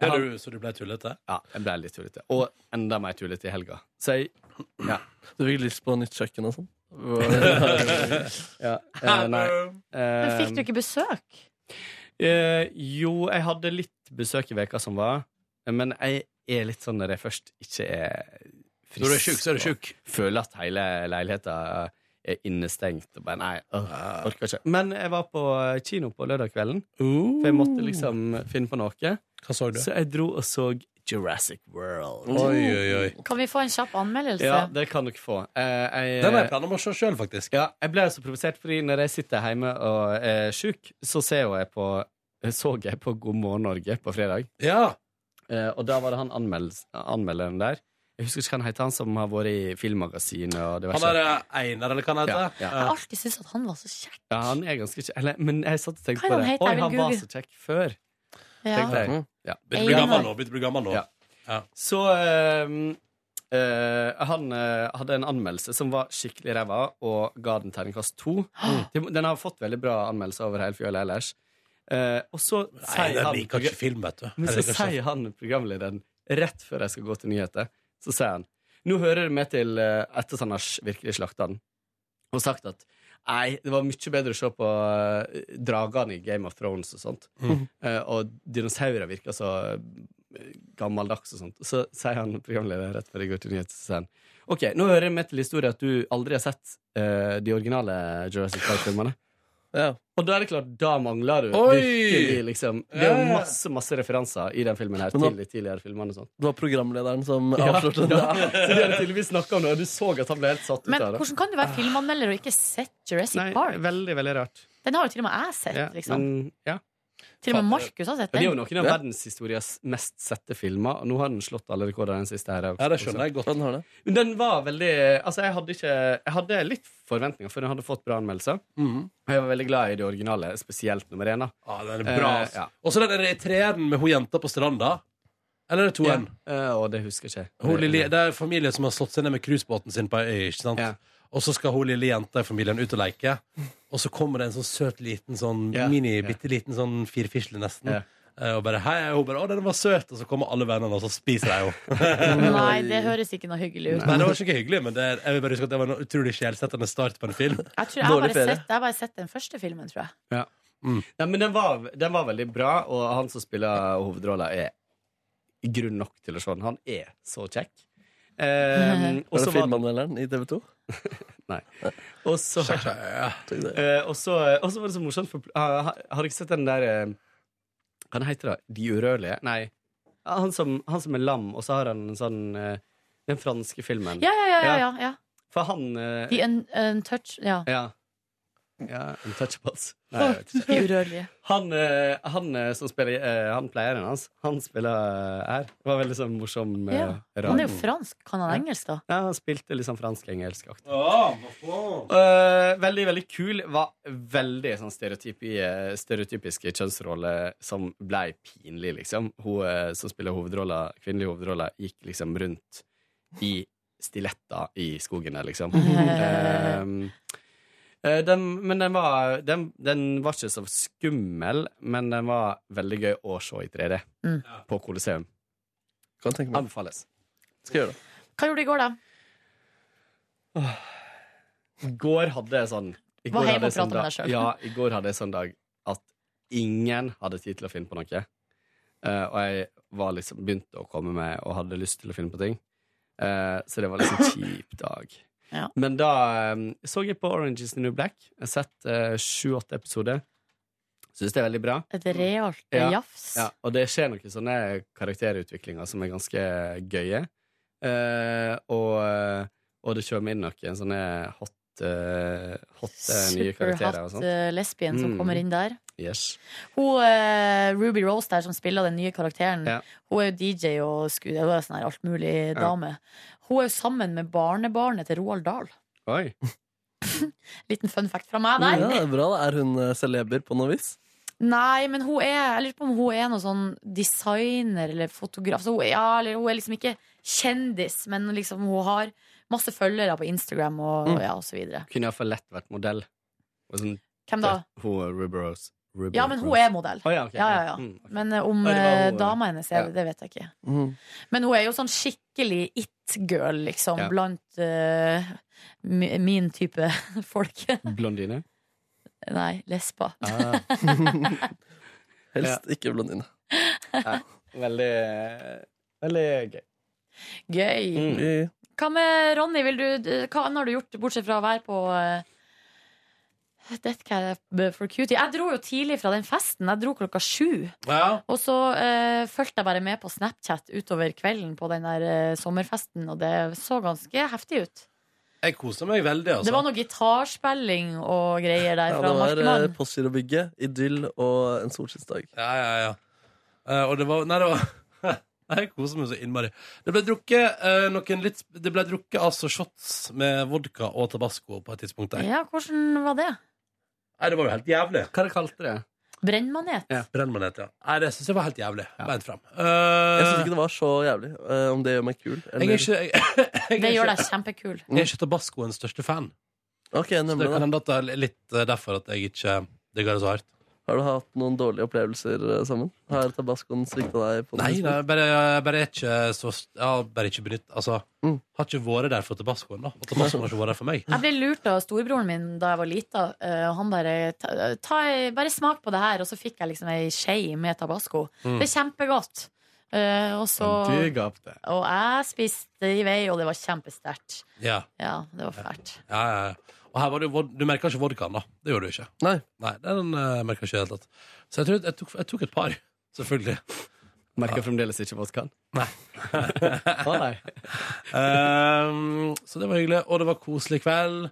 Speaker 1: Ja,
Speaker 9: Ja.
Speaker 1: du, så du ble tullete?
Speaker 9: Ja, jeg ble litt tullete. Og enda mer tullete i helga. Så jeg
Speaker 3: Du fikk lyst på nytt kjøkken og sånn.
Speaker 9: ja, eh, Nei.
Speaker 2: Men fikk
Speaker 9: Um,
Speaker 2: du ikke besøk?
Speaker 9: Eh, jo, jeg hadde litt besøk i veka som var, men jeg er litt sånn når jeg først ikke er frisk.
Speaker 1: Når du er sjuk, så er du
Speaker 9: og
Speaker 1: sjuk.
Speaker 9: Føler at hele leiligheta er innestengt. Og bare, nei, øh, orker ikke. Men jeg var på kino på lørdag kvelden, for jeg måtte liksom finne på noe.
Speaker 1: Hva så du?
Speaker 9: Så jeg dro og så Jurassic World.
Speaker 1: Oi, oi, oi.
Speaker 2: Kan vi få en kjapp anmeldelse?
Speaker 9: Ja, det kan dere få. Eh, jeg,
Speaker 1: Den har jeg planer om å se sjøl, faktisk.
Speaker 9: ja, jeg ble så provosert, fordi når jeg sitter hjemme og er sjuk, så ser jo jeg på så jeg på God morgen Norge på fredag.
Speaker 1: Ja.
Speaker 9: Eh, og da var det han anmeldels- anmelderen der. Jeg husker ikke hva han heter, han som har vært i filmmagasinet og diverse.
Speaker 1: Han er eh, Einar, eller hva han
Speaker 9: ja,
Speaker 1: heter? Eh,
Speaker 9: ja.
Speaker 2: Jeg har alltid syntes at han var så kjekk.
Speaker 9: ja, han er ganske kjekk. Eller, men jeg satt og tenkte
Speaker 2: Hva er
Speaker 9: på
Speaker 2: han
Speaker 9: det.
Speaker 2: heter?
Speaker 9: Oi,
Speaker 2: Jeg vil
Speaker 9: han var
Speaker 2: google.
Speaker 9: så kjekk før,
Speaker 2: Ja.
Speaker 9: tenkte
Speaker 1: Mm.
Speaker 3: Mm.
Speaker 9: jeg.
Speaker 1: Begynner å bli
Speaker 2: Einar.
Speaker 1: gammel nå. Begynner å bli gammel nå.
Speaker 9: Ja. Så eh, eh, han eh, hadde en anmeldelse som var skikkelig ræva, og ga den terningkast to. Mm. Den- Den har fått veldig bra anmeldelser over hele fjøla ellers. Eh, og så
Speaker 1: Nei,
Speaker 9: sier
Speaker 1: den
Speaker 9: han
Speaker 1: liker ikke film, vet du.
Speaker 9: Men
Speaker 1: Jeg
Speaker 9: så
Speaker 1: liker ikke-
Speaker 9: sier han programlederen rett før jeg skal gå til nyheter, så sier han Nå hører det med til eh, etter at han har s- virkelig slakta den, og sagt at Nei, det var mye bedre å se på eh, dragene i Game of Thrones og sånt. Eh, og dinosaurer virker så eh, gammeldags og sånt. Så sier han programlederen rett før jeg går til nyheter, så sier han OK, nå hører det med til historien at du aldri har sett eh, de originale Jurassic Park-filmene.
Speaker 3: Ja.
Speaker 9: Og da er det klart, da mangler du
Speaker 1: Oi!
Speaker 9: virkelig liksom Det er
Speaker 1: Ja,
Speaker 9: jo
Speaker 1: ja.
Speaker 9: masse masse referanser i den filmen her
Speaker 3: Men da-
Speaker 9: til de tidligere filmene. og sånn.
Speaker 3: Det var programlederen som
Speaker 9: Ja,
Speaker 3: avslørte det.
Speaker 9: ja. Så de hadde tydeligvis snakket om det, og du så at han ble helt satt ut
Speaker 2: Men
Speaker 9: av det.
Speaker 2: hvordan kan du være filmanmelder og ikke sett Jurassic
Speaker 9: Nei,
Speaker 2: Park?
Speaker 9: veldig, veldig rart.
Speaker 2: Den har jo til og med jeg sett.
Speaker 9: Ja,
Speaker 2: Liksom.
Speaker 9: men, ja.
Speaker 2: Til og med Markus har sett
Speaker 9: Ja, det er jo
Speaker 2: den.
Speaker 9: noen av
Speaker 3: Ja.
Speaker 9: verdenshistoriens mest sette filmer, og nå har den slått alle rekorder, den siste her.
Speaker 1: Ja, det skjønner jeg godt.
Speaker 3: Den har det.
Speaker 9: Men den var veldig Altså, jeg hadde ikke Jeg hadde litt forventninger, for den hadde fått bra anmeldelser.
Speaker 3: Mhm.
Speaker 9: Og jeg var veldig glad i det originale, spesielt nummer én. da.
Speaker 1: Ja, den er bra. ass.
Speaker 9: Eh, ja.
Speaker 1: Og så den der i treeren med hun jenta på stranda. Eller er det toeren?
Speaker 9: Eh, og det husker jeg ikke.
Speaker 1: Hun lille, det er en familie som har slått seg ned med cruisebåten sin på ei øy. ikke sant?
Speaker 9: Ja.
Speaker 1: Og så skal hun lille jenta i familien ut og leke. Og så kommer det en sånn søt liten sånn
Speaker 9: Ja,
Speaker 1: mini,
Speaker 9: ja.
Speaker 1: bitte liten sånn firfisle nesten.
Speaker 9: Ja.
Speaker 1: Eh, Og bare hei, og hun bare 'Å, den var søt', og så kommer alle vennene, og så spiser de henne.
Speaker 2: Nei, det høres ikke noe hyggelig ut.
Speaker 1: Nei, det var ikke hyggelig, men det, er- jeg vil bare huske at det var en utrolig sjelsettende start på en film.
Speaker 2: Jeg tror jeg har bare
Speaker 3: Dårlig ferie.
Speaker 2: sett, jeg har bare sett den første filmen, tror jeg.
Speaker 9: Nei, men den var, den var veldig bra, og han som spiller hovedrolla, er grunn nok til å se den. Han er så kjekk. Eh, og
Speaker 3: Var
Speaker 9: så
Speaker 3: det
Speaker 9: var den-
Speaker 3: filmanmelderen i TV 2?
Speaker 9: og så eh, og så- og så var det så morsomt, for ah, ha- har du ikke sett den der eh, Hva den heter det? De urørlige? Nei. Ah, Han som, han som er lam, og så har han en sånn eh, Den franske filmen.
Speaker 2: Ja, ja, ja. ja, ja, ja.
Speaker 9: For han eh,
Speaker 2: The un Untouch... Ja.
Speaker 9: Ja. ja Untouchables. Nei, jeg vet ikke.
Speaker 2: De urørlige.
Speaker 9: Han, eh, han eh, som spiller eh, Han pleieren hans, han spiller eh, her. Det var veldig sånn morsom eh,
Speaker 2: Ja,
Speaker 9: rar-
Speaker 2: Han er jo fransk. Kan han engelsk, da?
Speaker 9: Ja, han spilte litt sånn fransk-engelsk-aktig. Eh, veldig, veldig kul. Var veldig sånn stereotypi, eh, stereotypiske kjønnsroller som blei pinlig, liksom. Hun eh, som spiller hovedrolla, kvinnelig hovedrolla, gikk liksom rundt i stiletter i skogen der, liksom.
Speaker 2: Mhm.
Speaker 9: Eh, eh, den, men den var, den, den var ikke så skummel, men den var veldig gøy å se i 3D.
Speaker 2: Mm.
Speaker 9: På Colosseum.
Speaker 3: Kan tenke meg.
Speaker 9: Anbefales.
Speaker 3: Skal gjøre det.
Speaker 2: Hva gjorde du i går, da?
Speaker 9: I går hadde jeg sånn i
Speaker 2: Var
Speaker 9: går
Speaker 2: hjemme og
Speaker 9: hadde jeg sånn
Speaker 2: pratet med
Speaker 9: dag-
Speaker 2: deg selv.
Speaker 9: Ja, i går hadde jeg sånn dag at ingen hadde tid til å finne på noe. Eh, og jeg var liksom begynte å komme med og hadde lyst til å finne på ting. Eh, så det var liksom en kjip dag.
Speaker 2: Ja.
Speaker 9: Men da eh, så jeg på Orange is the New Black. Jeg har sett sju-åtte episoder. Syns det er veldig bra.
Speaker 2: Et realt
Speaker 9: Ja,
Speaker 2: jafs?
Speaker 9: Ja, og det skjer noen sånne karakterutviklinger som er ganske gøye. Eh, og, og det kommer inn noen sånne hot, eh, hot eh, nye karakterer og
Speaker 2: Superhot
Speaker 9: sånt.
Speaker 2: eh, lesbien som
Speaker 9: Mm.
Speaker 2: kommer inn der.
Speaker 9: Yes.
Speaker 2: Hun, eh, Ruby Rose der som spiller den nye karakteren,
Speaker 9: Ja.
Speaker 2: hun er jo DJ og sku- hun er sånn her altmulig dame. Hun er jo sammen med barnebarnet til Roald Dahl.
Speaker 9: Oi.
Speaker 2: Liten fun fact fra meg
Speaker 3: Ja,
Speaker 2: der.
Speaker 3: det er bra. da. Er hun eh, celeber på noe vis?
Speaker 2: Nei, men hun er Jeg lurer på om hun er noen sånn designer eller fotograf. Så hun, er- ja, eller hun er liksom ikke kjendis, men liksom hun har masse følgere på Instagram og,
Speaker 9: Mm.
Speaker 2: og ja, og så videre.
Speaker 9: Kunne iallfall lett vært modell. Og sånn,
Speaker 2: Hvem da?
Speaker 9: Hun er Ruby Rose. Ruby
Speaker 2: Ja, men hun
Speaker 9: Rose.
Speaker 2: er modell.
Speaker 9: Å, ja, ok.
Speaker 2: Ja, ja, ja.
Speaker 9: Mm, ok.
Speaker 2: Men eh, om
Speaker 9: Nei, det var
Speaker 2: eh,
Speaker 9: hun,
Speaker 2: dama hennes, jeg,
Speaker 9: ja.
Speaker 2: det vet jeg ikke.
Speaker 3: Mhm.
Speaker 2: Men hun er jo sånn skikkelig it-girl, liksom,
Speaker 9: Ja.
Speaker 2: blant eh, mi- min type folk.
Speaker 9: Blondine?
Speaker 2: Nei, lesba.
Speaker 9: Ah,
Speaker 3: Helst ikke blondine.
Speaker 9: veldig Veldig gøy.
Speaker 2: Gøy.
Speaker 9: Mm.
Speaker 3: Vi-
Speaker 2: Hva med Ronny? Vil du, du- hva annet har du gjort, bortsett fra å være på eh, Death Cab for Cutie? Jeg dro jo tidlig fra den festen. Jeg dro klokka sju.
Speaker 1: Ja.
Speaker 2: Og så uh, fulgte jeg bare med på Snapchat utover kvelden på den der eh, sommerfesten, og det så ganske heftig ut.
Speaker 1: Jeg koser meg veldig, altså.
Speaker 2: Det var noe gitarspilling og greier der
Speaker 3: Ja,
Speaker 2: fra
Speaker 3: det var eh,
Speaker 2: Markmann.
Speaker 3: Postgirobygget, idyll og en solskinnsdag.
Speaker 1: Ja, ja, ja. Eh, og det var Nei, det var Nei, Jeg koser meg så innmari. Det ble drukket eh, noen litt Det ble drukket altså shots med vodka og tabasco på et tidspunkt der.
Speaker 2: Ja, hvordan var det?
Speaker 1: Nei, det var jo helt jævlig.
Speaker 9: Hva er det kalte det?
Speaker 2: Brennmanet?
Speaker 9: Ja.
Speaker 1: Brennmanet, ja. Nei, det syns jeg var helt jævlig. Beint fram. Eh,
Speaker 3: Jeg syns ikke det var så jævlig. eh, om det gjør meg kul?
Speaker 1: jeg er ikke jeg,
Speaker 2: Det
Speaker 1: jeg, er
Speaker 2: gjør
Speaker 1: ikke,
Speaker 2: deg kjempekul.
Speaker 1: jeg er ikke tabascoens største fan.
Speaker 3: Ok,
Speaker 1: Så det
Speaker 3: nemlig
Speaker 1: kan
Speaker 3: da.
Speaker 1: hende at det er litt eh, derfor at jeg ikke digger det så hardt.
Speaker 3: Har du hatt noen dårlige opplevelser eh, sammen? Har tabascoen svikta deg? på noe
Speaker 1: Nei,
Speaker 3: tidspunkt?
Speaker 1: nei bare, bare er ikke så ja, Bare ikke benytt Altså,
Speaker 3: Mm.
Speaker 1: har ikke vært der for tabascoen, da. Og tabascoen har ikke vært der for meg.
Speaker 2: Jeg ble lurt av storebroren min da jeg var lita. eh, og han bare ta, ta, Bare smak på det her. Og så fikk jeg liksom ei skje med tabasco.
Speaker 1: Mm.
Speaker 2: Det er kjempegodt. Eh, og så
Speaker 9: Men Du gapte.
Speaker 2: Og jeg spiste i vei, og det var kjempesterkt.
Speaker 1: Ja,
Speaker 2: Ja, det var fælt.
Speaker 1: ja, ja. Og her var det, jo vod- du merka ikke vodkaen, da. Det gjorde du ikke.
Speaker 3: Nei.
Speaker 1: Nei, den uh, merka ikke i det hele tatt. Så jeg, tror, jeg, tok, jeg tok et par, selvfølgelig.
Speaker 9: Merker fremdeles ikke vodkaen.
Speaker 1: Nei.
Speaker 9: Å nei.
Speaker 1: Ehm, så det var hyggelig, og det var koselig kveld.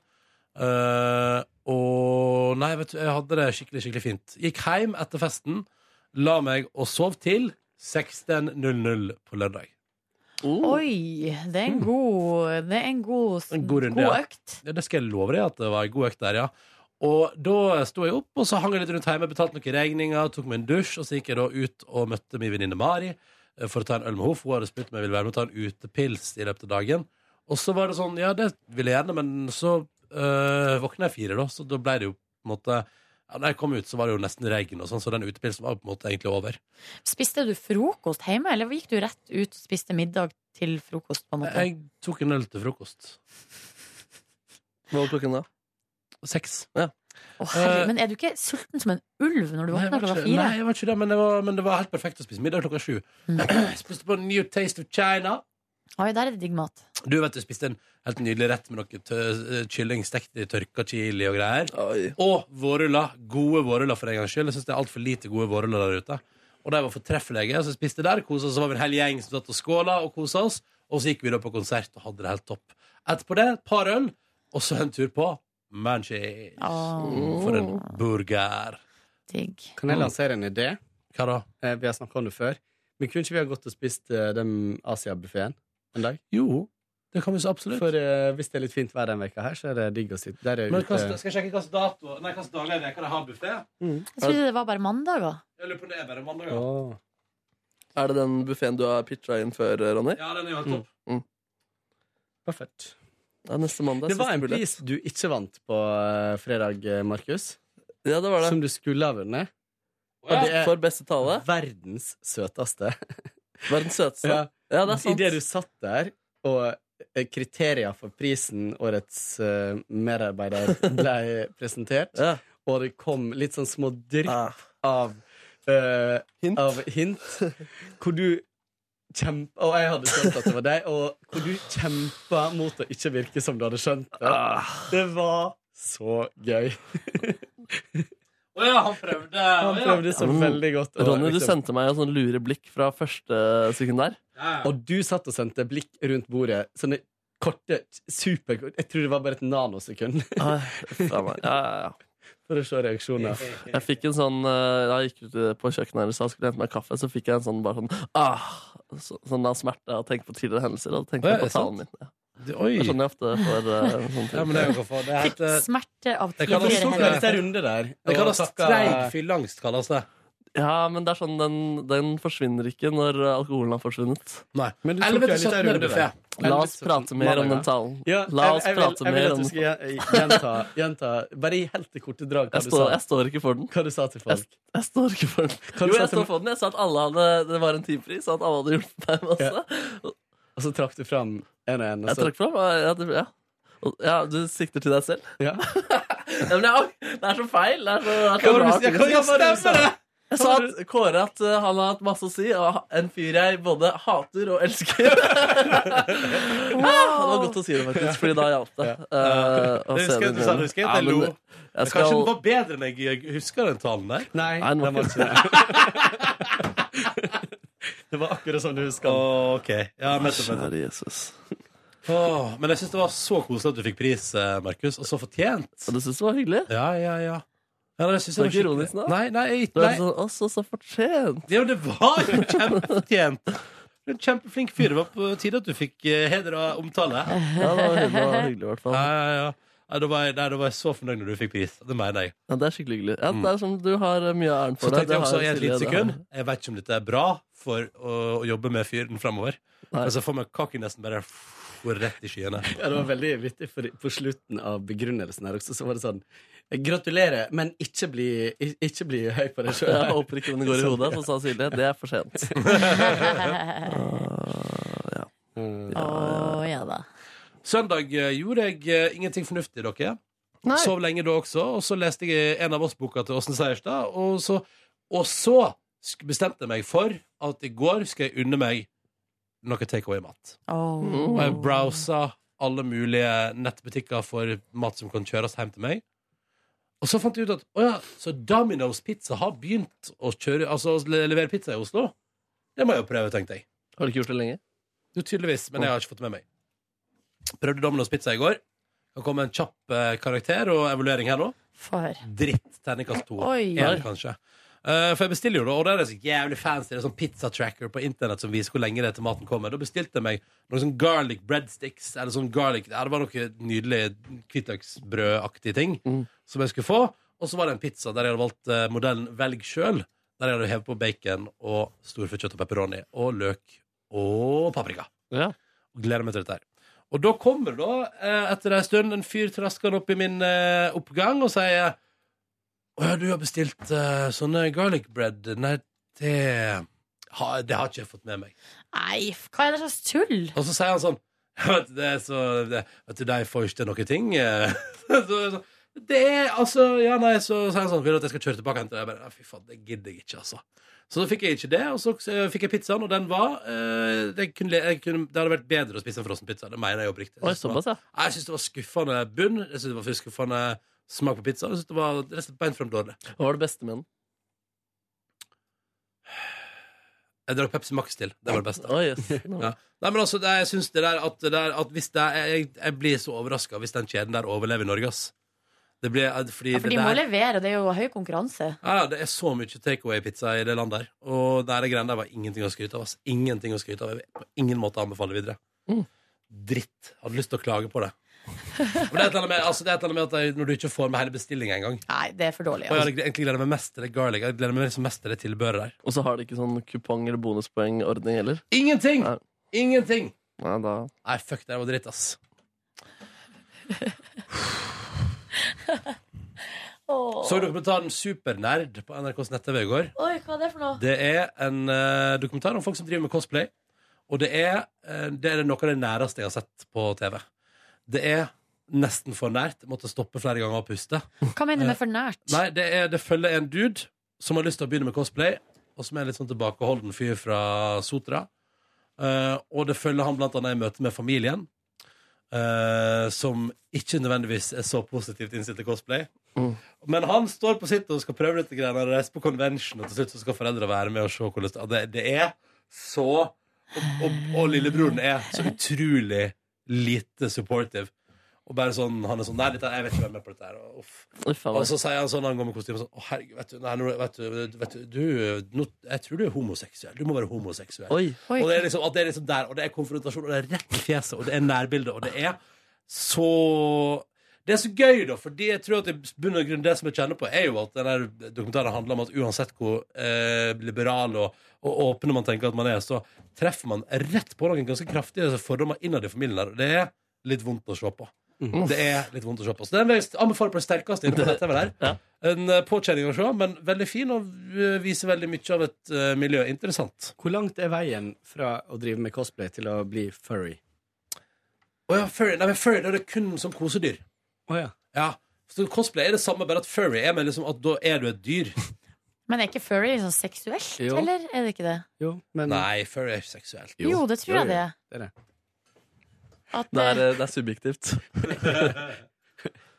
Speaker 1: Eh, og nei, vet du, jeg hadde det skikkelig, skikkelig fint. Gikk hjem etter festen, la meg og sov til 16.00 på lørdag.
Speaker 2: Oi, det er en god Det er en god,
Speaker 1: Oh. Mm. En god runde, ja.
Speaker 2: økt.
Speaker 1: Ja, det skal jeg love deg at det var en god økt der, ja. Og da sto jeg opp, og så hang jeg litt rundt hjemme, betalte noen regninger, tok meg en dusj, og så gikk jeg da ut og møtte min venninne Mari eh, for å ta en øl med henne, for hun hadde spurt om jeg ville være med og ta en utepils i løpet av dagen. Og så var det sånn, ja, det ville jeg gjerne, men så øh, våkna jeg fire da, så da ble det jo på en måte ja, da jeg kom ut, så var det jo nesten regn og sånn, så den utepilsen var jo på en måte egentlig over.
Speaker 2: Spiste du frokost hjemme, eller gikk du rett ut og spiste middag til frokost? på en måte?
Speaker 1: Jeg tok en øl til frokost.
Speaker 3: Hva var klokken da?
Speaker 1: Seks.
Speaker 2: Å, herre,
Speaker 1: Eh,
Speaker 2: men er du ikke sulten som en ulv når du
Speaker 1: Nei, jeg
Speaker 2: våkner
Speaker 1: var
Speaker 2: klokka
Speaker 1: ikke-
Speaker 2: fire?
Speaker 1: Nei, jeg var ikke det, men det var, men det var helt perfekt å spise middag klokka sju.
Speaker 2: Mm.
Speaker 1: Jeg spiste på New Taste of China.
Speaker 2: Oi, der er det digg mat.
Speaker 1: Du vet, du spiste en helt nydelig rett med noe tø eh, kylling stekt i tørka chili og greier.
Speaker 3: Oi.
Speaker 1: Og vårruller. Gode vårruller for en gangs skyld. Jeg synes det er altfor lite gode vårruller der ute. Og de var fortreffelige. Så spiste der, koset oss. Så var vi en hel gjeng som satt og skåla og kosa oss. Og så gikk vi da på konsert og hadde det helt topp. Etterpå det, et par øl, og så en tur på Manchis.
Speaker 2: Å.
Speaker 1: For en burger.
Speaker 2: Digg.
Speaker 9: Kan jeg lansere en idé?
Speaker 1: Hva da?
Speaker 9: Eh, Vi har snakka om det før. Men kunne ikke vi ha gått og spist eh, den Asia-buffeen en dag?
Speaker 1: Jo, det kan vi så absolutt.
Speaker 9: For eh, hvis det er litt fint vær den veka her, så er det digg å sitte der. Er
Speaker 1: Men hva,
Speaker 9: ute.
Speaker 1: skal jeg sjekke hvilken dato Nei, hvilken dag er det? Kan jeg ha buffé?
Speaker 2: Jeg trodde det var bare mandager.
Speaker 1: Jeg lurer på om det er bare mandag. Ja,
Speaker 9: Åh.
Speaker 3: Er det den buffeen du har pitcha inn før, eh, Ronny?
Speaker 1: ja den er jo helt topp.
Speaker 9: Perfekt.
Speaker 3: Ja, neste mandag.
Speaker 9: Det var
Speaker 3: siste
Speaker 9: en
Speaker 3: mulighet.
Speaker 9: pris du ikke vant på eh, fredag, eh, Markus.
Speaker 3: Ja, det var det.
Speaker 9: Som du skulle ha
Speaker 1: Å,
Speaker 9: vunnet.
Speaker 1: ja.
Speaker 9: Og det er
Speaker 3: For beste tale.
Speaker 9: verdens søteste.
Speaker 3: Verdens søteste. Ja, det er sant.
Speaker 9: Idet du satt der, og eh, kriterier for prisen årets eh, medarbeider ble presentert,
Speaker 3: Ja.
Speaker 9: og det kom litt sånn små drypp
Speaker 3: Ah.
Speaker 9: av eh,
Speaker 3: Hint.
Speaker 9: av hint hvor du kjempa Og jeg hadde skjønt at det var deg, og hvor du kjempa mot å ikke virke som du hadde skjønt det.
Speaker 3: Ah.
Speaker 9: Det var så gøy.
Speaker 1: Å ja, han prøvde.
Speaker 9: Han
Speaker 1: Å, ja.
Speaker 9: prøvde så
Speaker 3: Ja, men
Speaker 9: veldig godt. å
Speaker 3: Mm. Ronny, du
Speaker 9: liksom-
Speaker 3: sendte meg en sånn lure blikk fra første sekund der.
Speaker 1: Ja, ja.
Speaker 9: Og du satt og sendte blikk rundt bordet. Sånne korte, superkorte Jeg tror det var bare et nanosekund
Speaker 3: Ah, faen meg. Ja, ja, ja.
Speaker 9: for å se reaksjoner.
Speaker 3: Jeg fikk en sånn eh, Jeg gikk ut på kjøkkenet her i stad og skulle hente meg kaffe, så fikk jeg en sånn bare sånn ah, så, Sånn av smerte og tenke på tidligere hendelser. Og tenke
Speaker 1: Å, ja, er
Speaker 3: på
Speaker 1: det sant?
Speaker 3: talen min. Ja.
Speaker 1: Oi.
Speaker 3: Det er sånn jeg ofte får eh,
Speaker 1: Ja,
Speaker 3: sånne ting.
Speaker 1: men det er jo hvorfor. Det
Speaker 2: Fikk
Speaker 1: heter
Speaker 2: smerte av
Speaker 1: eh, Det kan
Speaker 9: Du
Speaker 2: tidligere
Speaker 1: også-
Speaker 9: tok en
Speaker 2: hendelser.
Speaker 9: liten runde der.
Speaker 1: det
Speaker 9: og
Speaker 1: kalles
Speaker 9: takka-
Speaker 1: treig fyllangst, kalles det.
Speaker 3: Ja, men det er sånn den, den forsvinner ikke når eh, alkoholen har forsvunnet.
Speaker 1: Nei.
Speaker 9: Men du tok
Speaker 1: 11
Speaker 9: en
Speaker 1: til
Speaker 9: liten
Speaker 1: 17 er
Speaker 9: runde
Speaker 1: det sånn buffé.
Speaker 9: der.
Speaker 3: La oss prate mer om den talen.
Speaker 9: Ja,
Speaker 3: La oss
Speaker 9: jeg, jeg,
Speaker 3: prate
Speaker 9: vil, jeg
Speaker 3: mer om
Speaker 9: vil at du
Speaker 3: den.
Speaker 9: skal gjen- gjenta, gjenta Bare i helt korte drag hva
Speaker 3: Jeg
Speaker 9: du
Speaker 1: sånn?
Speaker 3: står,
Speaker 9: sa.
Speaker 3: jeg står ikke for den.
Speaker 9: Hva du sa til folk.
Speaker 3: Jeg står ikke for den.
Speaker 9: Kan
Speaker 3: Jo,
Speaker 9: du si
Speaker 3: jeg
Speaker 9: at du-
Speaker 3: står for den. Jeg sa at alle hadde, det var en timepris, og at alle hadde hjulpet meg masse.
Speaker 9: Og så trakk du fram en og en. Og
Speaker 3: Jeg
Speaker 9: så,
Speaker 3: trakk fram. Ja, det, ja. Og- ja, du sikter til deg selv?
Speaker 9: ja.
Speaker 3: Ja, men jeg, det er så feil. Det er så, det er så
Speaker 1: Hva var det
Speaker 3: rart.
Speaker 1: du- ja, hva- ja, stemmer det!
Speaker 3: Jeg sa at Kåre at uh, han har hatt masse å si, og ha- en fyr jeg både hater og elsker. Ah, det var godt å si det, faktisk, fordi da hjalp det. Uh, å
Speaker 1: Jeg
Speaker 3: se
Speaker 1: husker
Speaker 3: den
Speaker 1: du sa det,
Speaker 3: igjen.
Speaker 1: husker jeg,
Speaker 3: Ja,
Speaker 1: jeg lo.
Speaker 3: men jeg
Speaker 1: Kanskje
Speaker 3: skal,
Speaker 1: den var bedre enn jeg husker den talen der.
Speaker 9: Nei,
Speaker 3: Nei, den var
Speaker 9: det var ikke det. Det var akkurat som du husker. den.
Speaker 1: Å, ok. Ja, nettopp, nettopp.
Speaker 3: Kjære Jesus.
Speaker 1: Åh, men jeg syns det var så koselig at du fikk pris, eh, Markus. Og så fortjent.
Speaker 3: Og du syns det var hyggelig?
Speaker 1: Ja, ja, ja. ja det synes jeg
Speaker 3: Var ikke
Speaker 1: skikkelig-
Speaker 3: ironisk nå?
Speaker 1: Nei, nei, jeg-
Speaker 3: Du er
Speaker 1: nei.
Speaker 3: sånn, også så fortjent.
Speaker 1: Ja, men det var jo kjempefortjent. Du er En kjempeflink fyr. Det var på tide at du fikk eh, heder og omtale. Ja,
Speaker 3: Ja, det var hyggelig, det var hyggelig i hvert fall.
Speaker 1: ja, ja. Nei, da, var jeg, nei, da var jeg så fornøyd når du fikk pris. Det mener jeg.
Speaker 3: Ja, det er skikkelig hyggelig. Ja, det er som du har uh, mye av æren
Speaker 1: Mm. Så
Speaker 3: for det.
Speaker 1: tenkte jeg
Speaker 3: Det har
Speaker 1: også i et
Speaker 3: Silje,
Speaker 1: lite
Speaker 3: det
Speaker 1: sekund
Speaker 3: har-
Speaker 1: Jeg vet ikke om dette er bra for å, å jobbe med fyren framover.
Speaker 3: Nei.
Speaker 1: Men så får man kaken nesten bare går rett i skyene.
Speaker 9: Ja, det var veldig vittig, for på slutten av begrunnelsen her også, så var det sånn Gratulerer, men ikke bli, ik- ikke bli høy på deg
Speaker 3: Jeg
Speaker 9: sjøl.
Speaker 3: håper ikke den går i hodet, så sa Silje. Det er for sent.
Speaker 2: Å ja da.
Speaker 1: Søndag eh, gjorde jeg eh, ingenting fornuftig, dere. Sov lenge da også, og så leste jeg en av oss-boka til Åsne Seierstad. Og så, og så sk- bestemte jeg meg for at i går skal jeg unne meg noe takeaway-mat.
Speaker 2: Å.
Speaker 1: Og jeg browsa alle mulige nettbutikker for mat som kan kjøres hjem til meg. Og så fant jeg ut at å ja, så Domino's Pizza har begynt å kjøre, altså, å le- levere pizza i Oslo. Det må jeg jo prøve, tenkte jeg.
Speaker 3: Har du ikke gjort det lenge?
Speaker 1: Jo, tydeligvis, men jeg har ikke fått det med meg. Prøvde Domino's Pizza i går. Kan komme en kjapp eh, karakter og evaluering her nå.
Speaker 2: Få høre.
Speaker 1: Dritt. Terningkast to.
Speaker 2: Oi.
Speaker 1: En, kanskje. Eh, for jeg bestiller jo, da, og da er det så jævlig fancy. Det er sånn pizzatracker på internett som viser hvor lenge det er til maten kommer. Da bestilte jeg meg noen sånn garlic breadsticks eller sånn garlic ja, Det var noe nydelig hvitløksbrødaktig ting
Speaker 3: Mm.
Speaker 1: som jeg skulle få. Og så var det en pizza der jeg hadde valgt eh, modellen Velg sjøl. Der jeg hadde hevet på bacon og storfekjøtt og pepperoni og løk og paprika.
Speaker 3: Ja.
Speaker 1: Og gleder meg til dette her. Og da kommer da, eh, etter en stund, en fyr traskende opp i min eh, oppgang og sier Å ja, du har bestilt eh, sånne garlic bread. Nei, det, ha, det har ikke jeg fått med meg.
Speaker 2: Nei, f- hva er det slags tull?
Speaker 1: Og så sier han sånn Vet du, det er så det, Vet du, de får ikke til noen ting. eh.» så, så, det er altså Ja, nei, så sier han sånn Vil du at jeg skal kjøre tilbake og hente det? Jeg bare, «Nei, fy faen, det gidder jeg ikke, altså. Så da fikk jeg ikke det, og så eh, fikk jeg pizzaen, og den var eh, det, kunne, le- jeg kunne, det hadde vært bedre å spise en frossen pizza. Det mener jeg oppriktig.
Speaker 3: Oi, såpass, ja.
Speaker 1: Nei, Jeg syns det var skuffende bunn. Jeg synes det var skuffende smak på pizza. Jeg synes det var rett og slett beint frem dårlig.
Speaker 3: Hva var det beste med den?
Speaker 1: Jeg drakk Pepsi Max til. Det var det beste.
Speaker 3: Oi, yes.
Speaker 1: Ja. Nei, men altså, det, jeg synes det der at, det der, at hvis det er, jeg, jeg blir så overraska hvis den kjeden der overlever i Norge, ass. Det blir, eh, fordi
Speaker 2: Ja, for
Speaker 1: det
Speaker 2: de må
Speaker 1: der,
Speaker 2: levere, og det er jo høy konkurranse.
Speaker 1: ja, det er så mye takeaway-pizza i det landet der. Og det der greiene der var ingenting å skryte av. Ass. Ingenting å skryte av. Jeg vil på ingen måte anbefale videre.
Speaker 3: Mm.
Speaker 1: Dritt. Hadde lyst til å klage på det. Men det er et eller annet med, altså, det er et eller annet med at jeg, når du ikke får med hele bestillinga engang
Speaker 2: Nei, det er for dårlig.
Speaker 1: Og jeg
Speaker 2: Altså.
Speaker 1: hadde egentlig gleder meg mest til det garlic. Jeg gleder meg liksom mest til det tilbehøret der.
Speaker 3: Og så har de ikke sånn kupong- eller bonuspoengordning heller.
Speaker 1: Ingenting!
Speaker 3: Nei.
Speaker 1: Ingenting!
Speaker 3: Nei, da
Speaker 1: Nei, fuck, det der var dritt, ass.
Speaker 2: Åh.
Speaker 1: Så dokumentaren Supernerd på NRKs nett-TV i går.
Speaker 2: Oi, hva er det for noe?
Speaker 1: Det er en eh, dokumentar om folk som driver med cosplay. Og det er, eh, det er noe av det næreste jeg har sett på TV. Det er nesten for nært. Jeg måtte stoppe flere ganger og puste.
Speaker 2: Hva mener du med for nært?
Speaker 1: Nei, det, er, det følger en dude som har lyst til å begynne med cosplay, og som er en litt sånn tilbakeholden fyr fra Sotra. Eh, og det følger han blant annet i møte med familien, eh, som ikke nødvendigvis er så positivt innstilt til cosplay.
Speaker 3: Mm.
Speaker 1: Men han står på sitt og skal prøve dette greiene og reise på convention, og til slutt så skal foreldre være med og se hvordan det, det, det er. Så og, og, og lillebroren er så utrolig lite supportive. Og bare sånn, Han er sånn Nei, dette, jeg vet ikke hvem jeg er med på dette her. og Uff.
Speaker 3: Oi, faen,
Speaker 1: Og
Speaker 3: altså,
Speaker 1: så sier han sånn når han går med kostyme sånn Å, herregud, vet du, nei, nå- vet du, vet du, du nå, Jeg tror du er homoseksuell. Du må være homoseksuell.
Speaker 3: Oi.
Speaker 2: Oi,
Speaker 1: Og det er liksom, at det er liksom der, og det er konfrontasjon, og det er rett i fjeset, og det er nærbilde, og det er så Det er så gøy, da, fordi jeg tror at i bunn og grunn det som jeg kjenner på, er jo at den der dokumentaren handler om at uansett hvor eh, liberal og, og åpne man tenker at man er, så treffer man rett på noen ganske kraftige altså, fordommer innad i familien der, og det er litt vondt å se på. Det er litt vondt å se på. Så den vil jeg anbefale på det sterkeste inne på dette der.
Speaker 3: Ja.
Speaker 1: En eh, påkjenning å se, men veldig fin, og eh, viser veldig mye av et eh, miljø. Interessant.
Speaker 9: Hvor langt er veien fra å drive med cosplay til å bli furry?
Speaker 1: Å ja, furry. Nei, men furry da er det kun som kosedyr.
Speaker 9: Å ja.
Speaker 1: Ja. Så cosplay er det samme, bare at furry er med liksom at da er du et dyr.
Speaker 2: Men er ikke furry liksom seksuelt,
Speaker 9: Jo.
Speaker 2: eller er det ikke det?
Speaker 9: Jo, men
Speaker 1: Nei, furry er ikke seksuelt.
Speaker 2: Jo, det tror jeg det er.
Speaker 9: det er det.
Speaker 2: At,
Speaker 3: det, er,
Speaker 2: eh,
Speaker 3: eh, det er subjektivt.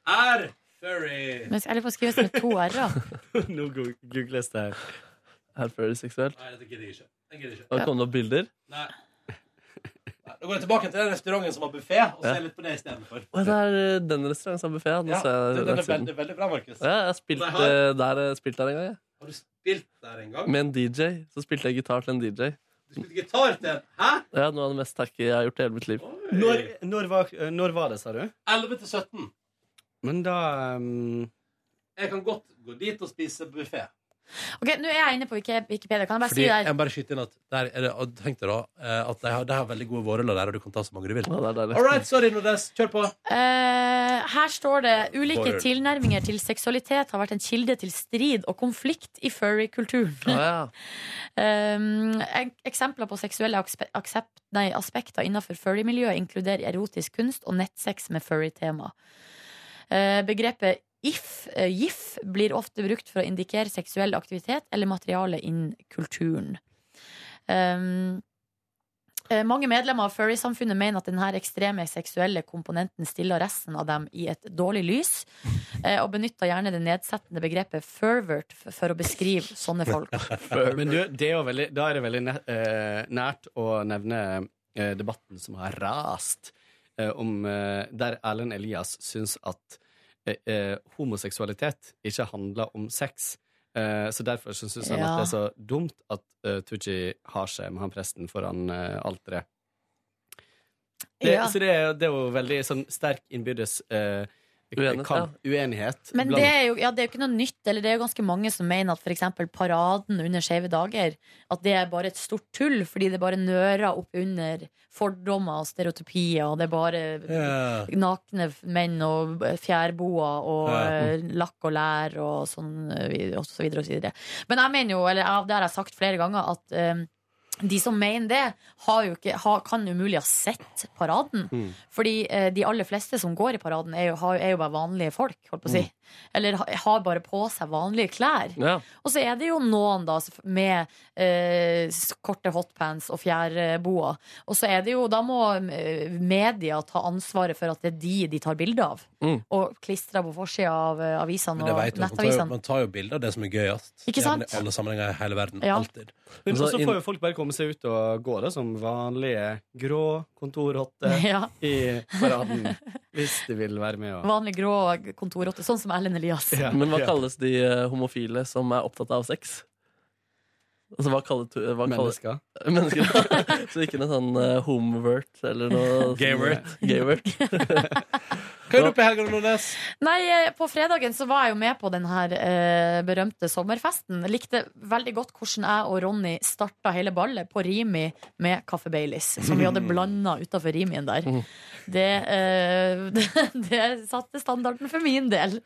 Speaker 1: Er furry
Speaker 2: men jeg lurer på å skrive det med to r-er.
Speaker 9: Nå go- googles det her.
Speaker 3: Er furry seksuelt?
Speaker 1: Nei, det gidder jeg ikke. Jeg gidder ikke.
Speaker 3: Og kom det opp bilder?
Speaker 1: Nei. Nei, Da går jeg tilbake til den restauranten som har buffé, og
Speaker 3: Ja.
Speaker 1: ser litt på det istedenfor.
Speaker 3: Å, det er eh, den restauranten som har buffé. Ja, Nå
Speaker 1: Ja,
Speaker 3: ser
Speaker 1: den
Speaker 3: jeg
Speaker 1: den er
Speaker 3: nettsiden.
Speaker 1: veldig, veldig bra, Markus.
Speaker 3: ja, jeg har spilt
Speaker 1: Nei,
Speaker 3: eh, der, eh, spilt der en gang, jeg.
Speaker 1: Har du spilt der en gang?
Speaker 3: Med en DJ. Så spilte jeg gitar til en DJ.
Speaker 1: Du spilte gitar til en Hæ?
Speaker 3: Det er noe av det mest tacky jeg har gjort i hele mitt liv.
Speaker 9: Når, når, var, eh, når var det, sa du?
Speaker 1: 11 til 17.
Speaker 9: Men da um,
Speaker 1: Jeg kan godt gå dit og spise buffé.
Speaker 2: Ok, nå er jeg inne på Wiki- Wikipedia. Kan jeg bare
Speaker 1: Fordi
Speaker 2: si det
Speaker 1: jeg
Speaker 2: der?
Speaker 1: må bare skyte inn at der er det, og tenk deg da eh, at de har, de har veldig gode vårruller der, og du kan ta så mange du vil.
Speaker 3: Ja, det er deilig.
Speaker 1: All right, sorry, Nordnes. Kjør på.
Speaker 2: Eh, her står det ulike
Speaker 1: Forhør.
Speaker 2: tilnærminger til seksualitet har vært en kilde til strid og konflikt i furry-kulturen.
Speaker 3: Å, ja.
Speaker 2: Um, ek- eksempler på seksuelle akspe- aksept, nei, aspekter innenfor furry-miljøet inkluderer erotisk kunst og nettsex med furry-tema. Eh, begrepet if, eh, gif blir ofte brukt for å indikere seksuell aktivitet eller materiale innen kulturen. Um, Ehm, Eh, Mange medlemmer av furry-samfunnet mener at denne ekstreme seksuelle komponenten stiller resten av dem i et dårlig lys, eh, og benytter gjerne det nedsettende begrepet fervert f- for å beskrive sånne folk.
Speaker 9: Men du, det er jo veldig, da er det veldig næ- eh, nært å nevne eh, debatten som har rast, eh, om, eh, der Erlend Elias syns at eh, eh, homoseksualitet ikke handler om sex. Eh, så derfor så syns han
Speaker 2: Ja.
Speaker 9: at det er så dumt at eh, Tooji har seg med han presten foran eh, alteret. Det,
Speaker 2: Ja.
Speaker 9: Så det er, det er jo veldig sånn sterk innbyrdes eh,
Speaker 3: Uenighet,
Speaker 9: kamp, uenighet.
Speaker 2: Men
Speaker 9: blant-
Speaker 2: det er, jo, ja, det er jo ikke noe nytt, eller det er jo ganske mange som mener at f.eks. paraden under Skeive dager, at det er bare et stort tull, fordi det bare nører opp under fordommer og stereotypier, og det er bare
Speaker 1: Ja.
Speaker 2: nakne f- menn og eh, fjærboer og
Speaker 1: Ja.
Speaker 2: eh, lakk og lær og sånn eh, vi- og så videre og så videre. Men jeg mener jo, eller ja, det har jeg sagt flere ganger, at eh, de som mener det, har jo ikke, har, kan umulig ha sett paraden.
Speaker 1: Mm.
Speaker 2: Fordi eh, de aller fleste som går i paraden, er jo, har, er jo bare vanlige folk, holdt på å si.
Speaker 1: Mm.
Speaker 2: Eller ha, har bare på seg vanlige klær.
Speaker 3: Ja.
Speaker 2: Og så er det jo noen da som- med eh, s- korte hotpants og fjærboa. Og så er det jo Da må eh, media ta ansvaret for at det er de de tar bilde av.
Speaker 3: Mm.
Speaker 2: Og klistrer på forsida av eh, avisene
Speaker 1: Men det
Speaker 2: og
Speaker 1: vet du, man tar, jo,
Speaker 2: nettavisene.
Speaker 1: man tar jo bilder av det som er gøyest.
Speaker 2: Ikke sant?
Speaker 1: Gjerne I alle sammenhenger i hele verden.
Speaker 2: Ja.
Speaker 1: Alltid.
Speaker 9: Men
Speaker 3: Altså,
Speaker 9: så
Speaker 3: inn-
Speaker 9: får jo folk bare komme seg ut og gå det som vanlige grå kontorhotter
Speaker 2: Ja,
Speaker 9: i paraden. Hvis de vil være med og
Speaker 2: vanlig grå kontorrotte, sånn som Ellen Elias.
Speaker 9: Ja.
Speaker 3: Men hva
Speaker 9: Ja.
Speaker 3: kalles de eh, homofile som er opptatt av sex? Altså, hva kaller, tu- hva kaller
Speaker 9: Mennesker.
Speaker 3: mennesker? Så ikke noe sånn eh, homvert eller noe
Speaker 1: Gayvert.
Speaker 3: sånn- Gayvert.
Speaker 1: Hva gjør du på helga, Nordnes?
Speaker 2: Nei, eh, på fredagen så var jeg jo med på den her eh, berømte sommerfesten. Jeg likte veldig godt hvordan jeg og Ronny starta hele ballet på Rimi med Kaffe Baileys, som vi hadde
Speaker 1: Mm.
Speaker 2: blanda utafor Rimien der. Det, eh, det, det satte standarden for min del.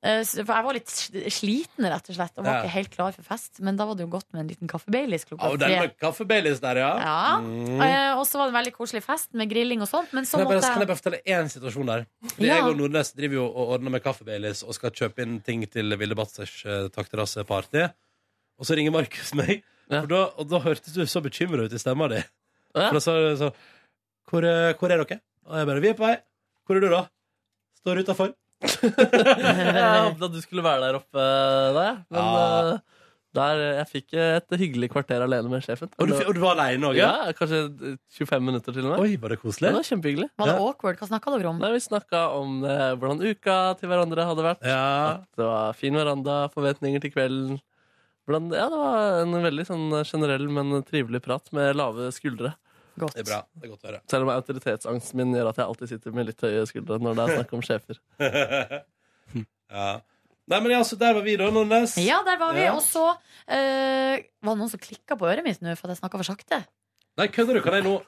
Speaker 2: Eh, så- For jeg var litt sl- sliten, rett og slett, og var
Speaker 1: Ja.
Speaker 2: ikke helt klar for fest. Men da var det jo godt med en liten Kaffe Baileys klokka
Speaker 1: Oh, den
Speaker 2: tre.
Speaker 1: med kaffebaileys der, ja.
Speaker 2: Ja. Eh, Og så var det en veldig koselig fest med grilling og sånt. Men så
Speaker 1: Kan jeg, bare,
Speaker 2: måtte
Speaker 1: kan jeg bare fortelle én situasjon der? Fordi
Speaker 2: sånn Ja.
Speaker 1: Jeg og Nordnes driver jo og ordner med kaffebaileys og skal kjøpe inn ting til Vilde Batzers eh, takterrasseparty. Og så ringer Markus meg,
Speaker 3: Ja.
Speaker 1: og, da, og da hørtes du så bekymra ut i stemma di.
Speaker 3: Ja.
Speaker 1: For da sa du så, hvor, eh, hvor er dere? Og jeg bare Vi er på vei. Hvor er du, da? Står utafor.
Speaker 3: Jeg håpet at du skulle være der oppe eh, da, jeg. men
Speaker 1: Ja.
Speaker 3: eh, der, eh, jeg fikk eh, et hyggelig kvarter alene med sjefen.
Speaker 1: Og du, og du var aleine òg?
Speaker 3: ja, kanskje eh, 25 minutter til og med.
Speaker 1: Oi, var det
Speaker 3: Det
Speaker 1: koselig?
Speaker 3: var kjempehyggelig.
Speaker 2: Var det awkward? Hva snakka dere om?
Speaker 3: Nei, vi snakka om eh, hvordan uka til hverandre hadde vært.
Speaker 1: Ja.
Speaker 3: At det var fin veranda, forventninger til kvelden. Hvordan, ja, det var en veldig sånn generell, men trivelig prat med lave skuldre.
Speaker 2: Godt.
Speaker 1: Det er bra. Det er godt å høre.
Speaker 3: Selv om autoritetsangsten min gjør at jeg alltid sitter med litt høye skuldre når det er snakk om sjefer.
Speaker 1: Ja. Nei, men ja, så der var vi, da, Nordnes.
Speaker 2: Ja, der var vi.
Speaker 1: Ja.
Speaker 2: Og så eh, var det noen som klikka på øret mitt nå for at jeg snakka for sakte.
Speaker 1: Nei, kødder du? Kan jeg nå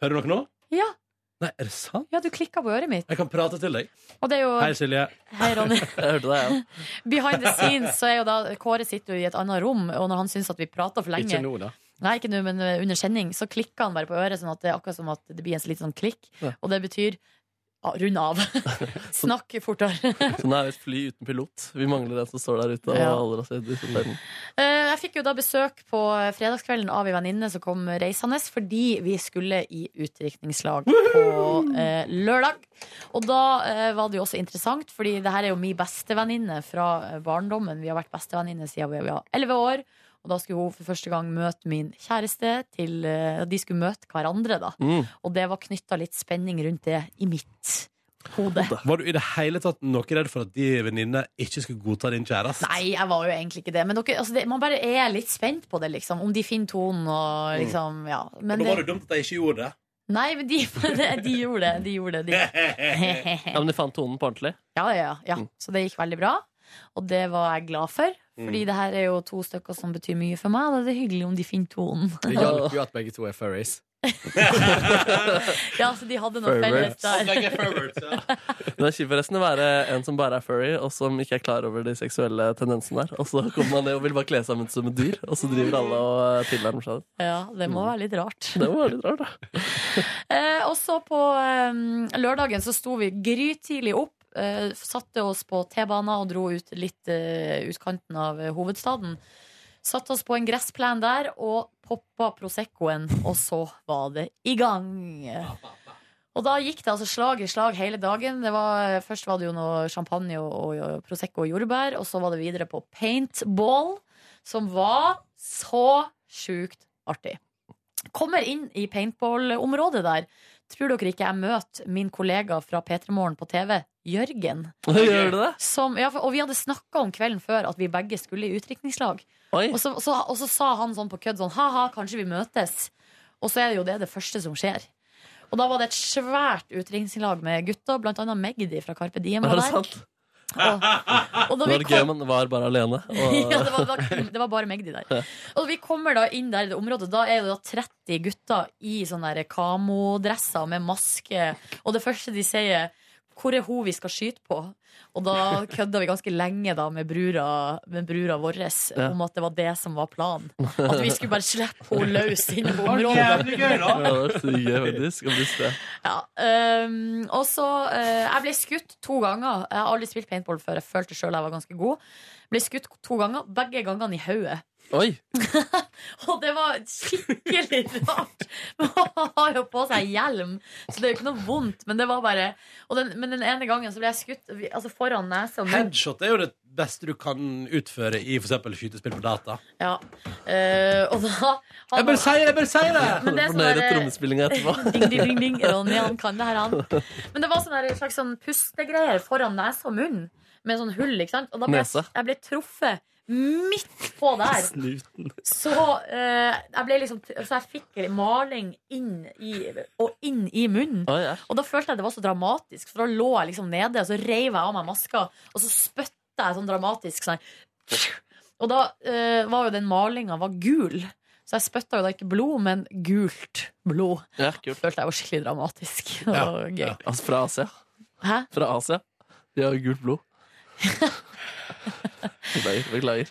Speaker 1: Hører dere nå?
Speaker 2: Ja,
Speaker 1: Nei, er det sant?
Speaker 2: ja du klikka på øret mitt.
Speaker 1: Jeg kan prate til deg.
Speaker 2: Og det er jo
Speaker 1: Hei, Silje.
Speaker 2: Hei, Ronny.
Speaker 3: Jeg hørte det, jeg
Speaker 2: Behind the scenes så er jo da Kåre sitter jo i et annet rom, og når han syns at vi prater for lenge
Speaker 9: Ikke nå, da.
Speaker 2: Nei, ikke nå, men eh, under sending, så klikker han bare på øret, sånn at det er akkurat som at det blir en litt sånn klikk.
Speaker 3: Ja.
Speaker 2: Og det betyr ja, rund av. Snakk fortere.
Speaker 3: òg. Så nå er vi et fly uten pilot. Vi mangler den som står der ute og
Speaker 2: Ja.
Speaker 3: holder oss i disiplinen.
Speaker 2: Eh, Jeg fikk jo da besøk på fredagskvelden av en venninne som kom reisende, fordi vi skulle i utdrikningslag på eh, lørdag. Og da eh, var det jo også interessant, fordi det her er jo min bestevenninne fra eh, barndommen. Vi har vært bestevenninne siden vi var elleve år. Og da skulle hun for første gang møte min kjæreste. Til, eh, de skulle møte hverandre, da.
Speaker 3: Mm.
Speaker 2: Og det var knytta litt spenning rundt det i mitt hode.
Speaker 1: Var du i det hele tatt noe redd for at de venninnene ikke skulle godta din kjæreste?
Speaker 2: Nei, jeg var jo egentlig ikke det. Men dere, altså det, man bare er litt spent på det, liksom. Om de finner tonen og liksom Ja. Men
Speaker 1: og da var
Speaker 2: det,
Speaker 1: det dumt at de ikke gjorde det.
Speaker 2: nei, men de, de gjorde det. De gjorde det. De.
Speaker 3: Ja, men de fant tonen på ordentlig.
Speaker 2: Ja, ja, ja, ja. Så det gikk veldig bra. Og det var jeg glad for. Fordi det her er jo to stykker som betyr mye for meg. Og det er hyggelig om de finner tonen.
Speaker 9: Det hjalp jo at begge to er furries.
Speaker 2: Ja, så de hadde noe felles der.
Speaker 1: Begge perverts, ja.
Speaker 3: Men det er kjipt forresten å være en som bare er furry, og som ikke er klar over de seksuelle tendensene der. Og så kommer man ned og vil bare kle seg ut som et dyr, og så driver alle og eh, tilnærmer seg det.
Speaker 2: Ja, det må være litt rart.
Speaker 3: Det var litt rart, da.
Speaker 2: Eh, og så på eh, lørdagen så sto vi grytidlig opp. Eh, satte oss på T-banen og dro ut litt eh, utkanten av eh, hovedstaden. Satte oss på en gressplen der og poppa Proseccoen, og så var det i gang. Og da gikk det altså slag i slag hele dagen. Det var, først var det jo noe champagne og, og, og Prosecco og jordbær, og så var det videre på paintball, som var så sjukt artig. Kommer inn i paintball-området der. Tror dere ikke jeg møter min kollega fra P3 Morgen på TV, Jørgen?
Speaker 3: Gjør du det?
Speaker 2: Som, ja, for, og vi hadde snakka om kvelden før at vi begge skulle i utdrikningslag.
Speaker 3: Oi.
Speaker 2: Og så, så, og så sa han sånn på kødd sånn ha-ha, kanskje vi møtes. Og så er det jo det det første som skjer. Og da var det et svært utdrikningslag med gutter, blant annet Magdi fra Carpe Diem.
Speaker 3: Er
Speaker 2: var
Speaker 3: det
Speaker 2: der.
Speaker 3: sant?
Speaker 2: Og, og da
Speaker 3: Nå
Speaker 2: vi
Speaker 3: er det gøy,
Speaker 2: kom,
Speaker 3: men var bare alene. Og...
Speaker 2: ja, det, var, det var- det var bare Magdi der. Og vi kommer da inn der i det området. Da er det da 30 gutter i sånne der kamodresser med maske. Og det første de sier hvor er hun vi skal skyte på? Og da kødda vi ganske lenge da med brura, med brura vår
Speaker 3: Ja.
Speaker 2: om at det var det som var planen. At vi skulle bare slippe henne løs inn på
Speaker 1: Å,
Speaker 2: området.
Speaker 1: Jævlig gøy, da!
Speaker 3: Ja, det var sykt gøy, faktisk. å miste det.
Speaker 2: Ja, øhm, og så øh, Jeg ble skutt to ganger. Jeg har aldri spilt paintball før. Jeg følte sjøl jeg var ganske god. Ble skutt to ganger, begge gangene i hodet.
Speaker 3: Oi!
Speaker 2: Og det var skikkelig rart. Men han har jo på seg hjelm, så det er jo ikke noe vondt. Men det var bare og den, Men den ene gangen så ble jeg skutt vi- altså foran nesa. Men,
Speaker 1: Headshot er jo det beste du kan utføre i for eksempel skytespill på data.
Speaker 2: ja. øh, og da
Speaker 1: Jeg bare sier det! jeg bare sier det
Speaker 2: Men det er sånn
Speaker 3: Fornøyd
Speaker 2: der-
Speaker 3: trommespillinga etterpå.
Speaker 2: ding, ding, ding, ding. Ronny, han kan det her, han. Men det var sånn der- slags sånn pustegreier foran nese og munn, med sånn hull, ikke sant? Og da ble jeg,
Speaker 3: Nese.
Speaker 2: jeg ble truffet midt på der.
Speaker 3: Snuten.
Speaker 2: Så, eh, jeg ble liksom, så jeg fikk maling inn i, og inn i munnen.
Speaker 3: Oi, ja.
Speaker 2: Og da følte jeg det var så dramatisk, for da lå jeg liksom nede, og så reiv jeg av meg maska, og så spytta jeg sånn dramatisk sånn. Og da eh, var jo den malinga var gul. Så jeg spytta jo da ikke blod, men gult blod
Speaker 3: ja, kult.
Speaker 2: følte jeg var skikkelig dramatisk. Det
Speaker 1: Ja,
Speaker 2: var gøy.
Speaker 1: ja.
Speaker 3: Altså, fra Asia.
Speaker 2: Hæ?
Speaker 3: Fra Asia. De har jo gult blod. Beklager. beklager.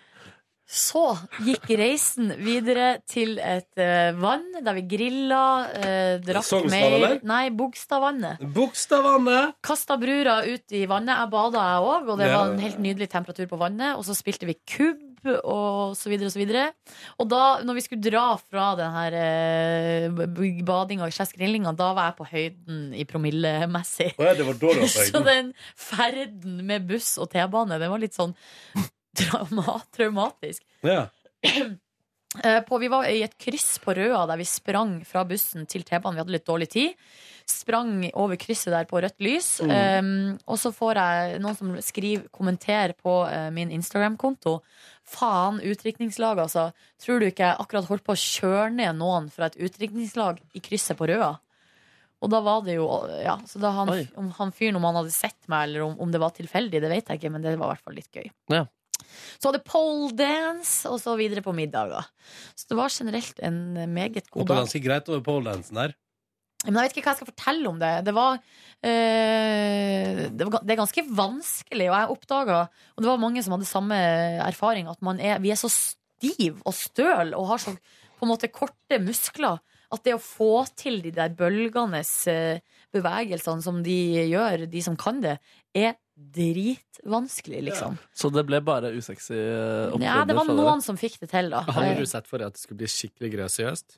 Speaker 2: Så gikk reisen videre til et eh, vann der vi grilla, eh, drakk
Speaker 1: Sognsvann,
Speaker 2: mer
Speaker 1: eller?
Speaker 2: Nei, Bogstadvannet.
Speaker 1: Bogstavene!
Speaker 2: Kasta brura ut i vannet. Jeg bada, jeg òg, og det
Speaker 1: Ja.
Speaker 2: var en helt nydelig temperatur på vannet. Og så spilte vi kubb og så videre og så videre. Og da, når vi skulle dra fra den her eh, b- b- badinga og skjæsgrillinga, da var jeg på høyden i promillemessig.
Speaker 1: Å ja, det var da du var på
Speaker 2: Så
Speaker 1: høyden.
Speaker 2: den ferden med buss og T-bane, den var litt sånn drauma, traumatisk.
Speaker 1: Ja.
Speaker 2: Eh, På, vi var i et kryss på Røa der vi sprang fra bussen til T-banen. Vi hadde litt dårlig tid. Sprang over krysset der på rødt lys.
Speaker 3: Mm.
Speaker 2: Eh, og så får jeg noen som skriver kommenter på eh, min Instagram-konto. Faen, utdrikningslag, altså. Tror du ikke jeg akkurat holdt på å kjøre ned noen fra et utdrikningslag i krysset på Røa? Og da var det jo Ja, så da han,
Speaker 3: Oi.
Speaker 2: om han fyren, om han hadde sett meg, eller om, om det var tilfeldig, det vet jeg ikke, men det var i hvert fall litt gøy.
Speaker 3: Ja.
Speaker 2: Så var det pole dance, og så videre på middager. Så det var generelt en meget
Speaker 1: Det
Speaker 2: god
Speaker 1: var
Speaker 2: dag.
Speaker 1: ganske greit over poledansen der.
Speaker 2: Men jeg vet ikke hva jeg skal fortelle om det. Det var, eh, det, var ga- det er ganske vanskelig, og jeg oppdaga, og det var mange som hadde samme erfaring, at man er, vi er så stiv og støl og har så på en måte korte muskler at det å få til de der bølgende eh, bevegelsene som de gjør, de som kan det, er dritvanskelig, liksom.
Speaker 3: Så det ble bare usexy eh,
Speaker 2: Ja, det var
Speaker 3: fra dere.
Speaker 2: noen som fikk det til, da.
Speaker 9: Hadde du sånn? sett for deg at det skulle bli skikkelig grøsiøst?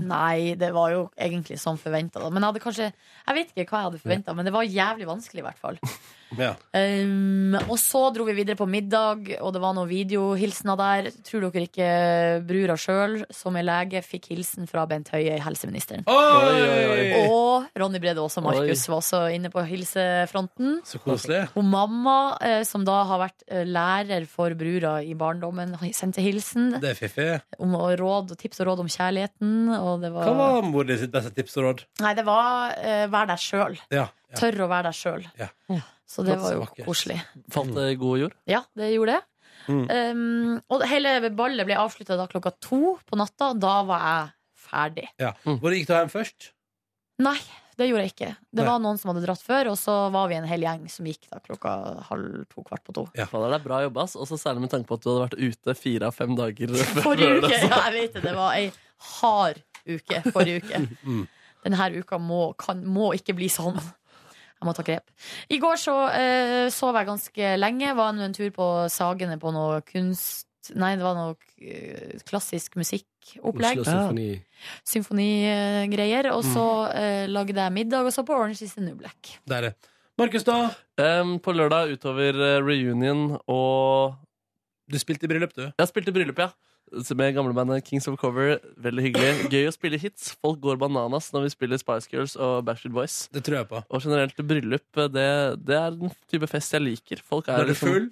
Speaker 2: Nei, det var jo egentlig som forventa. Men jeg hadde kanskje Jeg vet ikke hva jeg hadde forventa, men det var jævlig vanskelig, i hvert fall.
Speaker 1: Ja.
Speaker 2: Um, og så dro vi videre på middag, og det var noen videohilsener der. Tror dere ikke brura sjøl, som er lege, fikk hilsen fra Bent Høie, helseministeren?
Speaker 1: Oi!
Speaker 2: Og Ronny Brede Aase Markus
Speaker 3: Oi.
Speaker 2: var også inne på hilsefronten.
Speaker 1: Så koselig.
Speaker 2: Hun mamma, eh, som da har vært eh, lærer for brura i barndommen, sendte hilsen
Speaker 1: Det er fiffig.
Speaker 2: om og råd, og tips og råd om kjærligheten. Og det
Speaker 1: Hva var mor di sitt beste tips og råd?
Speaker 2: Nei, det var eh, vær deg sjøl.
Speaker 1: Ja. ja.
Speaker 2: Tør å være deg sjøl.
Speaker 1: Ja.
Speaker 2: Så det var
Speaker 1: Så
Speaker 2: jo
Speaker 1: vakkert.
Speaker 2: koselig.
Speaker 3: Falt det i god jord?
Speaker 2: Ja, det gjorde det.
Speaker 1: Mm.
Speaker 2: Um, og hele ballet ble avslutta da klokka to på natta. Da var jeg ferdig.
Speaker 1: ja. Hvor gikk du hjem først?
Speaker 2: Nei, det gjorde jeg ikke. Det
Speaker 1: Nei.
Speaker 2: var noen som hadde dratt før, og så var vi en hel gjeng som gikk da klokka halv to, kvart på to.
Speaker 3: Fader, det er bra jobba, ass. Og så særlig med tanke på at du hadde vært ute fire av fem dager. før
Speaker 2: Forrige uke!
Speaker 3: det, sånn. så-
Speaker 2: Ja, jeg vet det. Det var ei hard uke forrige uke.
Speaker 1: Mm.
Speaker 2: Denne uka må, kan, må ikke bli sånn. Jeg må ta grep. I går så eh, sov jeg ganske lenge. Var nå en tur på Sagene på noe kunst ut Nei, det var noe eh, klassisk musikkopplegg.
Speaker 9: Oslo Symfoni.
Speaker 2: Symfonigreier. Og så
Speaker 3: Mm.
Speaker 2: eh, lagde jeg middag og så på Orange is the New Black.
Speaker 1: Der. Markus, da?
Speaker 3: Em, på lørdag utover eh, reunion og
Speaker 1: Du spilte i bryllup, du.
Speaker 3: Jeg spilte bryllup, ja. Med gamlebandet Kings of Cover. Veldig hyggelig. Gøy å spille hits. Folk går bananas når vi spiller Spice Girls og Bachelor Boys.
Speaker 1: Det tror jeg på.
Speaker 3: Og generelt bryllup, eh, det, det er en type fest jeg liker. Folk er
Speaker 1: Var du
Speaker 3: liksom-
Speaker 1: full?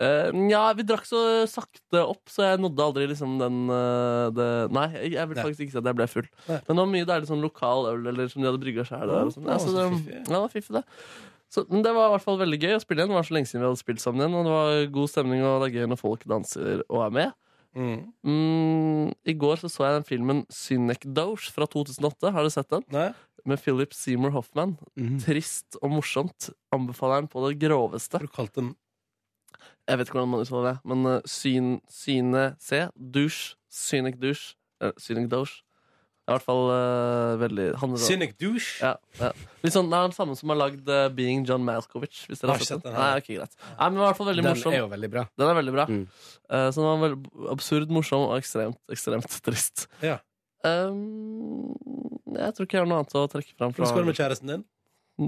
Speaker 3: Eh, Nja, vi drakk så sakte opp, så jeg nådde aldri liksom den eh, det, Nei, jeg, jeg vil
Speaker 1: Nei.
Speaker 3: faktisk ikke si at jeg ble full.
Speaker 1: Nei.
Speaker 3: Men det var mye deilig sånn lokal øl eller som de hadde brygga sjøl. sånn. Ja, så
Speaker 1: Å, så
Speaker 3: det, ja,
Speaker 1: fiffig.
Speaker 3: det var fiffig, det. Så, men det var i hvert fall veldig gøy å spille igjen. Det var så lenge siden vi hadde spilt sammen igjen. Og det var god stemning, og det er gøy når folk danser og er med.
Speaker 1: Mm.
Speaker 3: Mm, I går så, så jeg den filmen Synecdoche fra 2008. Har du sett den?
Speaker 1: Nei?
Speaker 3: Med Philip Seymour Hoffman. Trist og morsomt. Anbefaler den på det groveste.
Speaker 1: Har du kalt den
Speaker 3: Jeg vet ikke hvordan man uttaler det, men eh, syn, syne C. Douche. Synic douche. eh, Synic douche. Det er i hvert fall eh, veldig han,
Speaker 1: Cynic Douche?
Speaker 3: Ja, ja. Litt sånn, det er den samme som har lagd eh, Being John Malkovich. Hvis dere
Speaker 1: Har
Speaker 3: har
Speaker 1: ikke
Speaker 3: sett
Speaker 1: sett
Speaker 3: den.
Speaker 1: den her.
Speaker 3: Nei, ok, greit. Nei, men i hvert fall veldig
Speaker 9: Den
Speaker 3: morsom.
Speaker 9: er jo veldig bra.
Speaker 3: Den er veldig bra.
Speaker 9: Mm.
Speaker 3: Eh, så den var veldig absurd morsom og ekstremt, ekstremt trist.
Speaker 1: Ja.
Speaker 3: Um, jeg tror ikke jeg har noe annet å trekke fram. Fra.
Speaker 1: Hvordan går det med kjæresten din?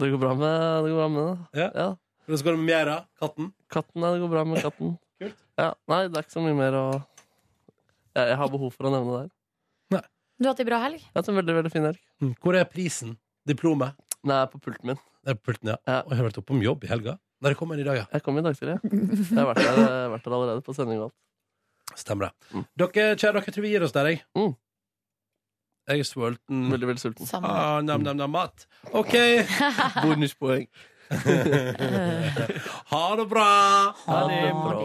Speaker 3: Det går bra med det. Går bra med det.
Speaker 1: Ja.
Speaker 3: Ja.
Speaker 1: Hvordan går det med Mjæra? Katten?
Speaker 3: Katten, ja, det går bra med katten.
Speaker 1: Kult.
Speaker 3: Ja, nei, det er ikke så mye mer å jeg, jeg har behov for å nevne det her.
Speaker 2: Du har hatt ei bra helg?
Speaker 3: Jeg har hatt en veldig, veldig fin helg.
Speaker 1: Hvor er prisen? Diplomet?
Speaker 3: Den er på pulten min.
Speaker 1: Det er på pulten, ja.
Speaker 3: Ja.
Speaker 1: Og jeg har vært oppe om jobb i helga. Nei, det kom en i dag, ja.
Speaker 3: Jeg kom i dag tidlig. Jeg Jeg har vært der, jeg har vært der allerede på sending og alt.
Speaker 1: Stemmer det.
Speaker 3: Mm.
Speaker 1: Dere, kjære dere, tror vi gir oss der, jeg.
Speaker 3: Mm.
Speaker 1: Jeg er sulten.
Speaker 3: Veldig, veldig sulten.
Speaker 2: Samme.
Speaker 1: Ah, nam, nam, nam, mat. OK.
Speaker 3: Bonuspoeng.
Speaker 2: Eh,
Speaker 1: Ha det bra.
Speaker 3: Ha det bra.